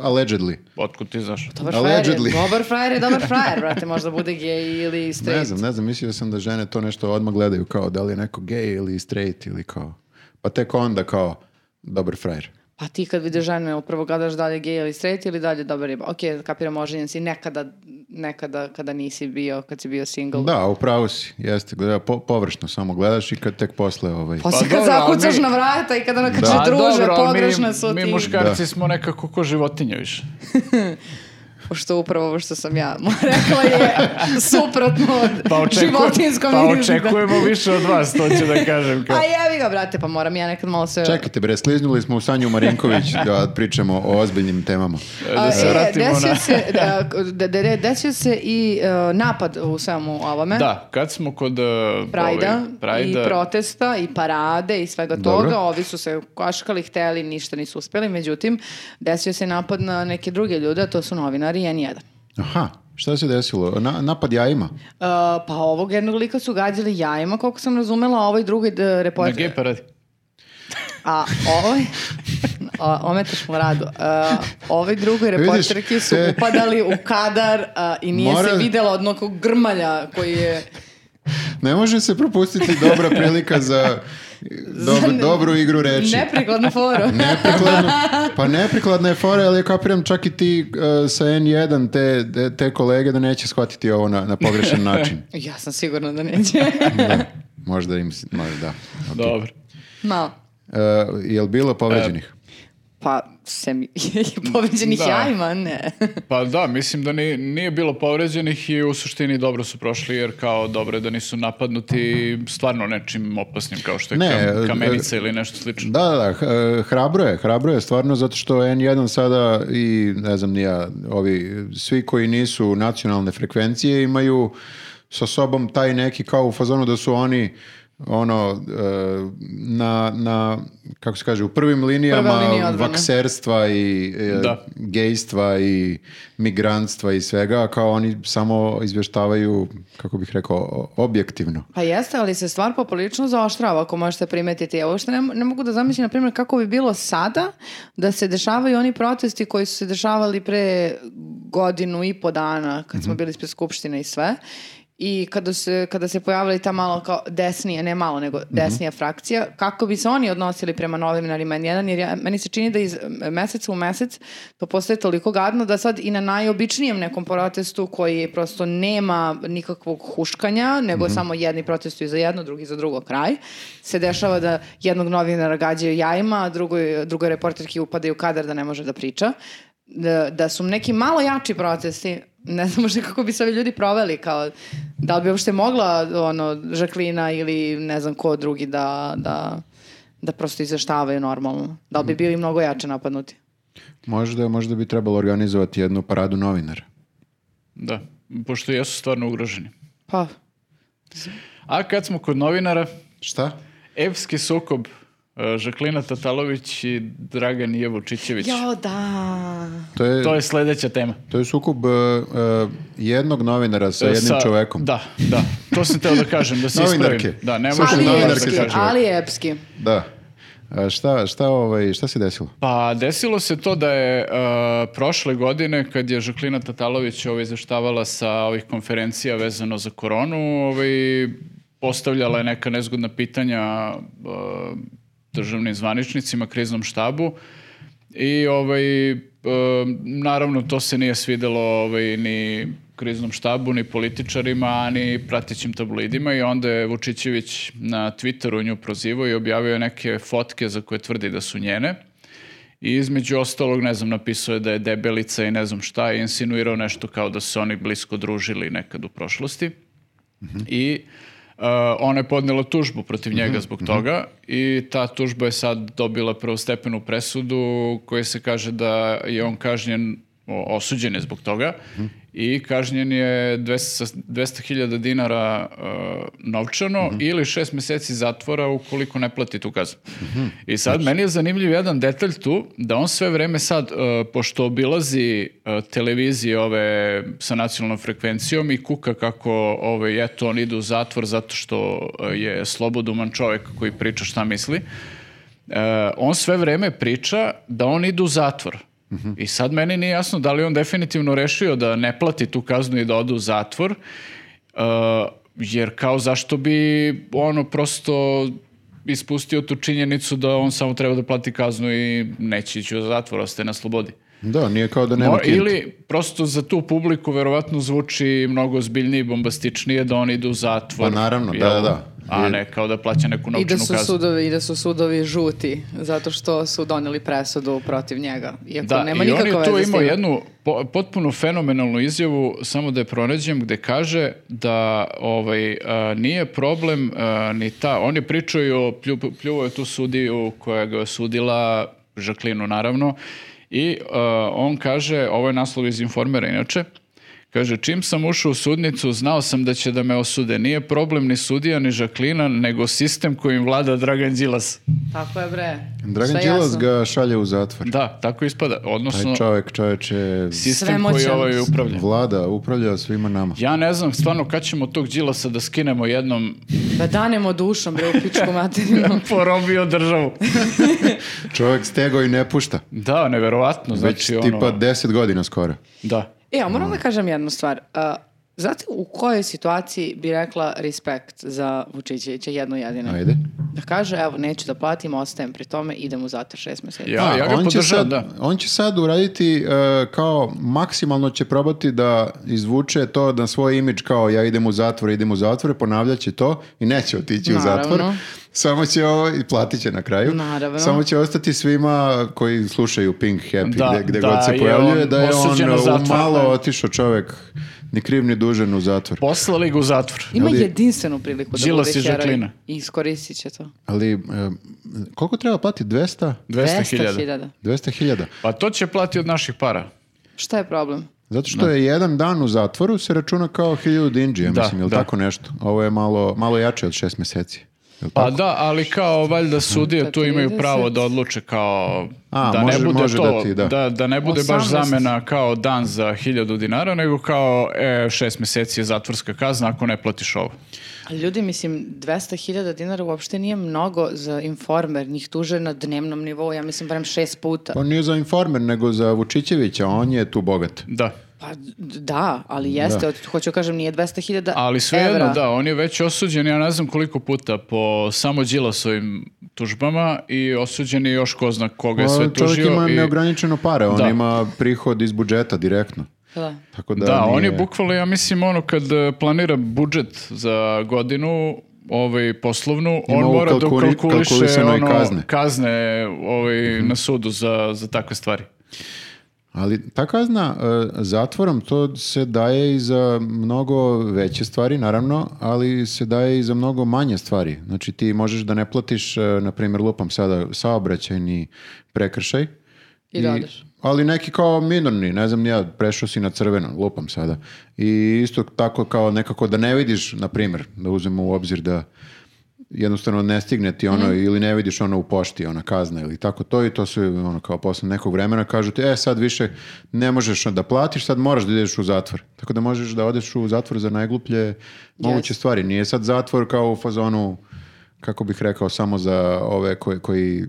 [SPEAKER 2] Allegedly.
[SPEAKER 3] Otkud ti znaš?
[SPEAKER 1] Dobar frajer, je,
[SPEAKER 2] Allegedly.
[SPEAKER 1] dobar frajer je dobar frajer,
[SPEAKER 2] [laughs]
[SPEAKER 1] brate, možda bude gej ili straight.
[SPEAKER 2] Ne znam, ne znam, mislio sam da žene to nešto odmah gledaju kao da li je neko gej ili straight ili kao. Pa tek onda kao dobar frajer.
[SPEAKER 1] Pa ti kad vidiš ženu, upravo gledaš dalje gej ili straight ili dalje dobar riba. Ok, kapiram oženjen si nekada, nekada kada nisi bio, kad si bio single.
[SPEAKER 2] Da, upravo si, jeste, gleda, po- površno samo gledaš i kad tek posle ovaj...
[SPEAKER 1] Posle
[SPEAKER 3] Pa
[SPEAKER 1] kad
[SPEAKER 3] dobro, ali
[SPEAKER 1] zakucaš
[SPEAKER 3] mi-
[SPEAKER 1] na vrata i kad ono kad
[SPEAKER 2] Da.
[SPEAKER 1] se
[SPEAKER 3] A,
[SPEAKER 1] druže,
[SPEAKER 3] dobro, ali mi-
[SPEAKER 1] pogrešno su
[SPEAKER 3] mi,
[SPEAKER 1] ti.
[SPEAKER 3] muškarci
[SPEAKER 2] Da.
[SPEAKER 3] smo nekako ko životinje više.
[SPEAKER 1] Pošto upravo ovo što sam ja [laughs] mu rekla
[SPEAKER 3] [laughs]
[SPEAKER 1] je suprotno od
[SPEAKER 3] Pa, očekujem-
[SPEAKER 1] životinskom
[SPEAKER 3] pa
[SPEAKER 1] izgledu.
[SPEAKER 3] očekujemo više od vas, to ću da kažem. Kao.
[SPEAKER 1] A jevi ga, brate, pa moram ja nekad malo sve...
[SPEAKER 2] Čekajte bre, sliznuli smo u Sanju Marinković da pričamo o ozbiljnim temama.
[SPEAKER 3] Da se
[SPEAKER 1] A, e,
[SPEAKER 3] vratimo
[SPEAKER 1] desio
[SPEAKER 3] na...
[SPEAKER 1] se, da, de- de- de- desio se i e, napad u svemu ovome.
[SPEAKER 3] Da, kad smo kod uh,
[SPEAKER 1] Prajda,
[SPEAKER 3] ovih Prajda,
[SPEAKER 1] i protesta i parade i svega
[SPEAKER 2] Dobro.
[SPEAKER 1] toga. Ovi su se kaškali, hteli, ništa nisu uspeli. Međutim, desio se napad na neke druge ljude, a to su novinari i N1.
[SPEAKER 2] Aha, šta se desilo? Na, napad jajima?
[SPEAKER 1] Uh, pa ovog jednog lika su gađali jajima, koliko sam razumela, a ovaj drugi d-
[SPEAKER 3] na
[SPEAKER 1] reporter...
[SPEAKER 3] gej paradi.
[SPEAKER 1] A ovaj... o- ometaš mu radu. Uh, ovi drugoj
[SPEAKER 2] Vidiš,
[SPEAKER 1] reporterki su
[SPEAKER 2] e.
[SPEAKER 1] upadali u kadar a, i nije se
[SPEAKER 2] Mora-
[SPEAKER 1] videla od nekog grmalja koji je...
[SPEAKER 2] Ne može se propustiti dobra prilika za dob-
[SPEAKER 1] Za-
[SPEAKER 2] dobru igru reči.
[SPEAKER 1] Neprikladnu foru.
[SPEAKER 2] Neprikladno, pa neprikladna je fora, ali kapiram čak i ti uh, sa N1 te, te- te kolege da neće shvatiti ovo na, na pogrešan način.
[SPEAKER 1] Ja sam sigurna da neće.
[SPEAKER 2] Da, možda im, se- možda da. Ok.
[SPEAKER 3] Dobro.
[SPEAKER 1] Malo.
[SPEAKER 2] Uh, jel bilo povređenih?
[SPEAKER 1] Pa, sem poveđenih
[SPEAKER 3] Da.
[SPEAKER 1] jajima, ne.
[SPEAKER 3] Pa da, mislim da ni- nije bilo povređenih i u suštini dobro su prošli, jer kao dobro je da nisu napadnuti stvarno nečim opasnim kao što je
[SPEAKER 2] Ne,
[SPEAKER 3] kam-
[SPEAKER 2] e,
[SPEAKER 3] kamenica ili nešto slično.
[SPEAKER 2] Da, da, da, h- e, hrabro je, hrabro je stvarno zato što N1 sada i ne znam ni ja, ovi svi koji nisu nacionalne frekvencije imaju sa sobom taj neki kao u fazonu da su oni ono e, na, na kako se kaže u prvim linijama
[SPEAKER 1] Prva linija odbrane.
[SPEAKER 2] vakserstva i e,
[SPEAKER 3] Da.
[SPEAKER 2] gejstva i migrantstva i svega a kao oni samo izvještavaju kako bih rekao o- objektivno.
[SPEAKER 1] Pa jeste, ali se stvar poprilično zaoštrava, ako možete primetiti. Ja uopšte ne, ne mogu da zamislim, na primjer, kako bi bilo sada da se dešavaju oni protesti koji su se dešavali pre godinu i po dana, kad smo bili ispred Skupštine i sve. I kada se, kada se pojavila i ta malo kao desnija, ne malo, nego desnija frakcija, kako bi se oni odnosili prema novinarima N1, jer ja, meni se čini da iz meseca u mesec to postaje toliko gadno da sad i na najobičnijem nekom protestu koji prosto nema nikakvog huškanja, nego samo jedni protestuju za jedno, drugi za drugo kraj, se dešava da jednog novinara gađaju jajima, a drugoj, drugoj reporterki upadaju u kadar da ne može da priča. Da, da su neki malo jači protesti, ne znam možda kako bi se ovi ljudi proveli, kao da li bi uopšte mogla ono, Žaklina ili ne znam ko drugi da, da, da prosto izveštavaju normalno. Da li bi bili mnogo jače napadnuti?
[SPEAKER 2] Možda, možda bi trebalo organizovati jednu paradu novinara.
[SPEAKER 3] Da, pošto jesu stvarno ugroženi.
[SPEAKER 1] Pa,
[SPEAKER 3] A kad smo kod novinara,
[SPEAKER 2] Šta?
[SPEAKER 3] Evski sukob, e, Žaklina Tatalović i Dragan Jevo Čičević.
[SPEAKER 1] jo da.
[SPEAKER 2] To je,
[SPEAKER 3] To je sledeća tema.
[SPEAKER 2] to je sukob e, e, jednog novinara sa
[SPEAKER 3] E,
[SPEAKER 2] jednim
[SPEAKER 3] sa-
[SPEAKER 2] čovekom.
[SPEAKER 3] Da, da. To sam teo da kažem,
[SPEAKER 2] [laughs]
[SPEAKER 3] da se
[SPEAKER 2] Novinarke.
[SPEAKER 3] ispravim. Da, ne
[SPEAKER 2] Slušaj,
[SPEAKER 3] možemo da
[SPEAKER 1] Ali
[SPEAKER 2] novinarke
[SPEAKER 1] epski,
[SPEAKER 2] sa čovjekom.
[SPEAKER 1] ali epski.
[SPEAKER 2] Da. A šta, šta, ovaj, šta se desilo?
[SPEAKER 3] Pa desilo se to da je e, prošle godine kad je Žaklina Tatalović ovaj, izveštavala sa ovih konferencija vezano za koronu, ovaj, postavljala je neka nezgodna pitanja e, državnim zvaničnicima, kriznom štabu i ovaj, e, naravno to se nije svidelo ovaj, ni kriznom štabu, ni političarima, a ni pratićim tabloidima i onda je Vučićević na Twitteru nju prozivao i objavio je neke fotke za koje tvrdi da su njene. I između ostalog, ne znam, napisao je da je debelica i ne znam šta, i insinuirao nešto kao da su se oni blisko družili nekad u prošlosti. I uh, ona je podnela tužbu protiv njega zbog toga i ta tužba je sad dobila prvostepenu presudu koja se kaže da je on kažnjen, o- osuđen je zbog toga i kažnjen je 200 sa 200.000 dinara uh, novčano ili šest meseci zatvora ukoliko ne plati tu kaznu. I sad meni je zanimljiv jedan detalj tu da on sve vreme sad, uh, pošto obilazi uh, televizije ove sa nacionalnom frekvencijom i kuka kako ove, eto on ide u zatvor zato što uh, je sloboduman čovjek koji priča šta misli, E, on sve vreme priča da on ide u zatvor.
[SPEAKER 2] Mhm.
[SPEAKER 3] I sad meni nije jasno da li je on definitivno rešio da ne plati tu kaznu i da ode u zatvor, e, jer kao zašto bi ono prosto ispustio tu činjenicu da on samo treba da plati kaznu i neće ići u zatvor, ostaje na slobodi.
[SPEAKER 2] Da, nije kao da nema
[SPEAKER 3] Mo-
[SPEAKER 2] klijenta.
[SPEAKER 3] ili prosto za tu publiku verovatno zvuči mnogo zbiljnije i bombastičnije da on ide u zatvor.
[SPEAKER 2] Pa naravno, da,
[SPEAKER 3] jel?
[SPEAKER 2] da, da.
[SPEAKER 3] A ne, kao da plaća neku
[SPEAKER 1] I
[SPEAKER 3] novčanu
[SPEAKER 1] da
[SPEAKER 3] kaznu.
[SPEAKER 1] su sudovi, i da su sudovi žuti, zato što su doneli presudu protiv njega. Iako
[SPEAKER 3] Da,
[SPEAKER 1] nema
[SPEAKER 3] i on
[SPEAKER 1] nikakve
[SPEAKER 3] je
[SPEAKER 1] veze
[SPEAKER 3] tu
[SPEAKER 1] s
[SPEAKER 3] imao
[SPEAKER 1] tim.
[SPEAKER 3] jednu po- potpuno fenomenalnu izjavu, samo da je pronađem, gde kaže da ovaj, a, nije problem a, ni ta, on je pričao i o plju, pljuvao je tu sudiju koja ga je osudila, Žaklinu naravno, i a, on kaže, ovo je naslov iz Informera inače, Kaže, čim sam ušao u sudnicu, znao sam da će da me osude. Nije problem ni sudija, ni Žaklina, nego sistem kojim vlada Dragan Đilas.
[SPEAKER 1] Tako je bre.
[SPEAKER 2] Dragan
[SPEAKER 1] Sve
[SPEAKER 2] Đilas
[SPEAKER 1] jasno.
[SPEAKER 2] ga šalje u zatvor.
[SPEAKER 3] Da, tako ispada. Odnosno,
[SPEAKER 2] Taj čovjek, čovječe,
[SPEAKER 3] sistem koji
[SPEAKER 1] Svemoćan.
[SPEAKER 3] ovaj upravlja.
[SPEAKER 2] vlada, upravlja svima nama.
[SPEAKER 3] Ja ne znam stvarno kad ćemo tog Đilasa da skinemo jednom
[SPEAKER 1] Da danemo Pa dušom bre u pičku
[SPEAKER 2] [laughs]
[SPEAKER 1] materinu.
[SPEAKER 3] porobio državu.
[SPEAKER 2] Čovjek stegao i ne pušta.
[SPEAKER 3] Da, neverovatno,
[SPEAKER 2] Već
[SPEAKER 3] znači ono...
[SPEAKER 2] tipa 10 godina skoro.
[SPEAKER 3] Da.
[SPEAKER 1] E, a moram da kažem jednu stvar. A, znate u kojoj situaciji bi rekla respekt za Vučićevića jednu jedinu?
[SPEAKER 2] Ajde.
[SPEAKER 1] Da kaže, evo, neću da platim, ostajem pri tome, idem u zatvor šest mjeseci.
[SPEAKER 3] Ja, ja ga
[SPEAKER 2] on, će
[SPEAKER 3] podržavam,
[SPEAKER 2] sad,
[SPEAKER 3] da.
[SPEAKER 2] on će sad uraditi e, kao maksimalno će probati da izvuče to na svoj imidž kao ja idem u zatvor, idem u zatvor, ponavljat će to i neće otići u
[SPEAKER 1] Naravno.
[SPEAKER 2] zatvor. Samo će ovo, i platit će na kraju,
[SPEAKER 1] Naravno.
[SPEAKER 2] samo će ostati svima koji slušaju Pink Happy
[SPEAKER 3] Da,
[SPEAKER 2] gde, gde
[SPEAKER 3] da
[SPEAKER 2] god se
[SPEAKER 3] je
[SPEAKER 2] pojavljuje,
[SPEAKER 3] on
[SPEAKER 2] da je on
[SPEAKER 3] osuđen na
[SPEAKER 2] e,
[SPEAKER 3] zatvor.
[SPEAKER 2] malo otišao čovjek, ni kriv ni dužan u zatvor.
[SPEAKER 3] Poslali ga u zatvor.
[SPEAKER 1] Ima
[SPEAKER 2] Ljudi-
[SPEAKER 1] jedinstvenu priliku da
[SPEAKER 3] Đilas
[SPEAKER 1] bude
[SPEAKER 3] i
[SPEAKER 1] heroj.
[SPEAKER 3] Žaklina.
[SPEAKER 1] I iskoristit će to.
[SPEAKER 2] Ali e, koliko treba platiti? 200?
[SPEAKER 3] 200.000.
[SPEAKER 1] 200.000.
[SPEAKER 2] 200 hiljada.
[SPEAKER 3] Pa to će plati od naših para.
[SPEAKER 1] Šta je problem?
[SPEAKER 2] Zato što je jedan dan u zatvoru se računa kao hiljadu dinđi, ja
[SPEAKER 3] Da,
[SPEAKER 2] mislim, ili
[SPEAKER 3] da.
[SPEAKER 2] tako nešto. Ovo je malo, malo jače od šest meseci. Jel
[SPEAKER 3] Pa
[SPEAKER 2] tako?
[SPEAKER 3] da, ali kao valjda sudije tu imaju
[SPEAKER 1] 30.
[SPEAKER 3] pravo da odluče kao
[SPEAKER 2] A,
[SPEAKER 3] da
[SPEAKER 2] može-
[SPEAKER 3] ne bude
[SPEAKER 2] može
[SPEAKER 3] to,
[SPEAKER 2] da ti, da.
[SPEAKER 3] da ne bude
[SPEAKER 1] 18.
[SPEAKER 3] baš zamena kao dan za hiljadu dinara, nego kao e, šest mjeseci je zatvorska kazna ako ne platiš ovo.
[SPEAKER 1] Ali ljudi, mislim, 200.000 dinara uopšte nije mnogo za informer. Njih tuže na dnevnom nivou, ja mislim, barem šest puta.
[SPEAKER 2] Pa nije za informer, nego za Vučićevića, on je tu bogat.
[SPEAKER 3] Da.
[SPEAKER 1] Pa d- da, ali jeste,
[SPEAKER 2] Da.
[SPEAKER 1] od- hoću kažem, nije 200.000
[SPEAKER 3] Ali svejedno,
[SPEAKER 1] evra.
[SPEAKER 3] da, on je već osuđen, ja ne znam koliko puta, po samo Đilasovim tužbama i osuđen je još ko zna koga je sve
[SPEAKER 2] Pa, Čovjek
[SPEAKER 3] tužio.
[SPEAKER 2] ima
[SPEAKER 3] i-
[SPEAKER 2] neograničeno pare, on
[SPEAKER 3] Da.
[SPEAKER 2] ima prihod iz budžeta direktno.
[SPEAKER 1] Da.
[SPEAKER 2] Tako da,
[SPEAKER 3] Da, on je
[SPEAKER 2] nije-
[SPEAKER 3] bukvalno, ja mislim, ono kad e, planira budžet za godinu, ovaj poslovnu,
[SPEAKER 2] Ima
[SPEAKER 3] on mora da
[SPEAKER 2] ukalkuli-
[SPEAKER 3] ukalkuliše
[SPEAKER 2] kalkulisano i
[SPEAKER 3] ono,
[SPEAKER 2] kazne. Mhm.
[SPEAKER 3] kazne, ovaj, na sudu za, za takve stvari.
[SPEAKER 2] Ali ta kazna e, zatvorom, to se daje i za mnogo veće stvari, naravno, ali se daje i za mnogo manje stvari. Znači ti možeš da ne platiš, e, na primjer, lupam sada, saobraćajni prekršaj.
[SPEAKER 1] I da odeš.
[SPEAKER 2] Ali neki kao minorni, ne znam, ni ja prešao si na crveno, lupam sada. I isto tako kao nekako da ne vidiš, na primjer, da uzmemo u obzir da jednostavno ne stigne ti ono
[SPEAKER 1] Mhm.
[SPEAKER 2] ili ne vidiš ono u pošti, ona kazna ili tako to i to su ono kao posle nekog vremena kažu ti e sad više ne možeš da platiš, sad moraš da ideš u zatvor. Tako da možeš da odeš u zatvor za najgluplje moguće stvari. Nije sad zatvor kao u fazonu kako bih rekao samo za ove koji, koji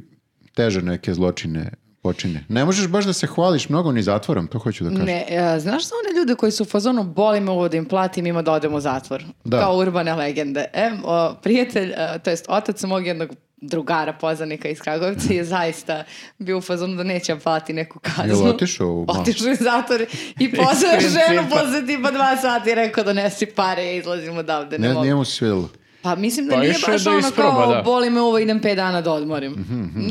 [SPEAKER 2] teže neke zločine počine. Ne možeš baš da se hvališ mnogo ni zatvorom, to hoću da kažem.
[SPEAKER 1] Ne, e, znaš za one ljude koji su u fazonu boli me ovo da im platim, ima da odem u zatvor.
[SPEAKER 2] Da.
[SPEAKER 1] Kao urbane legende. E, o, prijatelj, e, to jest otac mog jednog drugara poznanika iz Kragovica je zaista bio u fazonu da neće da plati neku kaznu.
[SPEAKER 2] Jel otišao u malo?
[SPEAKER 1] Otišao je u zatvor i pozvao
[SPEAKER 3] principa.
[SPEAKER 1] ženu posle tipa dva sata i rekao donesi pare, ja izlazim odavde. Ne,
[SPEAKER 2] Ne,
[SPEAKER 1] mogu.
[SPEAKER 2] nije mu se svidjelo.
[SPEAKER 1] Pa mislim da
[SPEAKER 3] Pa
[SPEAKER 1] nije
[SPEAKER 3] išao je
[SPEAKER 1] baš
[SPEAKER 3] da
[SPEAKER 1] ono
[SPEAKER 3] isproba,
[SPEAKER 1] kao
[SPEAKER 3] da. Mhm,
[SPEAKER 1] boli me ovo, idem pet dana da odmorim.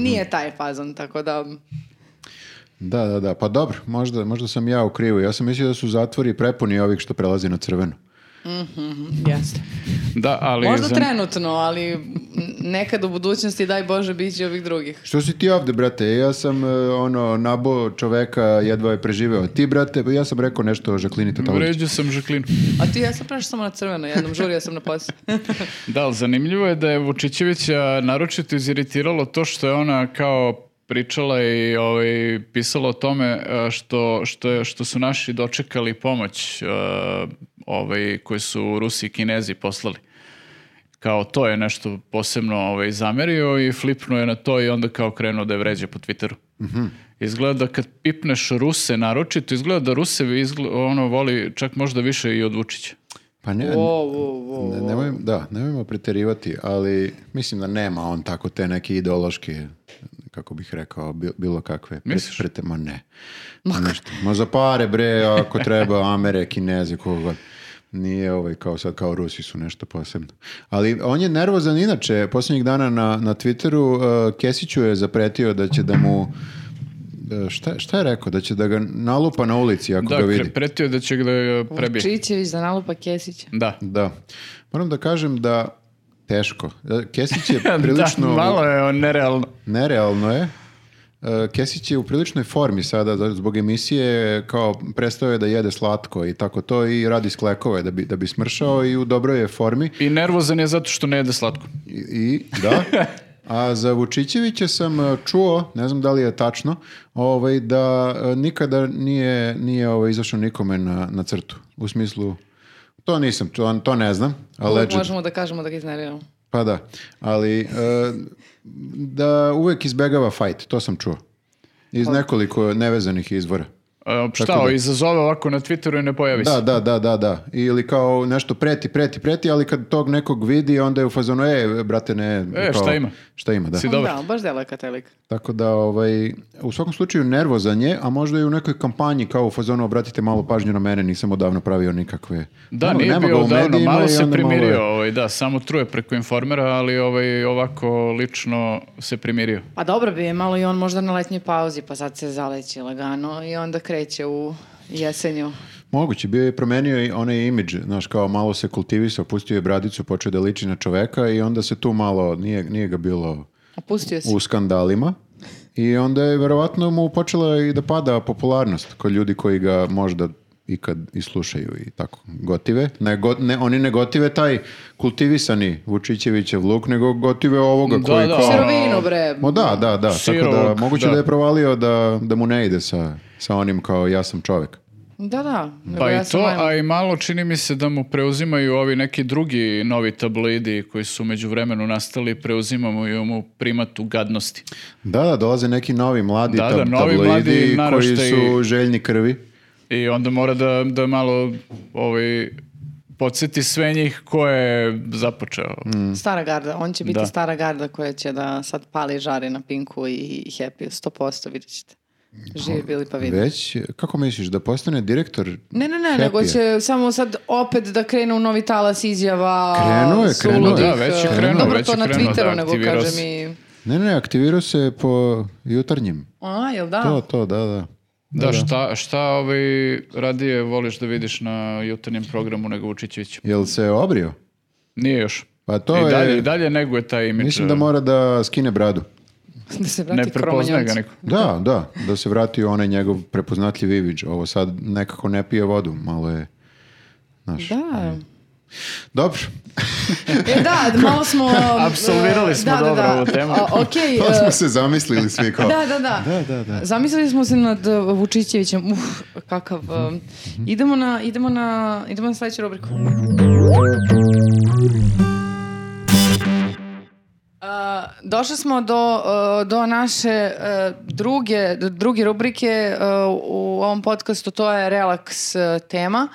[SPEAKER 1] Nije taj fazon, tako da...
[SPEAKER 2] Da, da, da. Pa dobro, možda, možda sam ja u krivu. Ja sam mislio da su zatvori prepuni ovih što prelazi na crveno.
[SPEAKER 1] Jeste.
[SPEAKER 3] Da, ali...
[SPEAKER 1] Možda
[SPEAKER 3] za-
[SPEAKER 1] trenutno, ali m, nekad u budućnosti, daj Bože, bit će ovih drugih.
[SPEAKER 2] Što si ti ovde, brate? Ja sam e, ono nabo čoveka, jedva je preživeo. Ti, brate, ja sam rekao nešto o Žaklini Tatalović.
[SPEAKER 3] Vređao sam Žaklinu.
[SPEAKER 1] A ti ja sam prešla samo na crveno, jednom žurio sam na posao.
[SPEAKER 3] [laughs] Da, ali zanimljivo je da je Vučićevića naročito iziritiralo to što je ona kao pričala i ovaj, pisala o tome e, što, što, je- što su naši dočekali pomoć e, ovaj, koju su Rusi i Kinezi poslali. Kao to je nešto posebno ovaj, zamerio i flipnuo je na to i onda kao krenuo da je vređa po Twitteru.
[SPEAKER 2] Mhm.
[SPEAKER 3] Izgleda da kad pipneš Ruse naročito, izgleda da Ruse izgle- ono, voli čak možda više i od Vučića.
[SPEAKER 2] Pa ne,
[SPEAKER 1] Wow, wow, wow,
[SPEAKER 2] ne,
[SPEAKER 1] wow.
[SPEAKER 2] nemoj, da, nemojmo preterivati, ali mislim da nema on tako te neke ideološke, kako bih rekao, bi- bilo kakve. pre-
[SPEAKER 3] Misliš?
[SPEAKER 2] prete- ma ne. Nešto. Ma za pare, bre, ako treba, Amere, Kineze, koga god. Nije ovaj kao sad, kao Rusi su nešto posebno. Ali on je nervozan inače. Posljednjih dana na, na Twitteru uh, Kesiću je zapretio da će da mu uh, Šta, šta je rekao? Da će da ga nalupa na ulici ako
[SPEAKER 3] Da,
[SPEAKER 2] ga vidi.
[SPEAKER 3] pre- pretio je da će ga da prebije.
[SPEAKER 1] Vučićević za nalupa Kesića.
[SPEAKER 3] Da.
[SPEAKER 2] Da. Moram da kažem da teško. Da, Kesić je
[SPEAKER 3] [laughs] da,
[SPEAKER 2] prilično...
[SPEAKER 3] malo je on nerealno.
[SPEAKER 2] Nerealno je. E, Kesić je u priličnoj formi sada za- zbog emisije kao prestao je da jede slatko i tako to i radi sklekove da bi, da bi smršao i u dobroj je formi
[SPEAKER 3] I nervozan je zato što ne jede slatko.
[SPEAKER 2] i, i-
[SPEAKER 3] [laughs]
[SPEAKER 2] da. A za Vučićevića sam e, čuo, ne znam da li je tačno, ovaj, da e, nikada nije, nije ovaj, izašao nikome na, na crtu. U smislu, to nisam, to, to ne znam.
[SPEAKER 1] Uvijek
[SPEAKER 2] alleged.
[SPEAKER 1] Možemo da kažemo da ga iznerviramo.
[SPEAKER 2] Pa da, ali e, da uvek izbegava fight, to sam čuo. Iz nekoliko nevezanih izvora.
[SPEAKER 3] E, šta,
[SPEAKER 2] Tako da-
[SPEAKER 3] izazove ovako na Twitteru i ne pojavi
[SPEAKER 2] Da,
[SPEAKER 3] se.
[SPEAKER 2] da, da, da, da. Ili kao nešto preti, preti, preti, ali kad tog nekog vidi, onda je u fazonu, e, brate, ne.
[SPEAKER 3] E,
[SPEAKER 2] kao,
[SPEAKER 3] šta ima?
[SPEAKER 2] Šta ima, da.
[SPEAKER 3] Si- Dobar.
[SPEAKER 1] Da, baš delaka taj lik.
[SPEAKER 2] Tako da, ovaj, u svakom slučaju nervozan je, a možda i u nekoj kampanji kao u fazonu, obratite malo pažnju na mene, nisam odavno pravio nikakve.
[SPEAKER 3] Da,
[SPEAKER 2] Nema-
[SPEAKER 3] nije
[SPEAKER 2] nema ga
[SPEAKER 3] bio
[SPEAKER 2] u
[SPEAKER 3] davno,
[SPEAKER 2] medijima
[SPEAKER 3] malo
[SPEAKER 2] i
[SPEAKER 3] se
[SPEAKER 2] onda malo je-
[SPEAKER 3] primirio, ovaj, da, samo truje preko informera, ali ovaj, ovako lično se primirio.
[SPEAKER 1] Pa dobro bi je malo i on možda na letnjoj pauzi, pa sad se zaleći lagano i onda kreće u jesenju.
[SPEAKER 2] Moguće, bio je promenio i onaj imidž, znaš, kao malo se kultivisao, pustio je bradicu, počeo da liči na čoveka i onda se tu malo, nije, nije ga bilo
[SPEAKER 1] Opustio si.
[SPEAKER 2] u skandalima i onda je verovatno mu počela i da pada popularnost kod ljudi koji ga možda ikad i slušaju i tako gotive. Ne, go- ne, oni ne gotive taj kultivisani Vučićevićev luk, nego gotive ovoga koji
[SPEAKER 3] da,
[SPEAKER 2] kao...
[SPEAKER 3] ono-
[SPEAKER 1] Sirovinu, bre.
[SPEAKER 2] Mo da, da, da. Tako da,
[SPEAKER 3] Sirovog,
[SPEAKER 2] moguće
[SPEAKER 3] da.
[SPEAKER 2] da, je provalio da, da mu ne ide sa, sa onim kao ja sam čovek.
[SPEAKER 1] Da, da.
[SPEAKER 3] Pa
[SPEAKER 1] nego
[SPEAKER 3] i
[SPEAKER 1] ja sam
[SPEAKER 3] to,
[SPEAKER 1] Maja.
[SPEAKER 3] a i malo čini mi se da mu preuzimaju ovi neki drugi novi tabloidi koji su među vremenu nastali, preuzimamo i mu primatu gadnosti.
[SPEAKER 2] Da, da, dolaze neki novi mladi
[SPEAKER 3] Da,
[SPEAKER 2] tab-
[SPEAKER 3] da, novi
[SPEAKER 2] tabloidi
[SPEAKER 3] mladi
[SPEAKER 2] koji
[SPEAKER 3] naraštaji.
[SPEAKER 2] su željni krvi.
[SPEAKER 3] I onda mora da, da malo ovaj, podsjeti sve njih ko je započeo.
[SPEAKER 2] Mhm.
[SPEAKER 1] Stara garda, on će biti
[SPEAKER 3] Da.
[SPEAKER 1] stara garda koja će da sad pali žare na Pinku i, i Happy, 100% vidjet ćete. Živi bili pa vidi.
[SPEAKER 2] Već, kako misliš, da postane direktor?
[SPEAKER 1] Ne, ne, ne,
[SPEAKER 2] Happy-a?
[SPEAKER 1] nego će samo sad opet da krenu u novi talas izjava.
[SPEAKER 2] Krenuo je, krenuo je.
[SPEAKER 1] suludih,
[SPEAKER 2] Da,
[SPEAKER 3] već je
[SPEAKER 1] eh,
[SPEAKER 3] krenuo,
[SPEAKER 1] Dobro,
[SPEAKER 3] već
[SPEAKER 1] to
[SPEAKER 3] je
[SPEAKER 1] na
[SPEAKER 3] krenuo,
[SPEAKER 1] Twitteru,
[SPEAKER 3] da,
[SPEAKER 1] nego
[SPEAKER 3] aktivirao
[SPEAKER 1] kaže
[SPEAKER 3] se.
[SPEAKER 1] mi...
[SPEAKER 2] Ne, ne, aktivirao se po jutarnjim.
[SPEAKER 1] A, jel da?
[SPEAKER 2] To, to, da, da.
[SPEAKER 3] Da, šta, šta ovaj radije voliš da vidiš na jutarnjem programu nego Vučićevića?
[SPEAKER 2] Jel se obrio?
[SPEAKER 3] Nije još.
[SPEAKER 2] Pa to
[SPEAKER 3] I
[SPEAKER 2] je...
[SPEAKER 3] dalje, i dalje neguje taj imidž. eh,
[SPEAKER 2] Mislim da mora da skine bradu.
[SPEAKER 1] [laughs] Da se vrati
[SPEAKER 3] Ne prepoznaje ga
[SPEAKER 1] Kromanjonci.
[SPEAKER 3] niko.
[SPEAKER 2] Da, da, da se vrati u onaj njegov prepoznatljiv imidž. Ovo sad nekako ne pije vodu, malo je... Znaš.
[SPEAKER 1] Da.
[SPEAKER 2] Dobro,
[SPEAKER 1] E, da, malo smo...
[SPEAKER 3] [laughs]
[SPEAKER 1] e,
[SPEAKER 3] Apsolvirali smo
[SPEAKER 1] da, da,
[SPEAKER 3] dobro
[SPEAKER 1] da.
[SPEAKER 3] ovu temu.
[SPEAKER 1] A, okej,
[SPEAKER 2] [laughs] to
[SPEAKER 1] eh,
[SPEAKER 2] smo se zamislili svi
[SPEAKER 1] [laughs]
[SPEAKER 2] kao...
[SPEAKER 1] Da, da, da.
[SPEAKER 2] Da, da, da.
[SPEAKER 1] Zamislili smo se nad uh, Vučićevićem. Uf, kakav. um,
[SPEAKER 2] Mhm.
[SPEAKER 1] idemo na idemo na idemo na sledeću rubriku. A, Uh, došli smo do, uh, do naše uh, druge, do druge rubrike uh, u ovom podcastu, to je relaks uh, tema.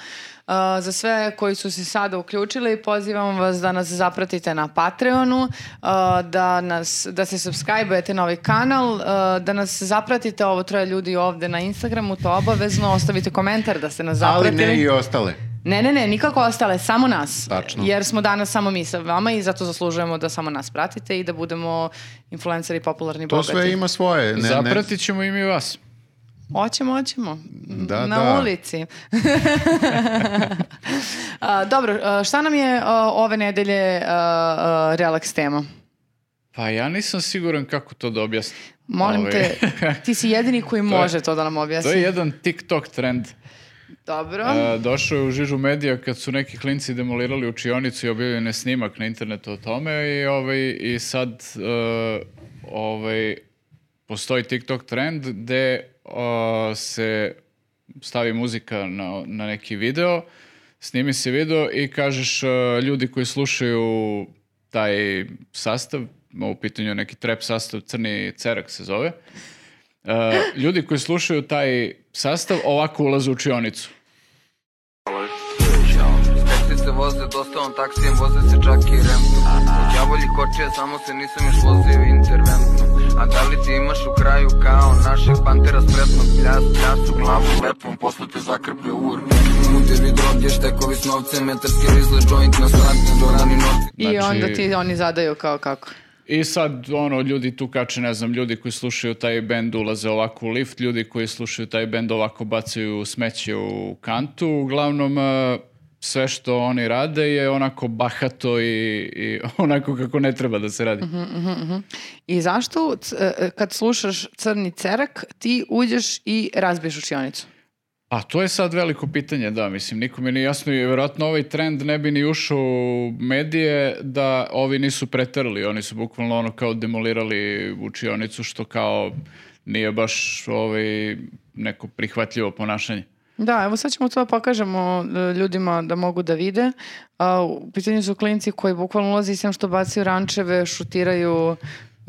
[SPEAKER 1] Uh, za sve koji su se sada uključili, pozivam vas da nas zapratite na Patreonu, uh, da, nas, da se subscribe-ujete na ovaj kanal, uh, da nas zapratite ovo troje ljudi ovde na Instagramu, to obavezno, ostavite komentar da ste nas
[SPEAKER 2] Ali
[SPEAKER 1] zapratili.
[SPEAKER 2] ne i ostale.
[SPEAKER 1] Ne, ne, ne, nikako ostale, samo nas.
[SPEAKER 2] Tačno.
[SPEAKER 1] Jer smo danas samo mi sa vama i zato zaslužujemo da samo nas pratite i da budemo influenceri popularni
[SPEAKER 2] To
[SPEAKER 1] bogati.
[SPEAKER 2] sve ima svoje. Ne, ne,
[SPEAKER 3] Zapratit ćemo i mi vas.
[SPEAKER 1] Oćemo, oćemo.
[SPEAKER 2] Da,
[SPEAKER 1] Na
[SPEAKER 2] da.
[SPEAKER 1] ulici. [laughs] A, dobro, a, šta nam je a, ove nedelje a, a, relaks tema?
[SPEAKER 3] Pa ja nisam siguran kako to da objasnim.
[SPEAKER 1] Molim
[SPEAKER 3] Ovaj,
[SPEAKER 1] te, ti si jedini
[SPEAKER 2] [laughs]
[SPEAKER 1] koji može to da nam
[SPEAKER 3] [laughs] to
[SPEAKER 1] objasni.
[SPEAKER 3] je jedan TikTok trend.
[SPEAKER 1] Dobro.
[SPEAKER 3] E, došao je u žižu medija kad su neki klinci demolirali učionicu i objavljen je snimak na internetu o tome i, ovaj, i sad e, ovaj, postoji TikTok trend gde o, se stavi muzika na, na neki video, snimi se video i kažeš e, ljudi koji slušaju taj sastav, u pitanju je neki trap sastav, crni cerak se zove, e, ljudi koji slušaju taj sastav ovako ulaze u učionicu.
[SPEAKER 4] This is the world voze dostavom taksijem, voze se čak i remtom U djavolji kočija samo se nisam još vozio interventno A da li ti imaš u kraju kao našeg pantera spretnog pljas, pljas u glavu lepom, posle te zakrpe ur Mute vid roke, štekovi s novcem, metarski rizle, joint na srati, do rani noci
[SPEAKER 1] I
[SPEAKER 3] Znači-
[SPEAKER 1] onda ti oni zadaju kao kako.
[SPEAKER 3] I sad, ono, ljudi tu kače, ne znam, ljudi koji slušaju taj bend ulaze ovako u lift, ljudi koji slušaju taj bend ovako bacaju smeće u kantu. Uglavnom, e, sve što oni rade je onako bahato i, i [laughs] onako kako ne treba da se radi.
[SPEAKER 1] I zašto c- e, kad slušaš Crni cerak, ti uđeš i razbiješ učionicu?
[SPEAKER 3] A to je sad veliko pitanje, da, mislim, nikome nije jasno i vjerojatno ovaj trend ne bi ni ušao u medije da ovi nisu preterali, oni su bukvalno ono kao demolirali učionicu što kao nije baš ovaj, neko prihvatljivo ponašanje.
[SPEAKER 1] Da, evo sad ćemo to da pokažemo e, ljudima da mogu da vide. A, u pitanju su klinci koji bukvalno ulazi sem što bacaju rančeve, šutiraju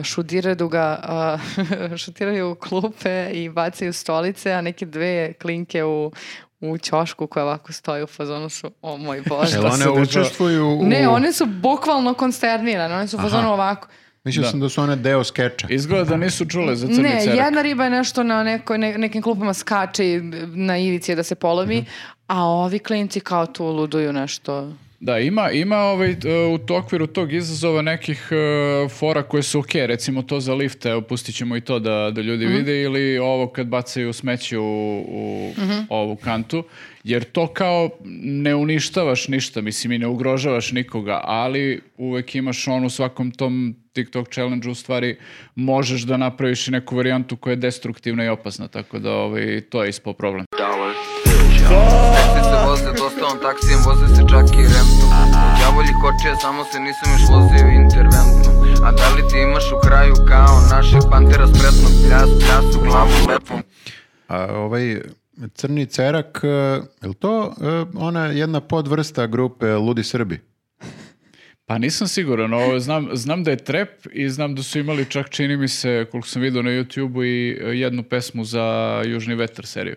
[SPEAKER 1] šudiraju ga, a, [laughs] šutiraju klupe i bacaju stolice, a neke dve klinke u, u ćošku koja ovako stoji u fazonu su, o moj bože.
[SPEAKER 2] Jel
[SPEAKER 1] [laughs]
[SPEAKER 2] one
[SPEAKER 3] se dešava?
[SPEAKER 2] učestvuju u...
[SPEAKER 1] Ne, one su bukvalno konsternirane, one su u fazonu ovako.
[SPEAKER 2] Mislio
[SPEAKER 3] Da.
[SPEAKER 2] sam da su one deo skeča.
[SPEAKER 3] Izgleda da nisu čule za crni
[SPEAKER 1] Ne,
[SPEAKER 3] cerak.
[SPEAKER 1] jedna riba je nešto na nekoj, ne- nekim klupama skače i na ivici je da se polomi,
[SPEAKER 2] Mhm.
[SPEAKER 1] a ovi klinci kao tu luduju nešto.
[SPEAKER 3] Da, ima, ima ovaj, e, u to- okviru tog izazova nekih e, fora koje su ok, recimo to za lifte, evo, pustit ćemo i to da, da ljudi vide, ili ovo kad bacaju smeće u, u ovu kantu, jer to kao ne uništavaš ništa, mislim i ne ugrožavaš nikoga, ali uvek imaš on u svakom tom TikTok challenge u stvari možeš da napraviš i neku varijantu koja je destruktivna i opasna, tako da ovaj, to je ispao problem.
[SPEAKER 4] Taksi se voze dostavom taksijem, voze se čak i remtom U djavolji kočija, samo se nisam još vozio interventno A da li ti imaš u kraju kao našeg pantera spretnog pljas, pljas u glavu lepom
[SPEAKER 2] A ovaj crni cerak, e, je li to e, ona jedna podvrsta grupe Ludi Srbi?
[SPEAKER 3] Pa nisam siguran, ovo, znam, znam da je trap i znam da su imali čak čini mi se, koliko sam vidio na YouTube-u i e, jednu pesmu za Južni vetar seriju.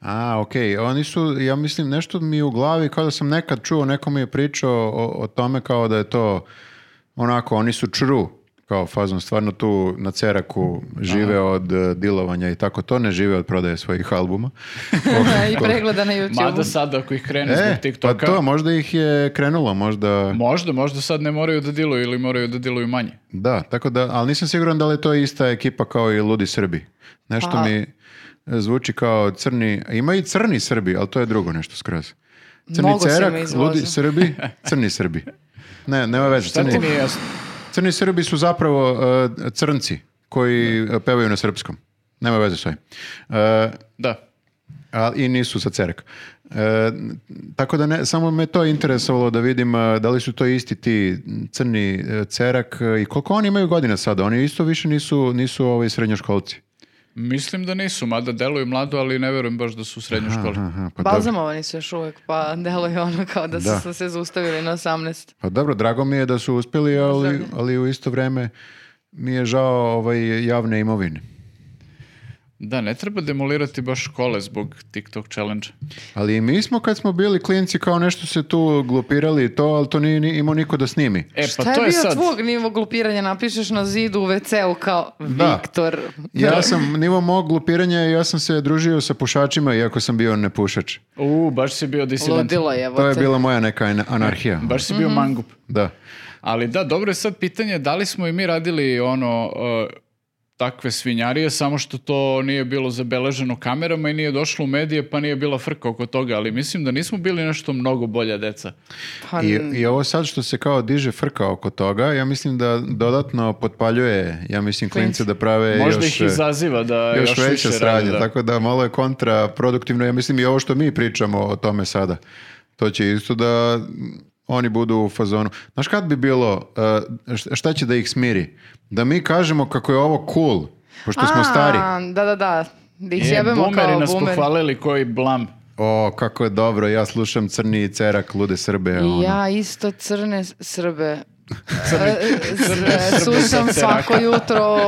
[SPEAKER 2] A, okej, oni su, ja mislim, nešto mi je u glavi, kao da sam nekad čuo, neko mi je pričao o, o tome kao da je to, onako, oni su čru, kao fazom, stvarno tu na ceraku žive od e, dilovanja i tako to, ne žive od prodaje
[SPEAKER 1] [laughs]
[SPEAKER 2] svojih albuma. Ovaj,
[SPEAKER 1] I pregleda na YouTube.
[SPEAKER 3] Mada sad ako ih krene
[SPEAKER 2] E,
[SPEAKER 3] zbog
[SPEAKER 2] pa
[SPEAKER 3] TikToka,
[SPEAKER 2] to, možda ih je krenulo, možda,
[SPEAKER 3] možda, možda sad ne moraju da diluju ili moraju da diluju manje.
[SPEAKER 2] da, tako da, ali nisam siguran da li je to ista ekipa kao i Ludi Srbi. Nešto
[SPEAKER 1] Pa-
[SPEAKER 2] mi e, zvuči kao crni, ima i crni Srbi, ali to je drugo nešto skroz. Crni
[SPEAKER 1] Mnogo si
[SPEAKER 2] cerak,
[SPEAKER 1] me izvozio.
[SPEAKER 2] ludi Srbi, crni Srbi. Ne, nema veze.
[SPEAKER 3] Šta ti
[SPEAKER 2] Crni,
[SPEAKER 3] nije jasno?
[SPEAKER 2] crni Srbi su zapravo e, crnci koji e, pevaju na srpskom. Nema veze s ovim. E,
[SPEAKER 3] Da.
[SPEAKER 2] a, I nisu sa cerek. E, tako da ne, samo me to interesovalo da vidim e, da li su to isti ti crni e, cerak e, i koliko oni imaju godina sada. Oni isto više nisu, nisu ovaj, srednjoškolci.
[SPEAKER 3] Mislim da nisu, mada deluju mlado, ali ne verujem baš da su u srednjoj školi.
[SPEAKER 2] Aha, pa, dobro.
[SPEAKER 1] Balzamovani su još uvek, pa deluje ono kao da, su
[SPEAKER 2] Da.
[SPEAKER 1] se- se zaustavili na 18.
[SPEAKER 2] pa dobro, drago mi je da su uspjeli, ali,
[SPEAKER 1] Pozdravljam.
[SPEAKER 2] ali u isto vrijeme mi je žao ovaj, javne imovine.
[SPEAKER 3] Da, ne treba demolirati baš škole zbog TikTok challenge.
[SPEAKER 2] Ali i mi smo kad smo bili klinci kao nešto se tu glupirali i to, ali to nije, ni- imao niko da snimi.
[SPEAKER 3] E, pa
[SPEAKER 1] Šta
[SPEAKER 3] to
[SPEAKER 1] je
[SPEAKER 3] je
[SPEAKER 1] bio
[SPEAKER 3] sad.
[SPEAKER 1] tvog nivo glupiranja? Napišeš na zidu u WC-u kao
[SPEAKER 2] Da.
[SPEAKER 1] Viktor.
[SPEAKER 2] Ja sam, nivo mog glupiranja, je, ja sam se družio sa pušačima iako sam bio nepušač.
[SPEAKER 3] U, baš si bio disident.
[SPEAKER 1] Ludilo je, evo
[SPEAKER 2] To je
[SPEAKER 1] te.
[SPEAKER 2] bila moja neka ana- anarhija.
[SPEAKER 3] Baš si
[SPEAKER 1] Mhm.
[SPEAKER 3] bio mangup.
[SPEAKER 2] Da.
[SPEAKER 3] Ali da, dobro je sad pitanje da li smo i mi radili ono e, takve svinjarije, samo što to nije bilo zabeleženo kamerama i nije došlo u medije, pa nije bila frka oko toga, ali mislim da nismo bili nešto mnogo bolja deca.
[SPEAKER 1] Pa,
[SPEAKER 2] I, I ovo sad što se kao diže frka oko toga, ja mislim da dodatno potpaljuje, ja mislim, klince da prave
[SPEAKER 3] Možda
[SPEAKER 2] E, još...
[SPEAKER 3] ih izaziva da još,
[SPEAKER 2] još veće
[SPEAKER 3] više
[SPEAKER 2] sranje,
[SPEAKER 3] rade, da.
[SPEAKER 2] tako da malo je kontraproduktivno. Ja mislim i ovo što mi pričamo o tome sada. To će isto da oni budu u fazonu. Znaš kad bi bilo, uh, šta- šta će da ih smiri? Da mi kažemo kako je ovo cool, pošto smo
[SPEAKER 1] A,
[SPEAKER 2] stari.
[SPEAKER 1] Da, da, da. Da ih
[SPEAKER 3] E,
[SPEAKER 1] jebemo
[SPEAKER 3] boomeri
[SPEAKER 1] kao
[SPEAKER 3] nas
[SPEAKER 1] boomer.
[SPEAKER 3] pohvalili koji blam.
[SPEAKER 2] O, kako je dobro, ja slušam Crni i Cerak, Lude Srbe. ono.
[SPEAKER 1] Ja isto crne s- Srbe. [laughs] S- Slušam svako jutro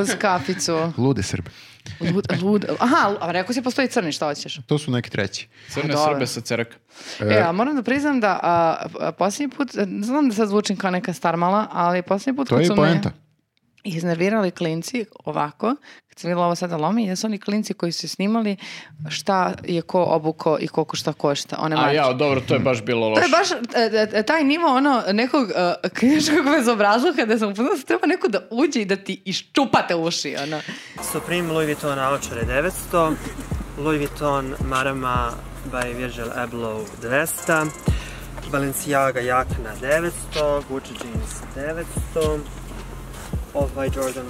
[SPEAKER 1] uz kaficu.
[SPEAKER 2] Lude Srbe.
[SPEAKER 1] Lud, lud, aha, a rekao si postoji crni, šta hoćeš?
[SPEAKER 2] To su neki treći.
[SPEAKER 3] Crne
[SPEAKER 1] Dobro.
[SPEAKER 3] Srbe sa ceraka.
[SPEAKER 1] E, a moram da priznam da a, a, posljednji put, e, znam da sad zvučim kao neka starmala, ali posljednji put
[SPEAKER 2] To
[SPEAKER 1] kad
[SPEAKER 2] je i
[SPEAKER 1] su
[SPEAKER 2] poenta.
[SPEAKER 1] me iznervirali klinci ovako, kad sam vidjela ovo sada lomi, jesu oni klinci koji su snimali šta je ko obuko i koliko šta košta. One
[SPEAKER 3] A
[SPEAKER 1] marke.
[SPEAKER 3] ja, dobro, to je baš bilo
[SPEAKER 1] To
[SPEAKER 3] loše.
[SPEAKER 1] je baš e, e, taj nivo ono nekog e, kliničkog bezobrazluka da sam upoznala treba neko da uđe i da ti iščupate uši. Ono.
[SPEAKER 5] Supreme Louis Vuitton naočare 900, Louis Vuitton marama by Virgil Abloh 200, Balenciaga jakna 900, Gucci jeans 900, Off by Jordan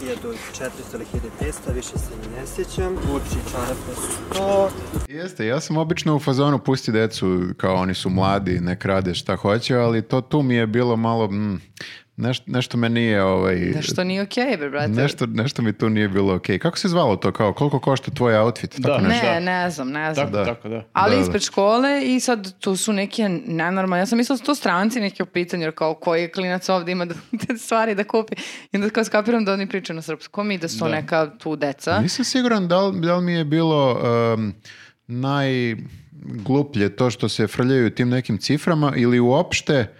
[SPEAKER 5] 1 1400 ili 1500, više se ni ne sjećam, Gucci čarape 100,
[SPEAKER 2] Jeste, ja sam obično u fazonu pusti decu, kao oni su mladi, ne krade šta hoće, ali to tu mi je bilo malo, mm, neš- nešto me nije, ovaj,
[SPEAKER 1] Nešto nije okej, bre, brate.
[SPEAKER 2] nešto, nešto mi tu nije bilo okej. Kako se zvalo to, kao koliko košta tvoj outfit?
[SPEAKER 3] Da.
[SPEAKER 2] Tako nešto.
[SPEAKER 1] Ne,
[SPEAKER 3] Da.
[SPEAKER 1] ne znam, ne znam.
[SPEAKER 3] Tako,
[SPEAKER 2] Da.
[SPEAKER 3] tako, da.
[SPEAKER 1] Ali
[SPEAKER 2] Da, da.
[SPEAKER 1] ispred škole i sad tu su neke nenormalne. Ja sam mislila da su to stranci neke u pitanju, jer kao koji klinac ovdje ima [laughs] da, te stvari da kupi. I onda kao skapiram da oni pričaju na srpskom i da su to
[SPEAKER 3] Da.
[SPEAKER 1] neka tu deca.
[SPEAKER 2] Nisam siguran da li, da li mi je bilo um, najgluplje to što se frljaju tim nekim ciframa ili uopšte,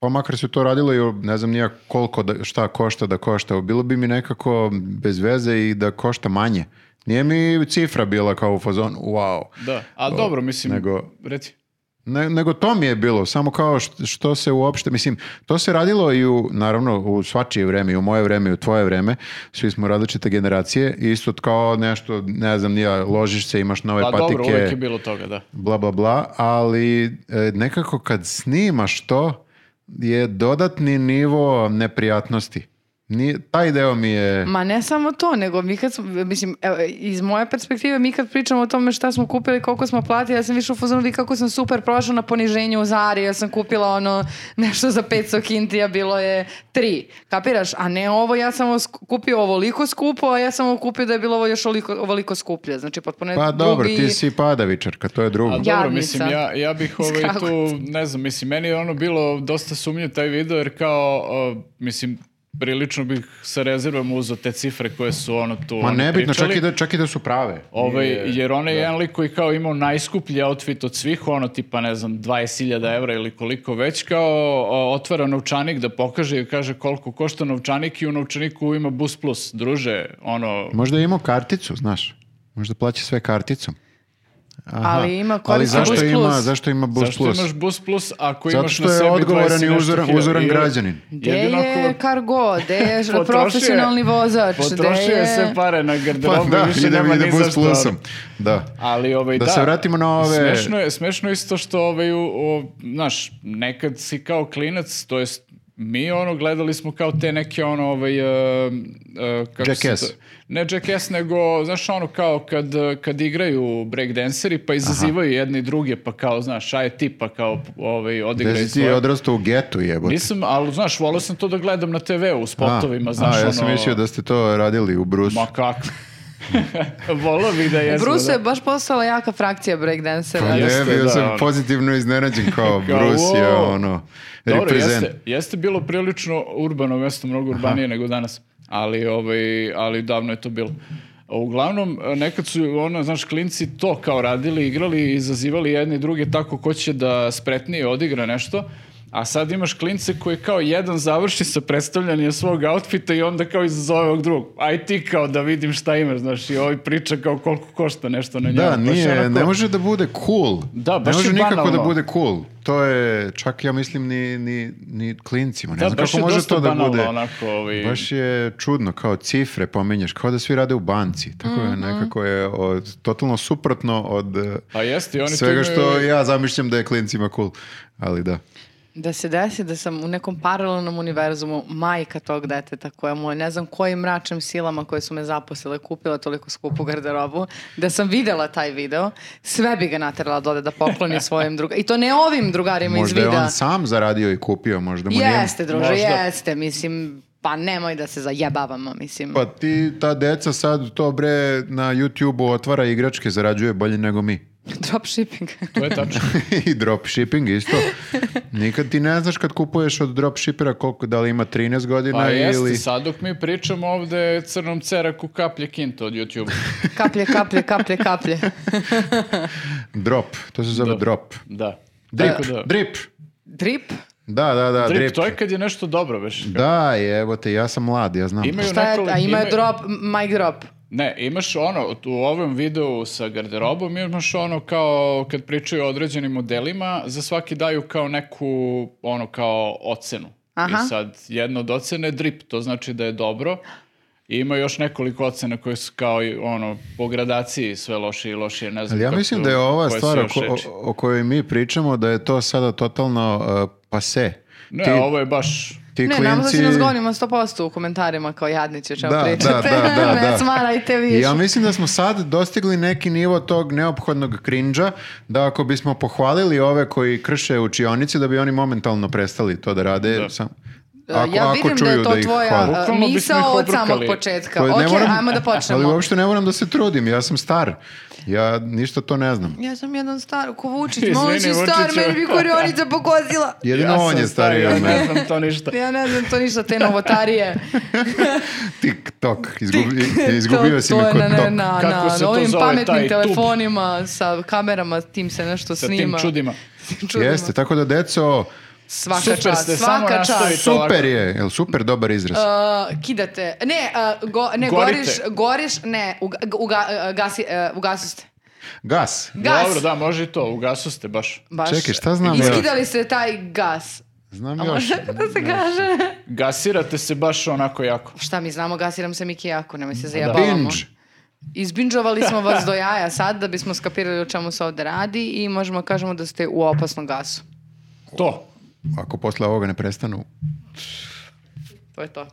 [SPEAKER 2] pa makar se to radilo i o, ne znam nija koliko da, šta košta da košta, bilo bi mi nekako bez veze i da košta manje. Nije mi cifra bila kao u fazonu, wow.
[SPEAKER 3] Da, a dobro, mislim,
[SPEAKER 2] nego-
[SPEAKER 3] reci.
[SPEAKER 2] Ne- nego to mi je bilo, samo kao što, što se uopšte, mislim, to se radilo i u, naravno, u svačije vreme, i u moje vreme, i u tvoje vreme, svi smo različite generacije, isto kao nešto, ne znam, nije, ložiš se, imaš nove
[SPEAKER 3] Pa
[SPEAKER 2] patike,
[SPEAKER 3] dobro, uvek je bilo toga, da.
[SPEAKER 2] bla, bla, bla, ali e, nekako kad snimaš to, je dodatni nivo neprijatnosti. Nije, taj deo mi je...
[SPEAKER 3] Mm,
[SPEAKER 1] Ma ne samo to, nego mi kad smo, mislim, evo, iz moje perspektive, mi kad pričamo o tome šta smo kupili, koliko smo platili, ja sam više u fazonu vidi kako sam super prošla na poniženju u Zari, ja sam kupila ono nešto za 500 kintija, bilo je tri, kapiraš? A ne ovo, ja sam ovo sk- kupio ovoliko skupo, a ja sam ovo kupio da je bilo ovo još ovoliko, ovoliko skuplje, znači potpuno je
[SPEAKER 2] Pa
[SPEAKER 1] drugi...
[SPEAKER 2] dobro, ti si padavičarka, to je drugo.
[SPEAKER 3] A dobro,
[SPEAKER 1] Jadnica.
[SPEAKER 3] mislim, ja, ja bih ovaj tu, ne znam, mislim, meni je ono bilo dosta sumnjiv taj video, jer kao, o, mislim, prilično bih sa rezervom uzeo te cifre koje su ono tu
[SPEAKER 2] Ma
[SPEAKER 3] oni
[SPEAKER 2] nebitno, čak
[SPEAKER 3] pričali.
[SPEAKER 2] i, da, čak i da su prave.
[SPEAKER 3] Ovaj,
[SPEAKER 2] Nije-
[SPEAKER 3] jer on je jedan lik koji kao imao najskuplji outfit od svih, ono tipa, ne znam, 20.000 evra ili koliko već, kao o, otvara novčanik da pokaže i kaže koliko košta novčanik i u novčaniku ima bus plus, druže, ono,
[SPEAKER 2] Možda je imao karticu, znaš. Možda plaća sve karticom. Aha.
[SPEAKER 1] Ali ima
[SPEAKER 2] Ali
[SPEAKER 1] koristi
[SPEAKER 2] zašto
[SPEAKER 1] Bus
[SPEAKER 2] ima,
[SPEAKER 1] Plus.
[SPEAKER 2] zašto ima Bus
[SPEAKER 3] zašto
[SPEAKER 2] Plus?
[SPEAKER 3] imaš bus plus ako
[SPEAKER 2] Zato
[SPEAKER 3] imaš
[SPEAKER 2] što
[SPEAKER 3] na
[SPEAKER 2] je
[SPEAKER 3] sebi 20
[SPEAKER 2] odgovoran i
[SPEAKER 3] nešto
[SPEAKER 2] uzoran-
[SPEAKER 3] hiljada?
[SPEAKER 2] uzoran
[SPEAKER 3] Jer-
[SPEAKER 2] građanin.
[SPEAKER 1] Gde
[SPEAKER 3] jedino
[SPEAKER 1] je
[SPEAKER 3] ako-
[SPEAKER 1] kargo, gde
[SPEAKER 3] [laughs]
[SPEAKER 1] je [laughs]
[SPEAKER 3] Potrošio je-
[SPEAKER 1] profesionalni vozač, gde
[SPEAKER 3] Potrošio je
[SPEAKER 1] je...
[SPEAKER 3] sve pare na garderobu
[SPEAKER 2] Pa da,
[SPEAKER 3] i više
[SPEAKER 2] ide
[SPEAKER 3] nema
[SPEAKER 2] mi ide
[SPEAKER 3] ni za
[SPEAKER 2] Bus
[SPEAKER 3] šta.
[SPEAKER 2] Plusom. Da.
[SPEAKER 3] Ali ovaj,
[SPEAKER 2] Da
[SPEAKER 3] da,
[SPEAKER 2] se vratimo na ove-
[SPEAKER 3] Smešno je, smešno je isto što ovaj, u, u- znaš, nekad si kao klinac, to jest mi ono gledali smo kao te neke ono ovaj uh, uh, kako se
[SPEAKER 2] Jackass.
[SPEAKER 3] to- ne Jackass nego znaš ono kao kad uh, kad igraju breakdanseri pa izazivaju jedni druge pa kao znaš aj ti pa kao ovaj
[SPEAKER 2] Gde
[SPEAKER 3] odigraj
[SPEAKER 2] si ti
[SPEAKER 3] svoje.
[SPEAKER 2] odrastao u getu jebote.
[SPEAKER 3] Nisam, ali znaš, volao sam to da gledam na TV-u, u spotovima,
[SPEAKER 2] a,
[SPEAKER 3] znaš,
[SPEAKER 2] a,
[SPEAKER 3] ono...
[SPEAKER 2] ja sam mislio da ste to radili u Brusu.
[SPEAKER 3] Ma kako? [laughs] Volao bih da jesmo.
[SPEAKER 1] Bruce
[SPEAKER 3] da.
[SPEAKER 1] je baš postala jaka frakcija breakdancera.
[SPEAKER 2] Pa
[SPEAKER 3] jeste,
[SPEAKER 2] ne, bio
[SPEAKER 3] da,
[SPEAKER 2] sam
[SPEAKER 3] ono.
[SPEAKER 2] pozitivno iznenađen kao
[SPEAKER 3] [laughs] Kao,
[SPEAKER 2] Bruce je
[SPEAKER 3] wow.
[SPEAKER 2] ono
[SPEAKER 3] Dobro,
[SPEAKER 2] reprezent.
[SPEAKER 3] jeste, jeste bilo prilično urbano mjesto, mnogo urbanije nego danas, ali, ovaj, ali davno je to bilo. Uglavnom, nekad su ono, znaš, klinci to kao radili, igrali, izazivali jedni druge tako ko će da spretnije odigra nešto, a sad imaš klince koji kao jedan završi sa predstavljanjem svog outfita i onda kao izazove ovog drugog. Aj ti kao da vidim šta imaš, znaš, i ovaj priča kao koliko košta nešto na njemu.
[SPEAKER 2] Da,
[SPEAKER 3] Baš
[SPEAKER 2] nije,
[SPEAKER 3] onako-
[SPEAKER 2] ne može da bude cool.
[SPEAKER 3] Da,
[SPEAKER 2] ne
[SPEAKER 3] baš je
[SPEAKER 2] može nikako da
[SPEAKER 3] banalno.
[SPEAKER 2] bude cool. To je, čak ja mislim, ni, ni, ni klincima. Ne
[SPEAKER 3] Da,
[SPEAKER 2] znam
[SPEAKER 3] baš
[SPEAKER 2] kako
[SPEAKER 3] je
[SPEAKER 2] može
[SPEAKER 3] dosta
[SPEAKER 2] to da
[SPEAKER 3] banalno,
[SPEAKER 2] bude.
[SPEAKER 3] onako, ovi-
[SPEAKER 2] Baš je čudno, kao cifre pominješ, kao da svi rade u banci. Tako
[SPEAKER 1] Mhm.
[SPEAKER 2] je nekako je od, totalno suprotno od eh,
[SPEAKER 3] Pa jeste, i oni to
[SPEAKER 2] svega
[SPEAKER 3] imaju-
[SPEAKER 2] što ja zamišljam da je klincima cool. Ali da.
[SPEAKER 1] Da se desi da sam u nekom paralelnom univerzumu majka tog deteta koja mu je ne znam kojim mračnim silama koje su me zaposlile kupila toliko skupu garderobu, da sam videla taj video, sve bi ga naterala dole da
[SPEAKER 2] [laughs]
[SPEAKER 1] pokloni svojim drugarima. I to ne ovim drugarima
[SPEAKER 2] Možda
[SPEAKER 1] iz
[SPEAKER 2] je
[SPEAKER 1] videa.
[SPEAKER 2] on sam zaradio i kupio, možda mu nije...
[SPEAKER 1] Jeste, druže,
[SPEAKER 3] Možda.
[SPEAKER 1] jeste. Mislim, pa nemoj da se zajebavamo, mislim.
[SPEAKER 2] Pa ti, ta deca sad to bre na YouTube-u otvara igračke, zarađuje bolje nego mi.
[SPEAKER 1] Dropshipping. [laughs]
[SPEAKER 3] To je tačno.
[SPEAKER 2] [laughs] I dropshipping isto. Nikad ti ne znaš kad kupuješ od dropshippera koliko, da li ima 13 godina
[SPEAKER 3] Pa jeste,
[SPEAKER 2] ili...
[SPEAKER 3] sad dok mi pričamo ovde crnom ceraku kaplje kinta od YouTube.
[SPEAKER 2] [laughs]
[SPEAKER 1] Kaplje, kaplje, kaplje, kaplje.
[SPEAKER 2] Drop, to se zove
[SPEAKER 3] Drop.
[SPEAKER 2] drop.
[SPEAKER 3] Da.
[SPEAKER 2] Drip,
[SPEAKER 3] Tako da-
[SPEAKER 2] drip.
[SPEAKER 1] Drip?
[SPEAKER 2] Da, da, da, drip.
[SPEAKER 3] Drip, to je kad je nešto dobro, veš.
[SPEAKER 2] Da, je, evo te, ja sam mlad, ja znam.
[SPEAKER 3] Imaju
[SPEAKER 1] Šta je,
[SPEAKER 3] nekoliko-
[SPEAKER 1] a ima
[SPEAKER 3] imaju-
[SPEAKER 1] drop, mic drop.
[SPEAKER 3] Ne, imaš ono, u ovom videu sa garderobom imaš ono kao kad pričaju o određenim modelima, za svaki daju kao neku, ono, kao ocenu.
[SPEAKER 1] Aha.
[SPEAKER 3] I sad, jedna od ocene je drip, to znači da je dobro. I ima još nekoliko ocena koje su kao, i, ono, po gradaciji sve lošije i lošije, ne znam
[SPEAKER 2] Ali ja
[SPEAKER 3] kako-
[SPEAKER 2] mislim da je ova
[SPEAKER 3] koje su
[SPEAKER 2] stvar o,
[SPEAKER 3] još
[SPEAKER 2] ko-
[SPEAKER 3] reči.
[SPEAKER 2] o- o kojoj mi pričamo, da je to sada totalno uh, pase.
[SPEAKER 3] Ne,
[SPEAKER 2] ti,
[SPEAKER 3] ovo je baš...
[SPEAKER 2] ti
[SPEAKER 1] ne,
[SPEAKER 2] klinci...
[SPEAKER 1] naravno da se nas gonimo 100% u komentarima kao jadniće, čemu
[SPEAKER 2] Da,
[SPEAKER 1] pričate.
[SPEAKER 2] da, da, da,
[SPEAKER 1] [laughs] ne
[SPEAKER 2] da.
[SPEAKER 1] smarajte
[SPEAKER 2] I
[SPEAKER 1] više.
[SPEAKER 2] Ja mislim da smo sad dostigli neki nivo tog neophodnog krinđa, da ako bismo pohvalili ove koji krše učionici, da bi oni momentalno prestali to da rade.
[SPEAKER 3] Da.
[SPEAKER 2] Sam,
[SPEAKER 1] E,
[SPEAKER 2] ako,
[SPEAKER 1] ja
[SPEAKER 2] ako
[SPEAKER 1] vidim da
[SPEAKER 2] čuju
[SPEAKER 1] je to
[SPEAKER 2] ih hvale.
[SPEAKER 1] tvoja
[SPEAKER 3] Bukvalno
[SPEAKER 1] uh,
[SPEAKER 3] bismo ih
[SPEAKER 1] misao od
[SPEAKER 3] obrukali.
[SPEAKER 1] samog početka.
[SPEAKER 2] Pa ne
[SPEAKER 1] Ok,
[SPEAKER 2] moram-
[SPEAKER 1] ajmo da
[SPEAKER 2] [laughs] Ali
[SPEAKER 1] počnemo.
[SPEAKER 2] uopšte ne moram da se trudim, ja sam star. Ja ništa to ne znam.
[SPEAKER 1] Ja sam jedan star, ko Vučić,
[SPEAKER 3] Izvini,
[SPEAKER 1] mogući star,
[SPEAKER 3] Vučiću.
[SPEAKER 1] meni bi korionica pokozila.
[SPEAKER 2] Jedino
[SPEAKER 3] Ja
[SPEAKER 2] on
[SPEAKER 3] sam
[SPEAKER 2] je stariji
[SPEAKER 3] ja
[SPEAKER 2] od
[SPEAKER 3] [laughs] ne
[SPEAKER 2] mene.
[SPEAKER 3] znam to ništa.
[SPEAKER 1] Ja ne znam to ništa, te novotarije. [laughs]
[SPEAKER 2] Tik-tok, izgubi, [laughs] izgubio si me
[SPEAKER 1] to
[SPEAKER 2] kod
[SPEAKER 1] je na,
[SPEAKER 2] tok.
[SPEAKER 1] na, na,
[SPEAKER 3] Kako
[SPEAKER 1] na
[SPEAKER 3] se to
[SPEAKER 1] ovim
[SPEAKER 3] zove,
[SPEAKER 1] pametnim
[SPEAKER 3] taj tub?
[SPEAKER 1] telefonima, sa kamerama, tim se nešto
[SPEAKER 3] Sa tim
[SPEAKER 1] snima.
[SPEAKER 3] čudima.
[SPEAKER 1] čudima.
[SPEAKER 2] Jeste, tako da deco,
[SPEAKER 1] Svaka
[SPEAKER 3] Super
[SPEAKER 1] čast,
[SPEAKER 3] ste, samo
[SPEAKER 1] svaka čast.
[SPEAKER 3] nastavite.
[SPEAKER 2] super je, jel super dobar izraz.
[SPEAKER 1] Uh, kidate. Ne, uh, go, ne
[SPEAKER 3] Gorite.
[SPEAKER 1] goriš, goriš, ne, uga, uga, uh, gasi, uh, ugasu ste.
[SPEAKER 2] Gas.
[SPEAKER 1] Gas.
[SPEAKER 3] Dobro, da, može i to, ugasu ste baš.
[SPEAKER 1] Baš.
[SPEAKER 2] Čekaj, šta znam ja?
[SPEAKER 1] Iskidali ste taj gas.
[SPEAKER 2] Znam
[SPEAKER 1] A
[SPEAKER 2] još.
[SPEAKER 1] može da se kaže?
[SPEAKER 3] Gasirate se baš onako jako.
[SPEAKER 1] Šta mi znamo, gasiram se Miki jako, nemoj se zajebavamo.
[SPEAKER 2] Binge.
[SPEAKER 1] Izbinđovali smo
[SPEAKER 2] [laughs]
[SPEAKER 1] vas do jaja sad da bismo skapirali o čemu se ovde radi i možemo kažemo da ste u opasnom gasu.
[SPEAKER 3] To.
[SPEAKER 2] Ako posle ovoga ne prestanu,
[SPEAKER 1] To je to.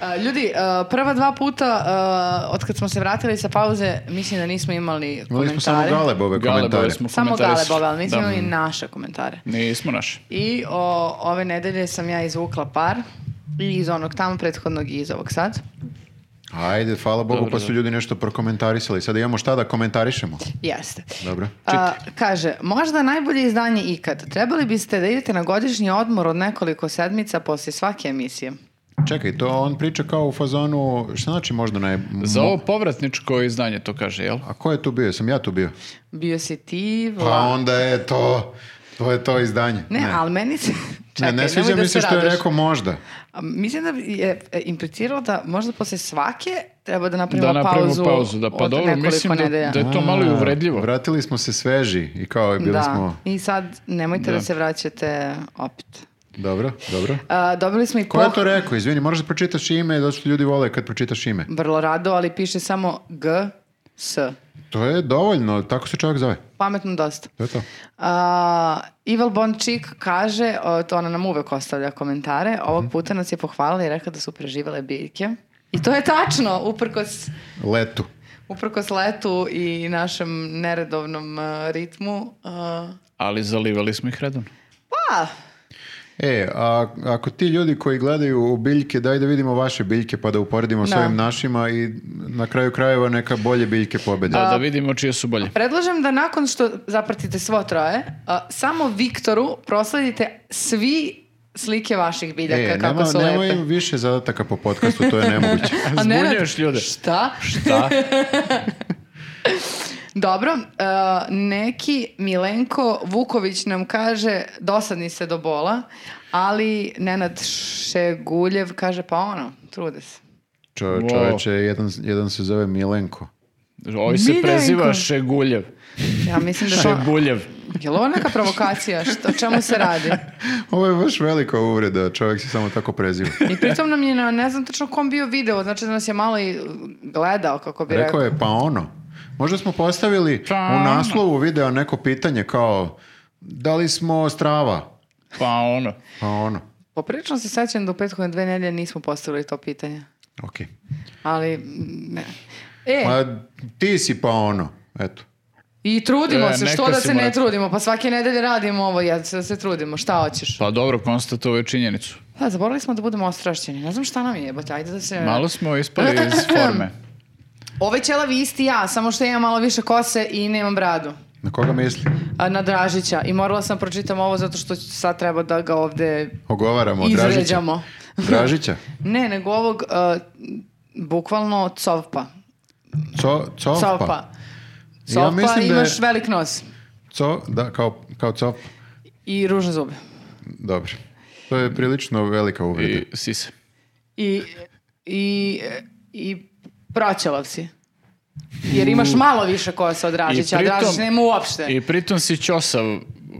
[SPEAKER 1] A, Ljudi, a, prva dva puta a, od kad smo se vratili sa pauze, mislim da nismo imali
[SPEAKER 2] imali
[SPEAKER 1] komentare.
[SPEAKER 2] smo samo galebove komentare.
[SPEAKER 3] Galebove smo
[SPEAKER 1] Samo
[SPEAKER 3] komentarisali.
[SPEAKER 1] Galebove, ali nismo
[SPEAKER 3] Da.
[SPEAKER 1] imali naše komentare.
[SPEAKER 3] Nismo naši.
[SPEAKER 1] I o, ove nedelje sam ja izvukla par i iz onog tamo prethodnog i iz ovog sad.
[SPEAKER 2] Ajde, hvala Bogu,
[SPEAKER 3] Dobro,
[SPEAKER 2] pa su
[SPEAKER 3] dobro.
[SPEAKER 2] ljudi nešto prokomentarisali. Sada imamo šta da komentarišemo.
[SPEAKER 1] Jeste.
[SPEAKER 2] Dobro.
[SPEAKER 1] A, kaže, možda najbolje izdanje ikad. Trebali biste da idete na godišnji odmor od nekoliko sedmica poslije svake emisije.
[SPEAKER 2] Čekaj, to on priča kao u fazonu, šta znači možda naj...
[SPEAKER 3] Za ovo povratničko izdanje to kaže, jel?
[SPEAKER 2] A ko je tu bio? Sam ja tu bio.
[SPEAKER 1] Bio si ti,
[SPEAKER 2] Pa
[SPEAKER 1] Vla-
[SPEAKER 2] onda je to, to je to izdanje.
[SPEAKER 1] Ne, ali meni se... [laughs] Čekaj,
[SPEAKER 2] Ne, ne sviđa
[SPEAKER 1] nemoj da
[SPEAKER 2] mi se
[SPEAKER 1] se
[SPEAKER 2] što je
[SPEAKER 1] raduješ.
[SPEAKER 2] rekao možda.
[SPEAKER 1] A, Mislim da bi je e, implicirao da možda posle svake treba da napravimo
[SPEAKER 3] Da napravimo
[SPEAKER 1] pauzu,
[SPEAKER 3] pauzu, da pa
[SPEAKER 1] od
[SPEAKER 3] dobro,
[SPEAKER 1] nekoliko
[SPEAKER 3] mislim da,
[SPEAKER 1] nedelja.
[SPEAKER 3] da je to malo i
[SPEAKER 2] A,
[SPEAKER 3] uvredljivo.
[SPEAKER 2] Vratili smo se sveži i kao je bili
[SPEAKER 1] Da.
[SPEAKER 2] smo...
[SPEAKER 1] i sad nemojte da,
[SPEAKER 3] Da.
[SPEAKER 1] se vraćate opet.
[SPEAKER 2] Dobro, dobro.
[SPEAKER 1] A, dobili smo i
[SPEAKER 2] Ko je
[SPEAKER 1] poh-
[SPEAKER 2] to rekao? Izvini, moraš da pročitaš ime, zato što ljudi vole kad pročitaš ime.
[SPEAKER 1] vrlo rado, ali piše samo G, S.
[SPEAKER 2] To je dovoljno, tako se čovjek zove.
[SPEAKER 1] Pametno dosta.
[SPEAKER 2] To je to.
[SPEAKER 1] A, Evil Bončik kaže, o, to ona nam uvek ostavlja komentare, ovog puta nas je pohvalila i rekla da su preživele biljke. I to je tačno, uprkos,
[SPEAKER 2] Letu.
[SPEAKER 1] uprkos letu i našem neredovnom e, ritmu. e,
[SPEAKER 3] Ali zalivali smo ih redom.
[SPEAKER 1] pa,
[SPEAKER 2] E, a, ako ti ljudi koji gledaju u biljke, daj da vidimo vaše biljke pa da uporedimo s
[SPEAKER 1] Da.
[SPEAKER 2] ovim našima i na kraju krajeva neka bolje biljke pobede.
[SPEAKER 3] Da, da vidimo čije su bolje.
[SPEAKER 1] predlažem da nakon što zapratite svo troje, a, samo Viktoru prosledite svi slike vaših biljaka
[SPEAKER 2] E,
[SPEAKER 1] kako
[SPEAKER 2] nema,
[SPEAKER 1] su
[SPEAKER 2] nema
[SPEAKER 1] lepe.
[SPEAKER 2] im više zadataka po podcastu, to je nemoguće.
[SPEAKER 1] [laughs] A ne, ne,
[SPEAKER 3] Zbunjuješ ljude.
[SPEAKER 1] Šta?
[SPEAKER 3] Šta?
[SPEAKER 1] Dobro, uh, neki Milenko Vuković nam kaže dosadni se do bola, ali Nenad Šeguljev kaže pa ono, trude se.
[SPEAKER 2] Čo,
[SPEAKER 3] Wow.
[SPEAKER 2] čoveče, jedan, jedan se zove Milenko.
[SPEAKER 3] Ovi se
[SPEAKER 1] Miljenko.
[SPEAKER 3] preziva Šeguljev.
[SPEAKER 1] Ja mislim da to...
[SPEAKER 3] Šebuljev.
[SPEAKER 1] Je li ovo neka provokacija? Što, o čemu se radi?
[SPEAKER 2] Ovo je baš velika uvreda, čovjek se samo tako preziva.
[SPEAKER 1] [laughs] I pritom nam je, na, ne znam tačno kom bio video, znači da nas je malo i gledao, kako bi rekao.
[SPEAKER 2] Rekao je, pa ono. Možda smo postavili
[SPEAKER 1] Pa ono.
[SPEAKER 2] u naslovu videa neko pitanje kao da li smo strava?
[SPEAKER 3] Pa ono.
[SPEAKER 2] Pa ono.
[SPEAKER 1] Poprilično se sećam da u prethodne dve nedelje nismo postavili to pitanje.
[SPEAKER 2] Okej.
[SPEAKER 1] Ali, m, ne. E,
[SPEAKER 2] Ma ti si pa ono. Eto.
[SPEAKER 1] i trudimo
[SPEAKER 3] E,
[SPEAKER 1] se,
[SPEAKER 3] neka
[SPEAKER 1] što da
[SPEAKER 3] si
[SPEAKER 1] se ne
[SPEAKER 3] moja-
[SPEAKER 1] trudimo? Pa svake nedelje radimo ovo, ja se da se trudimo, šta hoćeš? Pa,
[SPEAKER 3] Pa dobro, konstatuo je činjenicu.
[SPEAKER 1] E. Da, zaboravili smo da budemo ostrašćeni. Ne znam šta nam je, jebote, ajde da se... [laughs]
[SPEAKER 3] Malo smo ispali iz forme.
[SPEAKER 1] Ovaj ćelavi isti ja, samo što imam malo više kose i nemam bradu.
[SPEAKER 2] Na koga misli?
[SPEAKER 1] A, Na Dražića. I morala sam pročitam ovo zato što sad treba da ga ovde
[SPEAKER 2] Ogovaramo, Dražića.
[SPEAKER 1] izređamo.
[SPEAKER 2] Dražića.
[SPEAKER 1] Ne, nego ovog, uh, bukvalno, covpa.
[SPEAKER 2] Co, pa? cofpa.
[SPEAKER 1] Copa. Copa,
[SPEAKER 2] mislim da je-
[SPEAKER 1] imaš velik nos
[SPEAKER 2] Co, da, kao, kao cofpa.
[SPEAKER 1] i ružne zube.
[SPEAKER 2] Dobro. To je prilično velika uvreda.
[SPEAKER 3] I sise.
[SPEAKER 1] I, i, i proćelav si. Jer imaš malo više kosa od Dražića,
[SPEAKER 3] I
[SPEAKER 1] a Dražić
[SPEAKER 3] pritom-
[SPEAKER 1] nema uopšte.
[SPEAKER 3] I pritom si ćosav,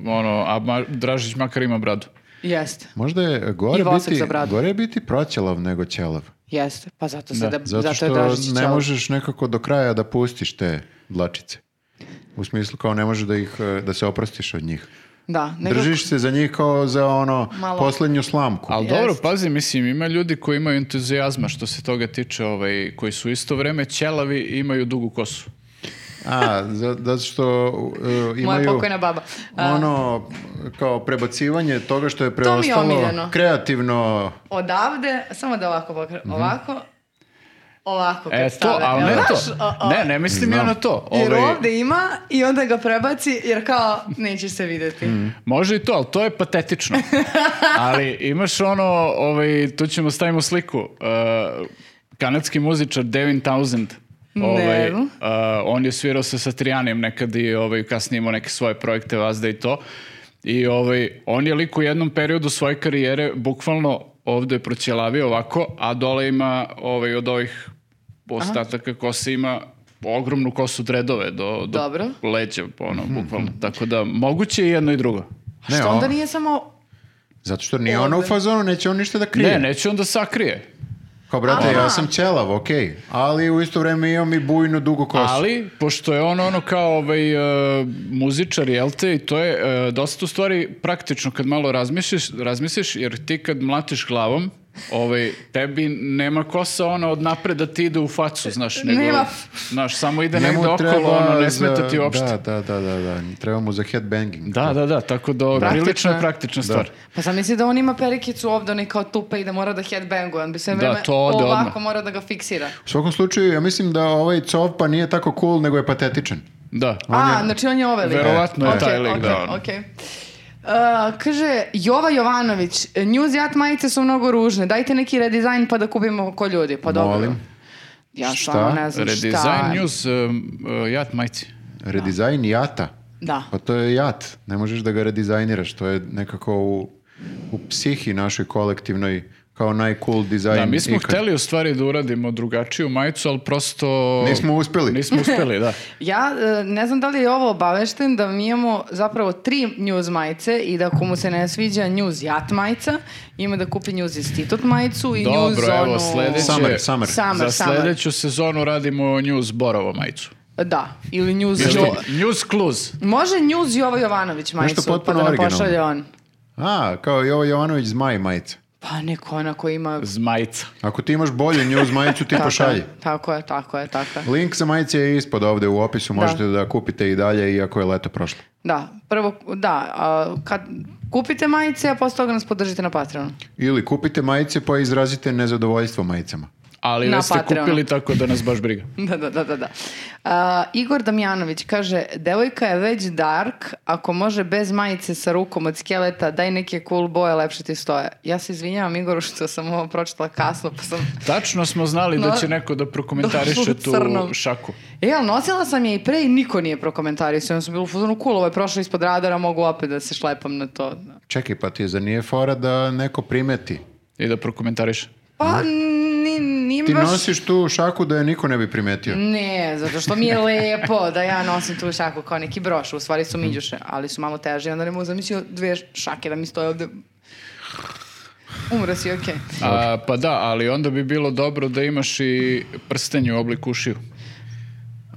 [SPEAKER 3] ono, a Ma- Dražić makar ima bradu.
[SPEAKER 1] Jeste,
[SPEAKER 2] Možda je
[SPEAKER 1] I
[SPEAKER 2] gore
[SPEAKER 1] vosak
[SPEAKER 2] biti,
[SPEAKER 1] za bradu.
[SPEAKER 2] gore je biti proćelav nego ćelav.
[SPEAKER 1] jeste. Pa zato, se da,
[SPEAKER 2] Zato,
[SPEAKER 1] zato je
[SPEAKER 2] što
[SPEAKER 1] Dražić
[SPEAKER 2] ne
[SPEAKER 1] ćelav.
[SPEAKER 2] možeš nekako do kraja da pustiš te dlačice. U smislu kao ne možeš da, ih, eh, da se oprostiš od njih.
[SPEAKER 1] Da, nego-
[SPEAKER 2] Držiš se za njih kao za ono
[SPEAKER 1] Malo.
[SPEAKER 2] poslednju slamku.
[SPEAKER 3] Ali dobro,
[SPEAKER 1] Jest.
[SPEAKER 3] pazi, mislim, ima ljudi koji imaju entuzijazma što se toga tiče, ovaj, koji su isto vreme ćelavi i imaju dugu kosu.
[SPEAKER 2] A, za- zato što eh,
[SPEAKER 1] Moja
[SPEAKER 2] imaju
[SPEAKER 1] pokojna baba. E, A,
[SPEAKER 2] ono kao prebacivanje toga što je
[SPEAKER 1] mi je
[SPEAKER 2] preostalo
[SPEAKER 1] omiljeno.
[SPEAKER 2] kreativno
[SPEAKER 1] Odavde, samo da ovako pokre, ovako, ovako
[SPEAKER 3] E to,
[SPEAKER 1] predstave.
[SPEAKER 3] ali
[SPEAKER 1] Jel
[SPEAKER 3] ne
[SPEAKER 1] znaš?
[SPEAKER 3] to.
[SPEAKER 1] O, o.
[SPEAKER 3] Ne, ne mislim ja
[SPEAKER 2] Znam.
[SPEAKER 3] na to.
[SPEAKER 1] Jer
[SPEAKER 3] Ovaj,
[SPEAKER 1] ovde ima i onda ga prebaci jer kao neće se videti.
[SPEAKER 3] Mm. Može i to, ali to je patetično. ali imaš ono, ovaj, tu ćemo stavimo sliku, uh, kanadski muzičar Devin Townsend. Ovaj,
[SPEAKER 1] Ne.
[SPEAKER 3] uh, on je svirao sa Satrijanim nekad i ovaj, kasnije imao neke svoje projekte Vazda i to. I ovaj, on je lik u jednom periodu svoje karijere bukvalno ovde je proćelavio ovako, a dole ima ovaj, od ovih ostataka kose ima ogromnu kosu dredove do, do
[SPEAKER 1] Dobro.
[SPEAKER 3] leđa, ono,
[SPEAKER 2] Mhm.
[SPEAKER 3] bukvalno. Tako da, moguće je i jedno i drugo.
[SPEAKER 2] Ne,
[SPEAKER 1] Što onda
[SPEAKER 2] o-
[SPEAKER 1] nije samo...
[SPEAKER 2] Zato što nije ona u
[SPEAKER 1] Ovde.
[SPEAKER 2] fazonu, neće on ništa da krije.
[SPEAKER 3] Ne, neće onda sakrije.
[SPEAKER 2] Kao, brate,
[SPEAKER 1] Aha.
[SPEAKER 2] ja sam ćelav, okej. Ali u isto vreme imam i bujnu dugu kosu.
[SPEAKER 3] Ali, pošto je on ono kao ovaj, e, muzičar, jel te, i to je e, dosta u stvari praktično kad malo razmisliš, razmisliš jer ti kad mlatiš glavom, ovaj, tebi nema kosa ona od napreda ti ide u facu, znaš, nego,
[SPEAKER 1] Nema.
[SPEAKER 3] znaš, samo ide
[SPEAKER 2] Njemu
[SPEAKER 3] negde okolo,
[SPEAKER 2] treba
[SPEAKER 3] ono, ne
[SPEAKER 2] za-
[SPEAKER 3] smeta ti uopšte.
[SPEAKER 2] Da, da, da, da, da. Treba mu za headbanging.
[SPEAKER 3] Da, da, da, tako da, ovo je
[SPEAKER 1] Praktično
[SPEAKER 3] prilično
[SPEAKER 1] je.
[SPEAKER 3] je praktična stvar.
[SPEAKER 1] Pa sam misli da on ima perikicu ovde, on je kao tupa i da mora da headbanguje. On bi sve
[SPEAKER 3] Da,
[SPEAKER 1] vreme
[SPEAKER 3] to ode
[SPEAKER 1] ovako
[SPEAKER 3] odmah.
[SPEAKER 1] mora da ga fiksira.
[SPEAKER 2] U svakom slučaju, ja mislim da ovaj covpa nije tako cool, nego je patetičan.
[SPEAKER 3] Da.
[SPEAKER 1] A, znači on je ovaj lik.
[SPEAKER 3] Verovatno je
[SPEAKER 1] Okej,
[SPEAKER 3] taj lik,
[SPEAKER 1] okej,
[SPEAKER 3] da. ono.
[SPEAKER 1] okej. Uh, kaže, Jova Jovanović, News Jat majice su mnogo ružne, dajte neki redizajn pa da kupimo ko ljudi. Pa dobro.
[SPEAKER 2] Molim.
[SPEAKER 1] Ja
[SPEAKER 2] Šta?
[SPEAKER 1] samo ne znam šta.
[SPEAKER 3] Redesign news, um, uh, jat majci.
[SPEAKER 2] Redizajn jata.
[SPEAKER 1] Da.
[SPEAKER 2] Pa to je jat. Ne možeš da ga redizajniraš. To je nekako u, u psihi našoj kolektivnoj kao najcool dizajn.
[SPEAKER 3] Da, mi smo
[SPEAKER 2] ikad.
[SPEAKER 3] hteli u stvari da uradimo drugačiju majicu, ali prosto...
[SPEAKER 2] Nismo uspeli.
[SPEAKER 3] Nismo uspeli,
[SPEAKER 2] [laughs]
[SPEAKER 3] da.
[SPEAKER 1] Ja e, ne znam da li je ovo obavešten da mi imamo zapravo tri news majice i da komu se ne sviđa news jat majica, ima da kupi news institut majicu i
[SPEAKER 3] Dobro,
[SPEAKER 1] news
[SPEAKER 3] evo,
[SPEAKER 1] onu...
[SPEAKER 3] sledeće-
[SPEAKER 2] Summer, summer.
[SPEAKER 1] Summer.
[SPEAKER 3] Za sledeću sezonu radimo News Borovo majicu.
[SPEAKER 1] Da, ili news... Jo...
[SPEAKER 3] Nešto, news Clues.
[SPEAKER 1] Može news Jovo Jovanović majicu, pa
[SPEAKER 2] potpuno
[SPEAKER 1] da nam
[SPEAKER 2] originalno.
[SPEAKER 1] pošalje on.
[SPEAKER 2] A, kao i ovo Jovanović zmaj majica.
[SPEAKER 1] Pa neko ona koji ima...
[SPEAKER 3] Zmajica.
[SPEAKER 2] Ako ti imaš bolju news majicu,
[SPEAKER 1] [laughs]
[SPEAKER 2] ti
[SPEAKER 1] Tako je,
[SPEAKER 2] pošalji.
[SPEAKER 1] Tako je, tako je, tako je.
[SPEAKER 2] Link za majice je ispod ovde u opisu,
[SPEAKER 1] Da.
[SPEAKER 2] možete da kupite i dalje, iako je leto prošlo.
[SPEAKER 1] Da, prvo, da, a, kad kupite majice, a posle toga nas podržite na Patreonu.
[SPEAKER 2] Ili kupite majice pa izrazite nezadovoljstvo majicama.
[SPEAKER 3] Ali
[SPEAKER 1] Na
[SPEAKER 3] već ste
[SPEAKER 1] Patreonu.
[SPEAKER 3] kupili tako da nas baš briga.
[SPEAKER 1] [laughs] Da, da, da, da. da. A, Igor Damjanović kaže, devojka je već dark, ako može bez majice sa rukom od skeleta, daj neke cool boje, lepše ti stoje. Ja se izvinjavam Igoru što sam ovo pročitala kasno, pa sam...
[SPEAKER 3] Tačno smo znali da
[SPEAKER 1] No,
[SPEAKER 3] će neko da prokomentariše
[SPEAKER 1] [laughs] došlo
[SPEAKER 3] tu
[SPEAKER 1] crno.
[SPEAKER 3] šaku.
[SPEAKER 1] E, ali nosila sam je i pre i niko nije prokomentarisao. Ja sam bila u fuzonu, cool, ovo je prošlo ispod radara, mogu opet da se šlepam na to.
[SPEAKER 2] Čekaj, pa ti za nije fora da neko primeti.
[SPEAKER 3] I da prokomentariše.
[SPEAKER 1] Pa, ni, nije mi
[SPEAKER 2] Ti
[SPEAKER 1] baš...
[SPEAKER 2] nosiš tu šaku da je niko ne bi primetio.
[SPEAKER 1] Ne, zato što mi je lepo da ja nosim tu šaku kao neki broš. U stvari su miđuše, ali su malo teže. i Onda ne mogu zamislio dve šake da mi stoje ovde. Umro si, okej.
[SPEAKER 3] A, pa da, ali onda bi bilo dobro da imaš i prstenje u obliku ušiju.